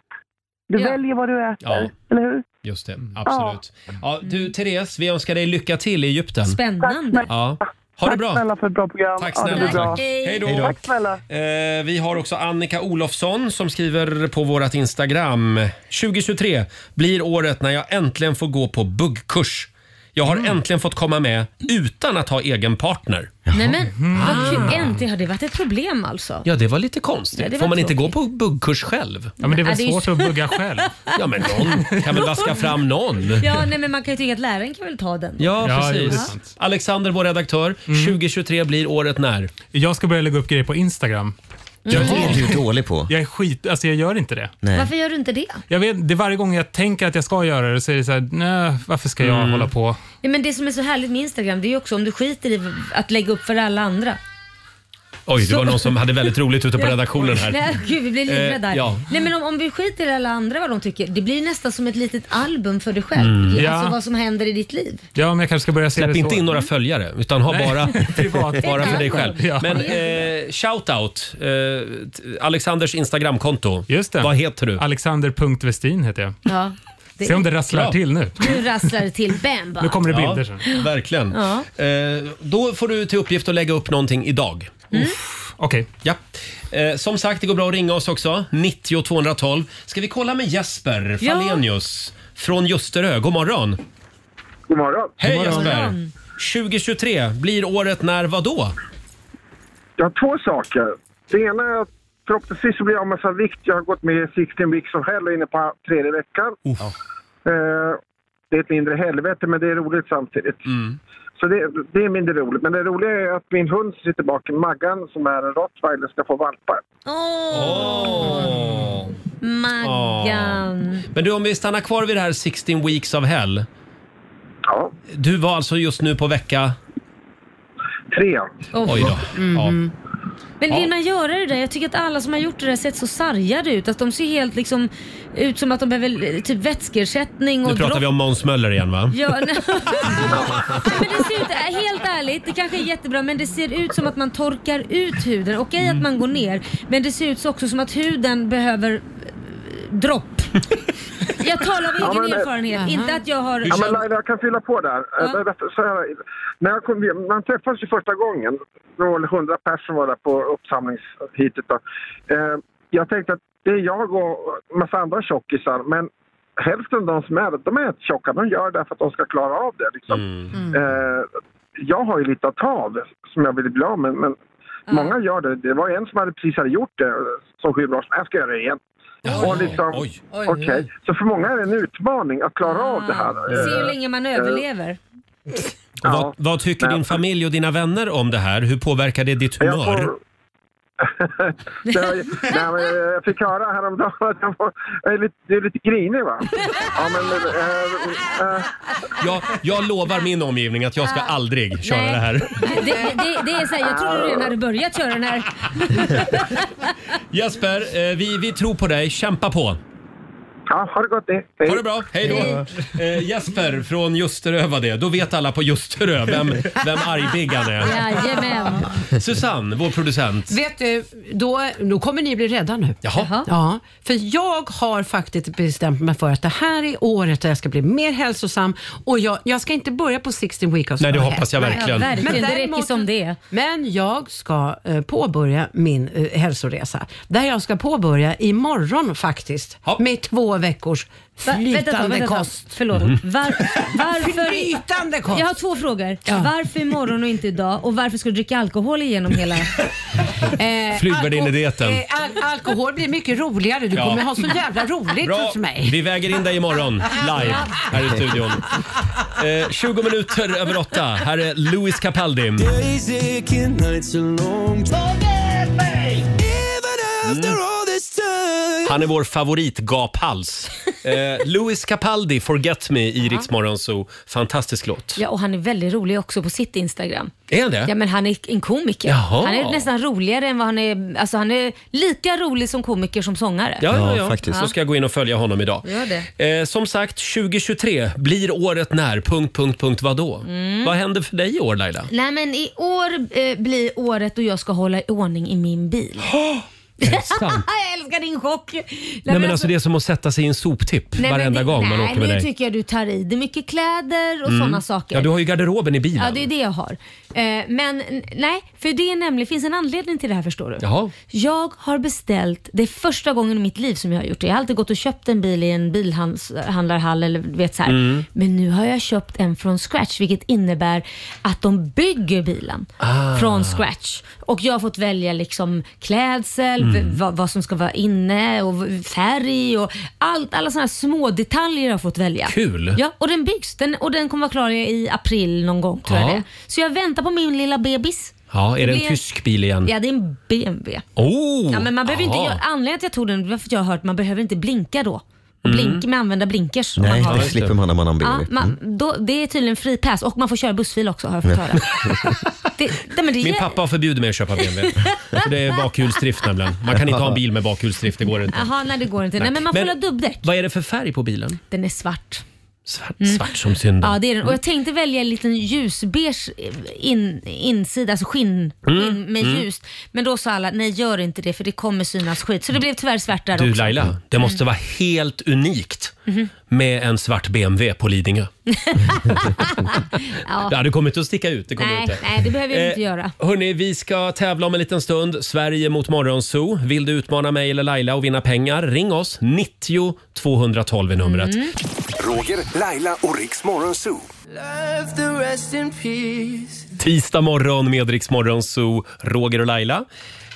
[SPEAKER 5] Du väljer vad du äter,
[SPEAKER 1] Ja.
[SPEAKER 5] eller hur? Mm.
[SPEAKER 1] Just det, absolut. Ja, du Therese, vi önskar dig lycka till i Egypten.
[SPEAKER 2] Spännande.
[SPEAKER 1] Ja. Ha det
[SPEAKER 5] Tack
[SPEAKER 1] bra.
[SPEAKER 5] snälla för ett bra program.
[SPEAKER 1] Tack
[SPEAKER 5] Ja, det
[SPEAKER 1] snälla.
[SPEAKER 5] blir bra.
[SPEAKER 1] Tack. Hej då.
[SPEAKER 5] Tack snälla.
[SPEAKER 1] Eh, vi har också Annika Olofsson som skriver på vårt Instagram. 2023 blir året när jag äntligen får gå på buggkurs. Jag har
[SPEAKER 2] Mm.
[SPEAKER 1] äntligen fått komma med utan att ha egen partner.
[SPEAKER 2] Nej men
[SPEAKER 1] Mm.
[SPEAKER 2] vad kul. Äntligen har det varit ett problem alltså.
[SPEAKER 1] Ja, det var lite konstigt.
[SPEAKER 2] Ja, det var
[SPEAKER 1] Får man inte gå
[SPEAKER 2] tråkigt.
[SPEAKER 1] på buggkurs själv?
[SPEAKER 2] Ja, men det är väl Ja, det är ju- svårt att [LAUGHS] bugga
[SPEAKER 9] själv?
[SPEAKER 1] Ja, men någon kan väl vaska fram någon?
[SPEAKER 2] Ja, nej men man kan ju tycka att läraren kan väl ta den.
[SPEAKER 1] Ja,
[SPEAKER 9] jo, det är
[SPEAKER 1] precis.
[SPEAKER 9] sant.
[SPEAKER 1] Alexander, vår redaktör.
[SPEAKER 2] Mm.
[SPEAKER 1] 2023 blir året när?
[SPEAKER 9] Jag ska börja lägga upp grejer på Instagram.
[SPEAKER 2] Ja, det är
[SPEAKER 6] du dålig på.
[SPEAKER 9] Jag är skit... Alltså jag gör inte det.
[SPEAKER 2] Mm. Varför gör du inte det?
[SPEAKER 9] Jag vet, det är varje gång jag tänker att jag ska göra det så är det så här, nej, varför ska
[SPEAKER 1] Mm.
[SPEAKER 9] jag hålla på?
[SPEAKER 2] Nej, men det som är så härligt med Instagram det är ju också om du skiter i att lägga upp för alla andra.
[SPEAKER 1] Oj, det
[SPEAKER 2] Så-
[SPEAKER 1] var någon som hade väldigt roligt ute på
[SPEAKER 2] Ja.
[SPEAKER 1] redaktionen här.
[SPEAKER 2] [LAUGHS] Nej, gud, vi blir livrädda.
[SPEAKER 1] Eh, ja.
[SPEAKER 2] Nej, men om, om vi skiter i alla andra vad de tycker, det blir nästan som ett litet album för dig själv.
[SPEAKER 1] Mm.
[SPEAKER 2] Alltså
[SPEAKER 1] Ja.
[SPEAKER 2] vad som händer i ditt liv.
[SPEAKER 9] Ja, men jag kanske ska börja se
[SPEAKER 1] Släpp
[SPEAKER 9] det
[SPEAKER 1] inte
[SPEAKER 9] så. Mm.
[SPEAKER 1] in några följare, utan ha
[SPEAKER 9] Nej,
[SPEAKER 1] bara,
[SPEAKER 9] [LAUGHS] privat.
[SPEAKER 1] [LAUGHS] bara för dig själv.
[SPEAKER 9] Ja.
[SPEAKER 1] Men eh, shout-out, eh, t- Alexanders Instagramkonto.
[SPEAKER 9] Just det.
[SPEAKER 1] Vad heter du?
[SPEAKER 9] Alexander.Westin heter jag.
[SPEAKER 2] Ja,
[SPEAKER 9] Se om det rasslar till nu.
[SPEAKER 2] Nu rasslar det till. Bam bara.
[SPEAKER 9] Nu kommer det
[SPEAKER 1] Ja,
[SPEAKER 9] bilder sen.
[SPEAKER 1] Verkligen.
[SPEAKER 2] Ja.
[SPEAKER 1] Eh, då får du till uppgift att lägga upp någonting idag.
[SPEAKER 9] Mm.
[SPEAKER 4] Mm.
[SPEAKER 9] Okej.
[SPEAKER 1] Ja. Eh, som sagt, det går bra att ringa oss också. 90 212. Ska vi kolla med Jesper
[SPEAKER 4] Ja.
[SPEAKER 1] Falenius från Ljusterö. God morgon!
[SPEAKER 4] God morgon.
[SPEAKER 1] Hej
[SPEAKER 4] God morgon.
[SPEAKER 1] Jesper! 2023 blir året när vadå?
[SPEAKER 4] Jag har två saker. Det ena är att förhoppningsvis så blir jag av med massa vikt. Jag har gått med i 16 Weeks of Hell och är inne på tredje veckan. Eh, det är ett mindre helvete, men det är roligt samtidigt. Så det, det är mindre roligt. Men det roliga är att min hund sitter bak i Maggan, som är en rottweiler, ska få valpar.
[SPEAKER 1] Åh.
[SPEAKER 2] [LAUGHS] Maggan.
[SPEAKER 1] Men du, om vi stannar kvar vid det här 16 weeks of hell.
[SPEAKER 4] Ja.
[SPEAKER 1] Du var alltså just nu på vecka...
[SPEAKER 4] Tre.
[SPEAKER 2] Oh.
[SPEAKER 1] Oj då.
[SPEAKER 2] Mhm.
[SPEAKER 1] Ja.
[SPEAKER 2] Men
[SPEAKER 1] Ja.
[SPEAKER 2] vill man göra det där? Jag tycker att alla som har gjort det där sett så sargade ut. Att de ser helt liksom ut som att de behöver eh, typ vätskeersättning och
[SPEAKER 1] Nu pratar vi om Måns Möller igen va?
[SPEAKER 2] Ja, nej. [LAUGHS] nej, men det ser ut, äh, helt ärligt, det kanske är jättebra men det ser ut som att man torkar ut huden. Okej att man går ner men det ser ut så också som att huden behöver eh, dropp. Jag talar av
[SPEAKER 4] Ja,
[SPEAKER 2] egen
[SPEAKER 4] men, eh,
[SPEAKER 2] erfarenhet, inte att jag har...
[SPEAKER 4] Ja, men Laila, jag kan fylla på där. Eh, det- det- Så här, när jag kom, när man träffades ju första gången, det var väl 100 personer var där på uppsamlingsheatet. Då. Eh, jag tänkte att det är jag och massa andra tjockisar, men hälften av de som är de är tjocka. De gör det för att de ska klara av det. Liksom. Eh, jag har ju lite att ta av som jag ville bli av med, men många gör det. Det var en som hade precis hade gjort det som skyddbransch. Jag ska göra det igen.
[SPEAKER 1] Jaha.
[SPEAKER 4] Och liksom,
[SPEAKER 1] Oj.
[SPEAKER 4] Okej, så för många är det en utmaning att klara av det här.
[SPEAKER 2] Se hur
[SPEAKER 4] Eh,
[SPEAKER 2] länge man
[SPEAKER 4] eh,
[SPEAKER 2] överlever.
[SPEAKER 1] Och vad, vad tycker din familj och dina vänner om det här? Hur påverkar det ditt
[SPEAKER 4] Jag
[SPEAKER 1] humör?
[SPEAKER 4] får- Det var ju- Nej, men jag fick höra häromdagen att jag var, jag är lite, du är lite grinig va? Ja, men, eh, eh,
[SPEAKER 1] Jag, jag lovar min omgivning att jag ska aldrig köra
[SPEAKER 2] Ah. Nej.
[SPEAKER 1] det
[SPEAKER 2] [LAUGHS]
[SPEAKER 1] här.
[SPEAKER 2] Det, det, det är så här, jag trodde du redan hade börjat köra den här.
[SPEAKER 1] Jesper, eh, vi, vi tror på dig. Kämpa på!
[SPEAKER 4] ja, ha det gott ni. Hej.
[SPEAKER 1] Ha det bra, hej då! Eh, Jesper från Ljusterö var det. Då vet alla på Ljusterö vem, vem argbiggan är.
[SPEAKER 2] Jajamän.
[SPEAKER 1] Susanne, vår producent.
[SPEAKER 7] Vet du, då, då kommer ni bli rädda nu.
[SPEAKER 1] Jaha.
[SPEAKER 7] Ja, för jag har faktiskt bestämt mig för att det här är året där jag ska bli mer hälsosam och jag, jag ska inte börja på 16 week of
[SPEAKER 1] Nej, det
[SPEAKER 7] Summer.
[SPEAKER 1] hoppas jag verkligen.
[SPEAKER 2] Ja, verkligen. Det räcker som det.
[SPEAKER 7] Men jag ska eh, påbörja min eh, hälsoresa. Där jag ska påbörja imorgon faktiskt. Med två veckors
[SPEAKER 2] Va-
[SPEAKER 7] flytande
[SPEAKER 2] vänta ett tag, vänta ett tag.
[SPEAKER 7] kost.
[SPEAKER 2] Förlåt.
[SPEAKER 1] Mm.
[SPEAKER 2] Var, varför...
[SPEAKER 7] Flytande kost.
[SPEAKER 2] Jag har två frågor.
[SPEAKER 7] Ja.
[SPEAKER 2] Varför imorgon och inte idag? Och varför ska du dricka alkohol igenom hela...
[SPEAKER 7] Eh,
[SPEAKER 1] Flygvärdinnedieten.
[SPEAKER 7] alko- [LAUGHS] eh, al- alkohol blir mycket roligare. Du
[SPEAKER 1] Ja.
[SPEAKER 7] kommer ha så jävla roligt
[SPEAKER 1] Bra,
[SPEAKER 7] hos mig.
[SPEAKER 1] vi väger in dig imorgon live här i studion. Eh, 20 minuter över åtta. Här är Louis Capaldi.
[SPEAKER 4] Days aching, nights are long. Forget me, even after
[SPEAKER 1] Mm.
[SPEAKER 4] all this time.
[SPEAKER 1] Han är vår favoritgaphals. Eh, Louis Capaldi, Forget Me i Rix Morgon Zoo. Fantastisk låt.
[SPEAKER 2] Ja, och han är väldigt rolig också på sitt Instagram.
[SPEAKER 1] Är han det?
[SPEAKER 2] Ja, men han är en komiker.
[SPEAKER 1] Jaha.
[SPEAKER 2] Han är nästan roligare än vad han är... Alltså han är lika rolig som komiker som sångare.
[SPEAKER 1] Ja, ja, ja. Så ska jag gå in och följa honom idag.
[SPEAKER 2] Gör det.
[SPEAKER 1] Eh, som sagt, 2023 blir året när... Punkt, punkt, punkt, vadå?
[SPEAKER 2] Mm.
[SPEAKER 1] Vad händer för dig i år Laila?
[SPEAKER 2] Nej men i år eh, blir året då jag ska hålla i ordning i min bil.
[SPEAKER 1] [GASPS] Är det sant?
[SPEAKER 2] [LAUGHS] jag älskar din chock. Nej,
[SPEAKER 1] Nej men alltså det är som att sätta sig i en soptipp
[SPEAKER 2] Nej, men
[SPEAKER 1] varenda
[SPEAKER 2] det-
[SPEAKER 1] gång man
[SPEAKER 2] nej,
[SPEAKER 1] åker med
[SPEAKER 2] nu
[SPEAKER 1] dig.
[SPEAKER 2] tycker jag du tar i. Det är mycket kläder och
[SPEAKER 1] Mm.
[SPEAKER 2] sådana saker.
[SPEAKER 1] Ja, du har ju garderoben i bilen.
[SPEAKER 2] Ja, det är det jag har. Eh, men n- nej, för det är nämligen, finns en anledning till det här förstår du.
[SPEAKER 1] Jaha.
[SPEAKER 2] Jag har beställt, det är första gången i mitt liv som jag har gjort det. Jag har alltid gått och köpt en bil i en bilhandlarhall eller du vet så här.
[SPEAKER 12] Mm.
[SPEAKER 2] Men nu har jag köpt en från scratch vilket innebär att de bygger bilen
[SPEAKER 12] Ah.
[SPEAKER 2] från scratch. Och jag har fått välja liksom klädsel,
[SPEAKER 12] Mm.
[SPEAKER 2] v- vad, vad som ska vara inne och v- färg och allt, alla sådana här små detaljer har jag fått välja.
[SPEAKER 1] Kul.
[SPEAKER 2] Ja, och den byggs den, och den kommer vara klar i april någon gång tror jag
[SPEAKER 1] Ja.
[SPEAKER 2] det är. Så jag väntar på min lilla bebis.
[SPEAKER 1] Ja, är det en
[SPEAKER 2] blir-
[SPEAKER 1] tysk bil igen?
[SPEAKER 2] Ja, det är en BMW.
[SPEAKER 1] Oh!
[SPEAKER 2] ja, men man behöver inte,
[SPEAKER 1] aha.
[SPEAKER 2] göra- anledningen till att jag tog den var för att jag har hört att man behöver inte blinka då. Och
[SPEAKER 6] Mm.
[SPEAKER 2] blink, med använda blinkers. om
[SPEAKER 6] Nej,
[SPEAKER 2] man har
[SPEAKER 6] det slipper man när man har en
[SPEAKER 2] Ja,
[SPEAKER 6] BMW.
[SPEAKER 2] man, då, det är tydligen free pass och man får köra bussfil också har jag fått höra. det, nej, men
[SPEAKER 1] [LAUGHS]
[SPEAKER 2] det,
[SPEAKER 1] Min pappa har förbjudit mig att köpa BMW. För det är bakhjulsdrift nämligen. Man kan inte ha en bil med bakhjulsdrift, det går inte.
[SPEAKER 2] Jaha, nej det går inte. Nej,
[SPEAKER 1] Nej.
[SPEAKER 2] men man får
[SPEAKER 1] Men-
[SPEAKER 2] väl ha dubbdäck.
[SPEAKER 1] Vad är det för färg på bilen?
[SPEAKER 2] Den är svart.
[SPEAKER 1] Svart, svart som synden.
[SPEAKER 2] Mm. Ja, det är den. Och jag tänkte välja en liten ljusbeige eh, in, insida, alltså skinn
[SPEAKER 1] Mm,
[SPEAKER 2] in, med
[SPEAKER 1] mm.
[SPEAKER 2] ljust. Men då sa alla, nej gör inte det för det kommer synas skit. Så det blev tyvärr svart där
[SPEAKER 1] Du
[SPEAKER 2] också. Mm.
[SPEAKER 1] Laila, det måste vara helt unikt Mhm. med en svart BMW på Lidingö.
[SPEAKER 2] Ja.
[SPEAKER 1] Det hade kommit att sticka ut. Det kommer
[SPEAKER 2] nej,
[SPEAKER 1] inte.
[SPEAKER 2] nej, det behöver vi inte
[SPEAKER 1] Eh,
[SPEAKER 2] göra.
[SPEAKER 1] Hörni, vi ska tävla om en liten stund. Sverige mot Morgonzoo. Vill du utmana mig eller Laila och vinna pengar? Ring oss. 90 212 är numret.
[SPEAKER 2] Mm.
[SPEAKER 10] Roger, Laila och Riks Morgonzoo.
[SPEAKER 1] Tisdag morgon med Rix Morgonzoo, Roger och Laila.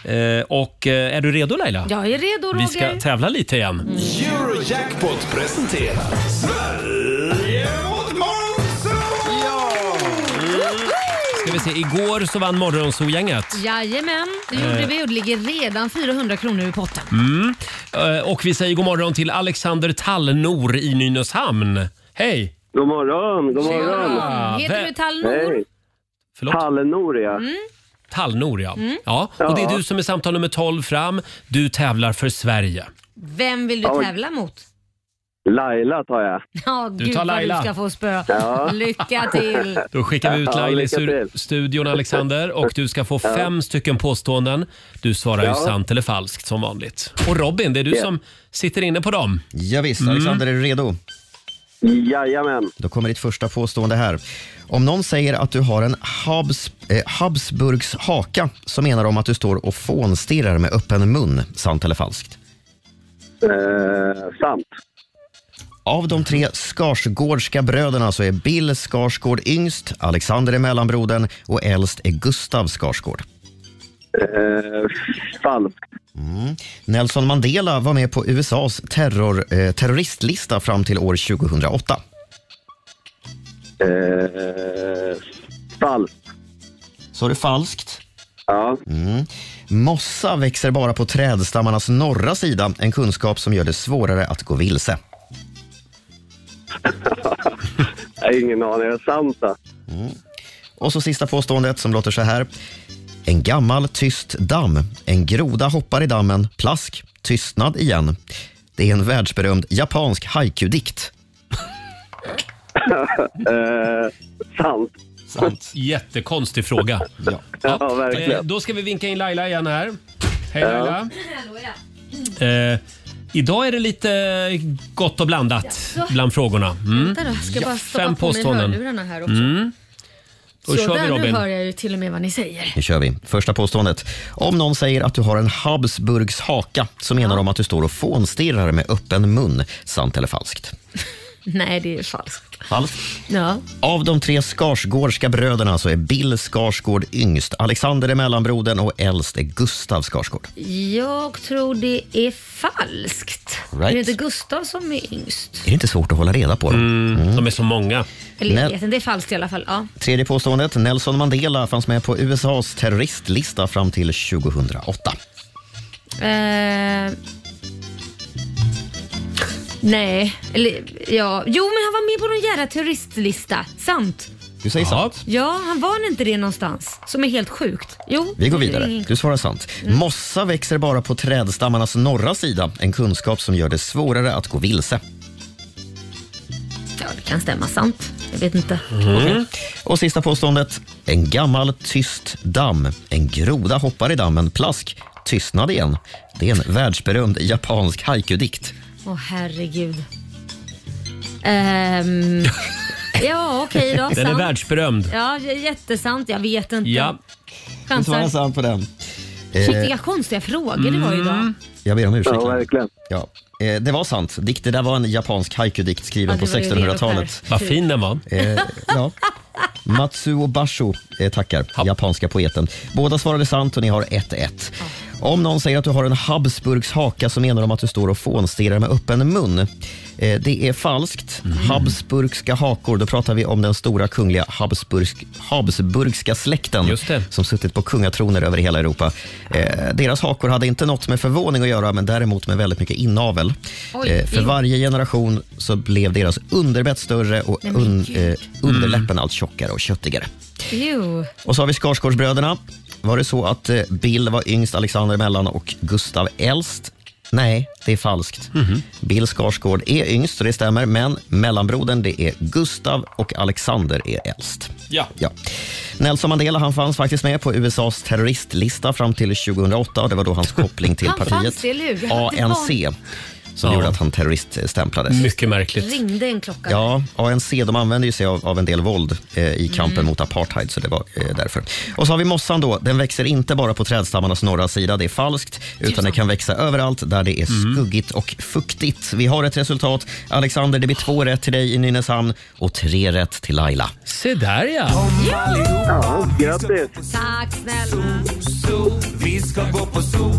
[SPEAKER 1] Eh, och eh, är du redo Laila?
[SPEAKER 2] Jag är redo Roger.
[SPEAKER 1] Vi ska tävla lite igen.
[SPEAKER 10] Eurojackpot presenterar Sverige mot Morgonzoo!
[SPEAKER 1] Ska vi se, igår så vann Morgonzoo-gänget.
[SPEAKER 2] Jajamän, det gjorde
[SPEAKER 1] Eh.
[SPEAKER 2] vi och det ligger redan 400 kronor i potten.
[SPEAKER 1] Mm. Eh, Och vi säger god morgon till Alexander Tallnor i Nynäshamn. Hej!
[SPEAKER 14] God morgon, god morgon.
[SPEAKER 1] Tjena.
[SPEAKER 2] Heter du Tallnor?
[SPEAKER 14] Hej.
[SPEAKER 1] Förlåt?
[SPEAKER 14] Tallnor, ja.
[SPEAKER 1] Tallnor, ja.
[SPEAKER 2] Mm.
[SPEAKER 1] ja. Och det är du som är samtal nummer 12 fram. Du tävlar för Sverige.
[SPEAKER 2] Vem vill du
[SPEAKER 1] Ja, men-
[SPEAKER 2] tävla mot?
[SPEAKER 14] Laila tar jag.
[SPEAKER 2] Ja,
[SPEAKER 1] Du
[SPEAKER 2] gud
[SPEAKER 1] tar
[SPEAKER 2] vad du
[SPEAKER 1] Laila.
[SPEAKER 2] ska få spö.
[SPEAKER 1] Ja.
[SPEAKER 2] Lycka
[SPEAKER 1] [LAUGHS]
[SPEAKER 2] till!
[SPEAKER 1] Då skickar vi ut
[SPEAKER 14] Ja,
[SPEAKER 1] Laila i
[SPEAKER 14] lycka
[SPEAKER 1] stu- studion, Alexander. Och du ska få
[SPEAKER 14] Ja.
[SPEAKER 1] fem stycken påståenden. Du svarar ju
[SPEAKER 6] Ja.
[SPEAKER 1] sant eller falskt som vanligt. Och Robin, det är du
[SPEAKER 6] Ja.
[SPEAKER 1] som sitter inne på dem. Mm.
[SPEAKER 6] Ja, visst, Alexander är du redo?
[SPEAKER 14] Jajamän.
[SPEAKER 6] Mm. Då kommer ditt första påstående här. Om någon säger att du har en Habs, eh, Habsburgs haka så menar de att du står och fånstirrar med öppen mun. Sant eller falskt?
[SPEAKER 14] Eh, sant.
[SPEAKER 6] Av de tre Skarsgårdska bröderna så är Bill Skarsgård yngst, Alexander är mellanbrodern och äldst är Gustav Skarsgård.
[SPEAKER 14] Eh, falskt.
[SPEAKER 6] Mm. Nelson Mandela var med på USAs terror, eh, terroristlista fram till år 2008.
[SPEAKER 14] Eh, falskt.
[SPEAKER 6] Så är det falskt?
[SPEAKER 14] Ja.
[SPEAKER 6] Mm. Mossa växer bara på trädstammarnas norra sida, en kunskap som gör det svårare att gå vilse.
[SPEAKER 14] Jag har ingen aning. Är det sant då?
[SPEAKER 6] Och så sista påståendet som låter så här. En gammal tyst damm. En groda hoppar i dammen. Plask. Tystnad igen. Det är en världsberömd japansk haiku-dikt.
[SPEAKER 14] [LAUGHS] eh, sant.
[SPEAKER 1] Sant. Jättekonstig fråga.
[SPEAKER 6] Ja.
[SPEAKER 14] [LAUGHS] Ja,
[SPEAKER 1] Eh,
[SPEAKER 14] verkligen.
[SPEAKER 1] Då ska vi vinka in Laila igen här. Hej
[SPEAKER 14] Ja.
[SPEAKER 1] Laila. Eh, idag är det lite gott och blandat
[SPEAKER 2] Jaså?
[SPEAKER 1] bland frågorna. Mm.
[SPEAKER 2] Vänta då, jag ska bara stoppa
[SPEAKER 1] Fem
[SPEAKER 2] på mig
[SPEAKER 1] påståenden.
[SPEAKER 2] hörlurarna här också.
[SPEAKER 6] Mm.
[SPEAKER 2] Så
[SPEAKER 6] Då kör vi,
[SPEAKER 2] där, nu
[SPEAKER 6] Robin.
[SPEAKER 2] hör jag ju till och med vad ni säger.
[SPEAKER 6] Nu kör vi. Första påståendet. Om någon säger att du har en Habsburgs haka så menar de att du står och fånstirrar med öppen mun. Sant eller falskt?
[SPEAKER 2] Nej, det är falskt.
[SPEAKER 6] Falskt.
[SPEAKER 2] Ja.
[SPEAKER 6] Av de tre Skarsgårdska bröderna så är Bill Skarsgård yngst. Alexander är mellanbrodern och äldst är Gustav Skarsgård.
[SPEAKER 2] Jag tror det är falskt.
[SPEAKER 6] Right.
[SPEAKER 2] Är det inte Gustav som är yngst?
[SPEAKER 6] Är det inte svårt att hålla reda på dem?
[SPEAKER 1] Mm, De är så många.
[SPEAKER 2] Eller jag
[SPEAKER 6] Nel-
[SPEAKER 2] vet inte, det är falskt i alla fall. Ja.
[SPEAKER 6] Tredje påståendet. Nelson Mandela fanns med på USAs terroristlista fram till 2008.
[SPEAKER 2] Eh, Nej, eller ja. Jo, men han var med på någon jävla terroristlista. Sant.
[SPEAKER 6] Du säger sant.
[SPEAKER 2] Ja, han var inte det någonstans. Som är helt sjukt. Jo.
[SPEAKER 6] Vi går
[SPEAKER 2] det är-
[SPEAKER 6] vidare. Du svarar sant. Mossa växer bara på trädstammarnas norra sida. En kunskap som gör det svårare att gå vilse.
[SPEAKER 2] Ja, det kan stämma. Sant. Jag vet inte.
[SPEAKER 1] Mhm.
[SPEAKER 6] Okej. Mm. Och sista påståendet. En gammal tyst damm. En groda hoppar i dammen. Plask. Tystnad igen. Det är en världsberömd japansk haiku-dikt.
[SPEAKER 2] Åh herregud.
[SPEAKER 1] [LAUGHS]
[SPEAKER 2] Ehm, ja, okej då.
[SPEAKER 6] [LAUGHS] Den är
[SPEAKER 2] sant.
[SPEAKER 6] världsberömd.
[SPEAKER 2] Ja, j- jättesant. Jag vet inte.
[SPEAKER 6] Svara
[SPEAKER 2] Chansar.
[SPEAKER 6] sant på den. Eh,
[SPEAKER 2] Shit, vilka konstiga frågor det var
[SPEAKER 1] Mm.
[SPEAKER 2] idag.
[SPEAKER 6] Jag ber om ursäkt. Ja, verkligen. Ja. Eh, det var sant. Dikt, det där var en japansk haiku-dikt skriven
[SPEAKER 2] Ja,
[SPEAKER 6] på
[SPEAKER 2] det var ju det
[SPEAKER 6] 1600-talet.
[SPEAKER 2] där. Vad fin
[SPEAKER 1] den var.
[SPEAKER 6] Eh, ja. Matsuo Basho eh, tackar, japanska poeten. Båda svarade sant och ni har 1-1. Om någon säger att du har en Habsburgs haka så menar de att du står och fånstirrar med öppen mun. Eh, det är falskt. Habsburgska hakor, då pratar vi om den stora kungliga Habsburg, Habsburgska släkten som suttit på kungatroner över hela Europa. Eh, deras hakor hade inte något med förvåning att göra men däremot med väldigt mycket inavel.
[SPEAKER 12] Oj,
[SPEAKER 6] Eh, för
[SPEAKER 12] in-
[SPEAKER 6] varje generation så blev deras underbett större och
[SPEAKER 2] Nej, men
[SPEAKER 6] un,
[SPEAKER 2] gud.
[SPEAKER 6] eh, underläppen allt tjockare och köttigare.
[SPEAKER 2] Jo.
[SPEAKER 6] Och så har vi Skarsgårdsbröderna. Var det så att eh, Bill var yngst, Alexander mellan och Gustav äldst? Nej, det är falskt. Mm-hmm. Bill Skarsgård är yngst, så det stämmer, men mellanbrodern det är Gustav och Alexander är äldst.
[SPEAKER 1] Ja.
[SPEAKER 6] Ja. Nelson Mandela han fanns faktiskt med på USAs terroristlista fram till 2008 och det var då hans koppling till
[SPEAKER 2] Han fanns,
[SPEAKER 6] partiet
[SPEAKER 2] det är lur. Det var-
[SPEAKER 6] ANC som gjorde att han terroriststämplades.
[SPEAKER 1] Mycket märkligt.
[SPEAKER 2] Ringde en klocka.
[SPEAKER 6] Ja, ANC de använder ju sig av, av en del våld eh, i kampen
[SPEAKER 2] Mm.
[SPEAKER 6] mot apartheid, så det var eh, därför. Och så har vi mossan då. Den växer inte bara på trädstammarnas norra sida, det är falskt,
[SPEAKER 2] Typ
[SPEAKER 6] utan den kan växa överallt där det är
[SPEAKER 1] Mm.
[SPEAKER 6] skuggigt och fuktigt. Vi har ett resultat. Alexander, det blir två rätt till dig i Nynäshamn och tre rätt till Laila.
[SPEAKER 1] Se där ja!
[SPEAKER 6] Ja, grattis!
[SPEAKER 2] Tack snälla.
[SPEAKER 11] Vi ska gå på zoo.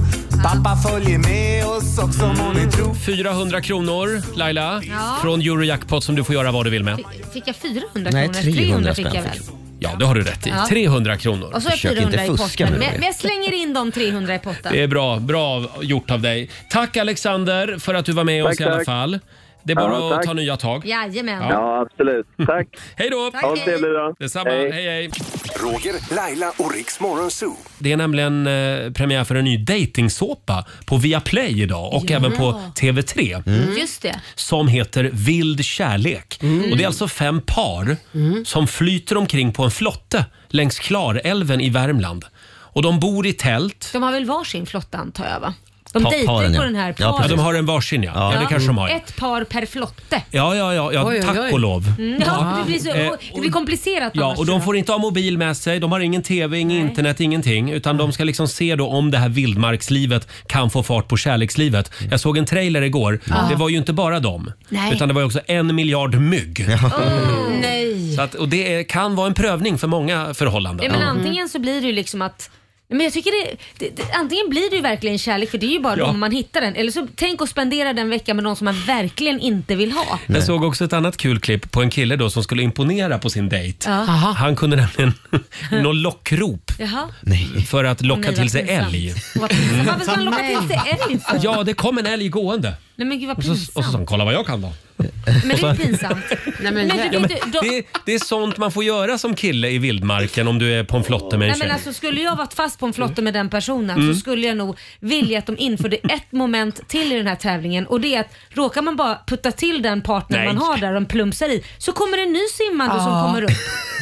[SPEAKER 11] Pappa följer med oss också om hon är tro.
[SPEAKER 1] 400 kronor Laila
[SPEAKER 2] Ja.
[SPEAKER 1] från Eurojackpot som du får göra vad du vill med.
[SPEAKER 2] Fick jag 400
[SPEAKER 1] Nej,
[SPEAKER 2] kronor?
[SPEAKER 1] 300
[SPEAKER 2] fick
[SPEAKER 1] spänn
[SPEAKER 2] jag väl.
[SPEAKER 1] fick Ja, det har du rätt i.
[SPEAKER 2] Ja.
[SPEAKER 1] 300 kronor.
[SPEAKER 2] Och så har jag 400 i potten. Men, men jag slänger in de 300 i potten.
[SPEAKER 1] Det är bra, bra gjort av dig. Tack Alexander för att du var med
[SPEAKER 2] Tack,
[SPEAKER 1] oss i alla
[SPEAKER 2] tack.
[SPEAKER 1] fall. Det är bara
[SPEAKER 2] Ja,
[SPEAKER 1] att
[SPEAKER 2] tack.
[SPEAKER 1] ta nya tag.
[SPEAKER 2] Jajamän.
[SPEAKER 1] absolut. Tack. [LAUGHS] hej då!
[SPEAKER 2] Tack, Ha en hej. trevlig dag.
[SPEAKER 1] Detsamma.
[SPEAKER 10] Hej.
[SPEAKER 1] Hej. hej,
[SPEAKER 10] Roger, Laila och Riks Morgonzoo.
[SPEAKER 1] Det är nämligen eh, premiär för en ny dejtingsåpa på Viaplay idag och
[SPEAKER 2] Ja. Mm.
[SPEAKER 1] även på TV3.
[SPEAKER 2] Just det.
[SPEAKER 1] Mm. som heter Vild kärlek.
[SPEAKER 2] Mm.
[SPEAKER 1] Och Det är alltså fem par som flyter omkring på en flotte längs Klarälven i Värmland. Och De bor i tält.
[SPEAKER 2] De har väl varsin flotta antar jag va? De
[SPEAKER 1] Pa-
[SPEAKER 2] dejtar
[SPEAKER 1] paren,
[SPEAKER 2] ju
[SPEAKER 1] ja.
[SPEAKER 2] på den här
[SPEAKER 1] Ja,
[SPEAKER 2] paren.
[SPEAKER 1] de har en varsin ja. ja. det kanske de har. ja.
[SPEAKER 2] Ett par per flotte.
[SPEAKER 1] Ja, ja, ja, ja
[SPEAKER 2] Oj, oj,
[SPEAKER 1] tack
[SPEAKER 2] oj.
[SPEAKER 1] och lov.
[SPEAKER 2] Mm, ja, Det, blir så,
[SPEAKER 1] Eh,
[SPEAKER 2] det blir komplicerat
[SPEAKER 1] Ja,
[SPEAKER 2] annars,
[SPEAKER 1] och
[SPEAKER 2] tror
[SPEAKER 1] de
[SPEAKER 2] jag.
[SPEAKER 1] får inte ha mobil med sig, de har ingen TV, ingen internet, ingenting. Utan de ska liksom se då om det här vildmarkslivet kan få fart på kärlekslivet. Jag såg en trailer igår.
[SPEAKER 2] Ja.
[SPEAKER 1] Det var ju inte bara dem.
[SPEAKER 2] Nej.
[SPEAKER 1] Utan det var ju också en miljard mygg.
[SPEAKER 2] Mm. Nej.
[SPEAKER 1] Så att, och det är, kan vara en prövning för många förhållanden.
[SPEAKER 2] Nej, men antingen så blir det ju liksom att Nej, men jag tycker det, det, det, antingen blir det ju verkligen kärlek för det är ju bara
[SPEAKER 1] Ja.
[SPEAKER 2] om man hittar den. Eller så tänk att spendera den veckan med någon som man verkligen inte vill ha.
[SPEAKER 1] Jag såg också ett annat kul klipp på en kille då som skulle imponera på sin dejt.
[SPEAKER 2] Ja. Aha.
[SPEAKER 1] Han kunde nämligen [LAUGHS] nå lockrop
[SPEAKER 2] Jaha.
[SPEAKER 1] för att locka
[SPEAKER 2] Nej, vad
[SPEAKER 1] till sig
[SPEAKER 2] pinsamt.
[SPEAKER 1] älg. Alltså.
[SPEAKER 2] Vad pinsamt. Varför ska man locka till sig älg för?
[SPEAKER 1] [LAUGHS] Ja, det kom en älg gående.
[SPEAKER 2] Nej men gud vad
[SPEAKER 1] Och så, och
[SPEAKER 2] pinsamt.
[SPEAKER 1] så sa han, kolla vad jag kan då.
[SPEAKER 2] Men det är
[SPEAKER 1] och så-
[SPEAKER 2] pinsamt. Nej, men,
[SPEAKER 1] Ja,
[SPEAKER 2] du,
[SPEAKER 1] men
[SPEAKER 2] vet du, de,
[SPEAKER 1] det, är- det är sånt man får göra som kille i vildmarken om du är på en flotte med en
[SPEAKER 2] Nej, men
[SPEAKER 1] tjej.
[SPEAKER 2] alltså, skulle jag varit fast på en flotte med den personen
[SPEAKER 1] Mm.
[SPEAKER 2] så skulle jag nog vilja att de införde ett moment till i den här tävlingen och det är att råkar man bara putta till den partner
[SPEAKER 1] Nej.
[SPEAKER 2] man har där de plumsar i så kommer en ny simmande som
[SPEAKER 1] Ja.
[SPEAKER 2] kommer upp.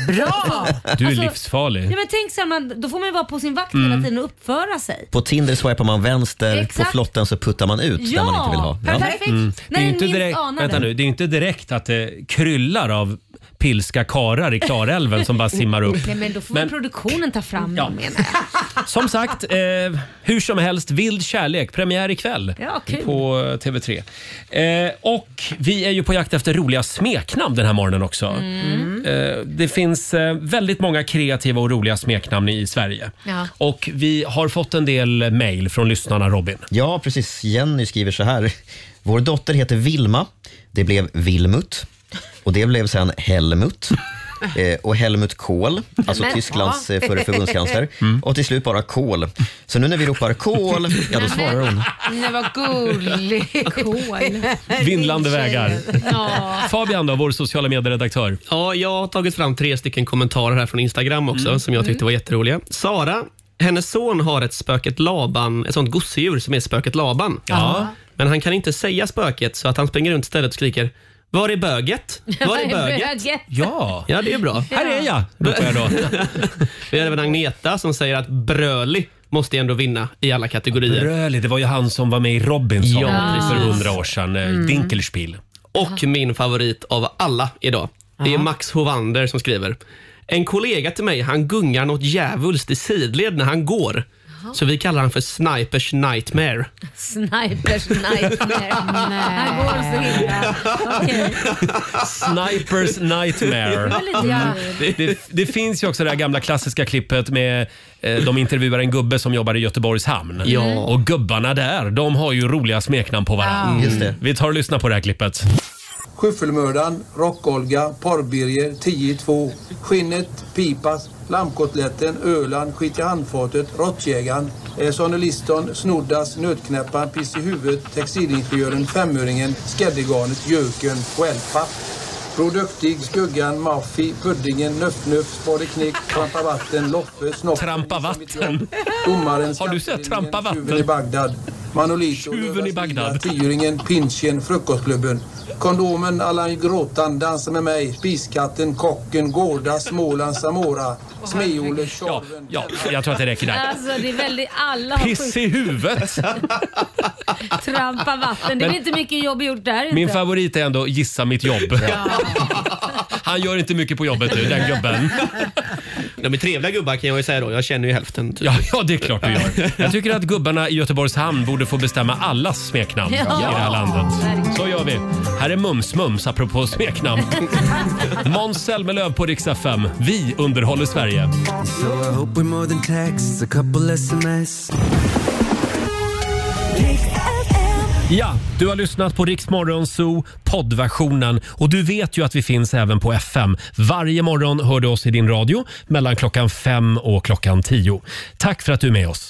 [SPEAKER 2] Bra! Alltså,
[SPEAKER 1] Du är livsfarlig.
[SPEAKER 2] Ja, men tänk så här, man, då får man ju vara på sin vakt hela
[SPEAKER 6] Mm.
[SPEAKER 2] tiden och uppföra sig.
[SPEAKER 6] På Tinder swipar man vänster,
[SPEAKER 2] Exakt.
[SPEAKER 6] på flotten så puttar man ut
[SPEAKER 2] Ja,
[SPEAKER 6] den man inte vill ha.
[SPEAKER 2] perfekt. Mm.
[SPEAKER 1] Det är ju
[SPEAKER 2] Nej,
[SPEAKER 1] inte
[SPEAKER 2] minst
[SPEAKER 1] direkt,
[SPEAKER 2] anade.
[SPEAKER 1] vänta nu, det är ju inte direkt att det kryllar av pilska karar i Klarälven som bara simmar upp.
[SPEAKER 2] Nej, men då får
[SPEAKER 1] Men-
[SPEAKER 2] väl produktionen ta fram dem menar jag.
[SPEAKER 1] Som sagt, eh, hur som helst, Vild kärlek, premiär ikväll
[SPEAKER 2] Ja, kul.
[SPEAKER 1] på TV3. Eh, och vi är ju på jakt efter roliga smeknamn den här morgonen också.
[SPEAKER 2] Mm.
[SPEAKER 1] Eh, det finns eh, väldigt många kreativa och roliga smeknamn i Sverige.
[SPEAKER 2] Ja.
[SPEAKER 1] Och vi har fått en del mejl från lyssnarna Robin.
[SPEAKER 6] Ja, precis. Jenny skriver så här. Vår dotter heter Vilma. Det blev Vilmut. Och det blev sen
[SPEAKER 12] [LAUGHS]
[SPEAKER 6] Helmut. Eh, och Helmut Kohl, alltså
[SPEAKER 12] Men,
[SPEAKER 6] Tysklands
[SPEAKER 12] ja. Mm.
[SPEAKER 6] eh, förre förbundskansler. Och till slut bara Kohl. Så nu när vi ropar Kohl, ja då svarar hon.
[SPEAKER 7] Nej, vad gullig.
[SPEAKER 2] Kol.
[SPEAKER 7] [LAUGHS]
[SPEAKER 1] Vindlande vägar.
[SPEAKER 2] Ja.
[SPEAKER 1] Fabian då, vår sociala medieredaktör.
[SPEAKER 8] Ja, jag har tagit fram tre stycken kommentarer här från Instagram också
[SPEAKER 1] Mm.
[SPEAKER 8] som jag tyckte var jätteroliga. Sara, hennes son har ett spöket Laban, ett sånt gosedjur som är spöket Laban.
[SPEAKER 1] Ja.
[SPEAKER 8] Men han kan inte säga spöket så att han springer runt stället och skriker var är böget? [LAUGHS]
[SPEAKER 2] [LAUGHS]
[SPEAKER 8] Var är böget?
[SPEAKER 1] Ja.
[SPEAKER 8] Ja, det är bra. [LAUGHS]
[SPEAKER 1] Här är jag, ropar jag då.
[SPEAKER 8] Vi har även Agneta som säger att bröli måste ju ändå vinna i alla kategorier.
[SPEAKER 1] Bröli, det var ju han som var med i Robinson
[SPEAKER 8] Ja, precis.
[SPEAKER 1] för hundra år sedan. eh,
[SPEAKER 8] Mm.
[SPEAKER 1] Dinkelspiel.
[SPEAKER 8] Och min favorit av alla idag. Det är Max Hovander som skriver. En kollega till mig, han gungar något djävulskt i sidled när han går. Så vi kallar han för Snipers Nightmare.
[SPEAKER 2] Snipers nightmare. Han går så illa. Okej.
[SPEAKER 1] Snipers nightmare.
[SPEAKER 2] Det var lite
[SPEAKER 1] Mm.
[SPEAKER 2] kul.
[SPEAKER 1] Det, det, det finns ju också det här gamla klassiska klippet med eh, de intervjuar en gubbe som jobbar i Göteborgs hamn.
[SPEAKER 8] Ja.
[SPEAKER 1] Och gubbarna där, de har ju roliga smeknamn på varandra. Mm.
[SPEAKER 12] Ja. Just det.
[SPEAKER 1] Vi tar och lyssnar på det här klippet.
[SPEAKER 12] Skyffelmördaren, Rock-Olga, Porrbirger, 10-2, Skinnet, Pipas, Lammkotletten, Öland, Skit i handfatet, Råttjägaren, eh, Sonny Liston, Snoddas, Nötknäpparen, Piss i huvudet, Textilingenjören, Femöringen, Skäddegarnet, Jöken, Wellpapp. Produktig, Skuggan, Maffi, Puddingen, Nuff-Nuff, Spade Knick, Trampa Vatten, Loffe, Snoppen... Trampa Vatten? Domaren, Har du sett Trampa Vatten? Tjuven i Bagdad, Manolito, Tjuven i Bagdad. Tioringen, Pinchen, Frukostklubben. Kondomen, Allan Gråtan, Dansa med mig, Spiskatten, Kocken, Gårda, Småland, Samora, Smeole, Tjorven...
[SPEAKER 1] Ja, jag tror att det räcker där.
[SPEAKER 2] Alltså det är väldigt, alla har
[SPEAKER 1] Piss i huvudet.
[SPEAKER 2] sjukt trampa vatten. Det är
[SPEAKER 1] Men-
[SPEAKER 2] inte mycket jobb gjort där
[SPEAKER 1] Min
[SPEAKER 2] inte.
[SPEAKER 1] favorit är ändå Gissa mitt jobb. [LAUGHS] Han gör inte mycket på jobbet nu, den gubben.
[SPEAKER 8] De är trevliga gubbar kan jag ju säga då. Jag känner ju hälften. typ.
[SPEAKER 1] Ja, ja, det är klart du gör. Jag tycker att gubbarna i Göteborgs hamn borde få bestämma allas smeknamn
[SPEAKER 8] Ja.
[SPEAKER 1] i det här landet.
[SPEAKER 8] Verkligen.
[SPEAKER 1] Så gör vi. Här är Mums-Mums
[SPEAKER 3] [LAUGHS]
[SPEAKER 1] apropå [LAUGHS] smeknamn. Måns Zelmerlöw på riksdag 5. Vi underhåller Sverige.
[SPEAKER 11] So I hope we're more than texts, a couple sms.
[SPEAKER 1] Ja, du har lyssnat på Riksmorgon Zoo poddversionen och du vet ju att vi finns även på FM. Varje morgon hör du oss i din radio mellan klockan fem och klockan tio. Tack för att du är med oss.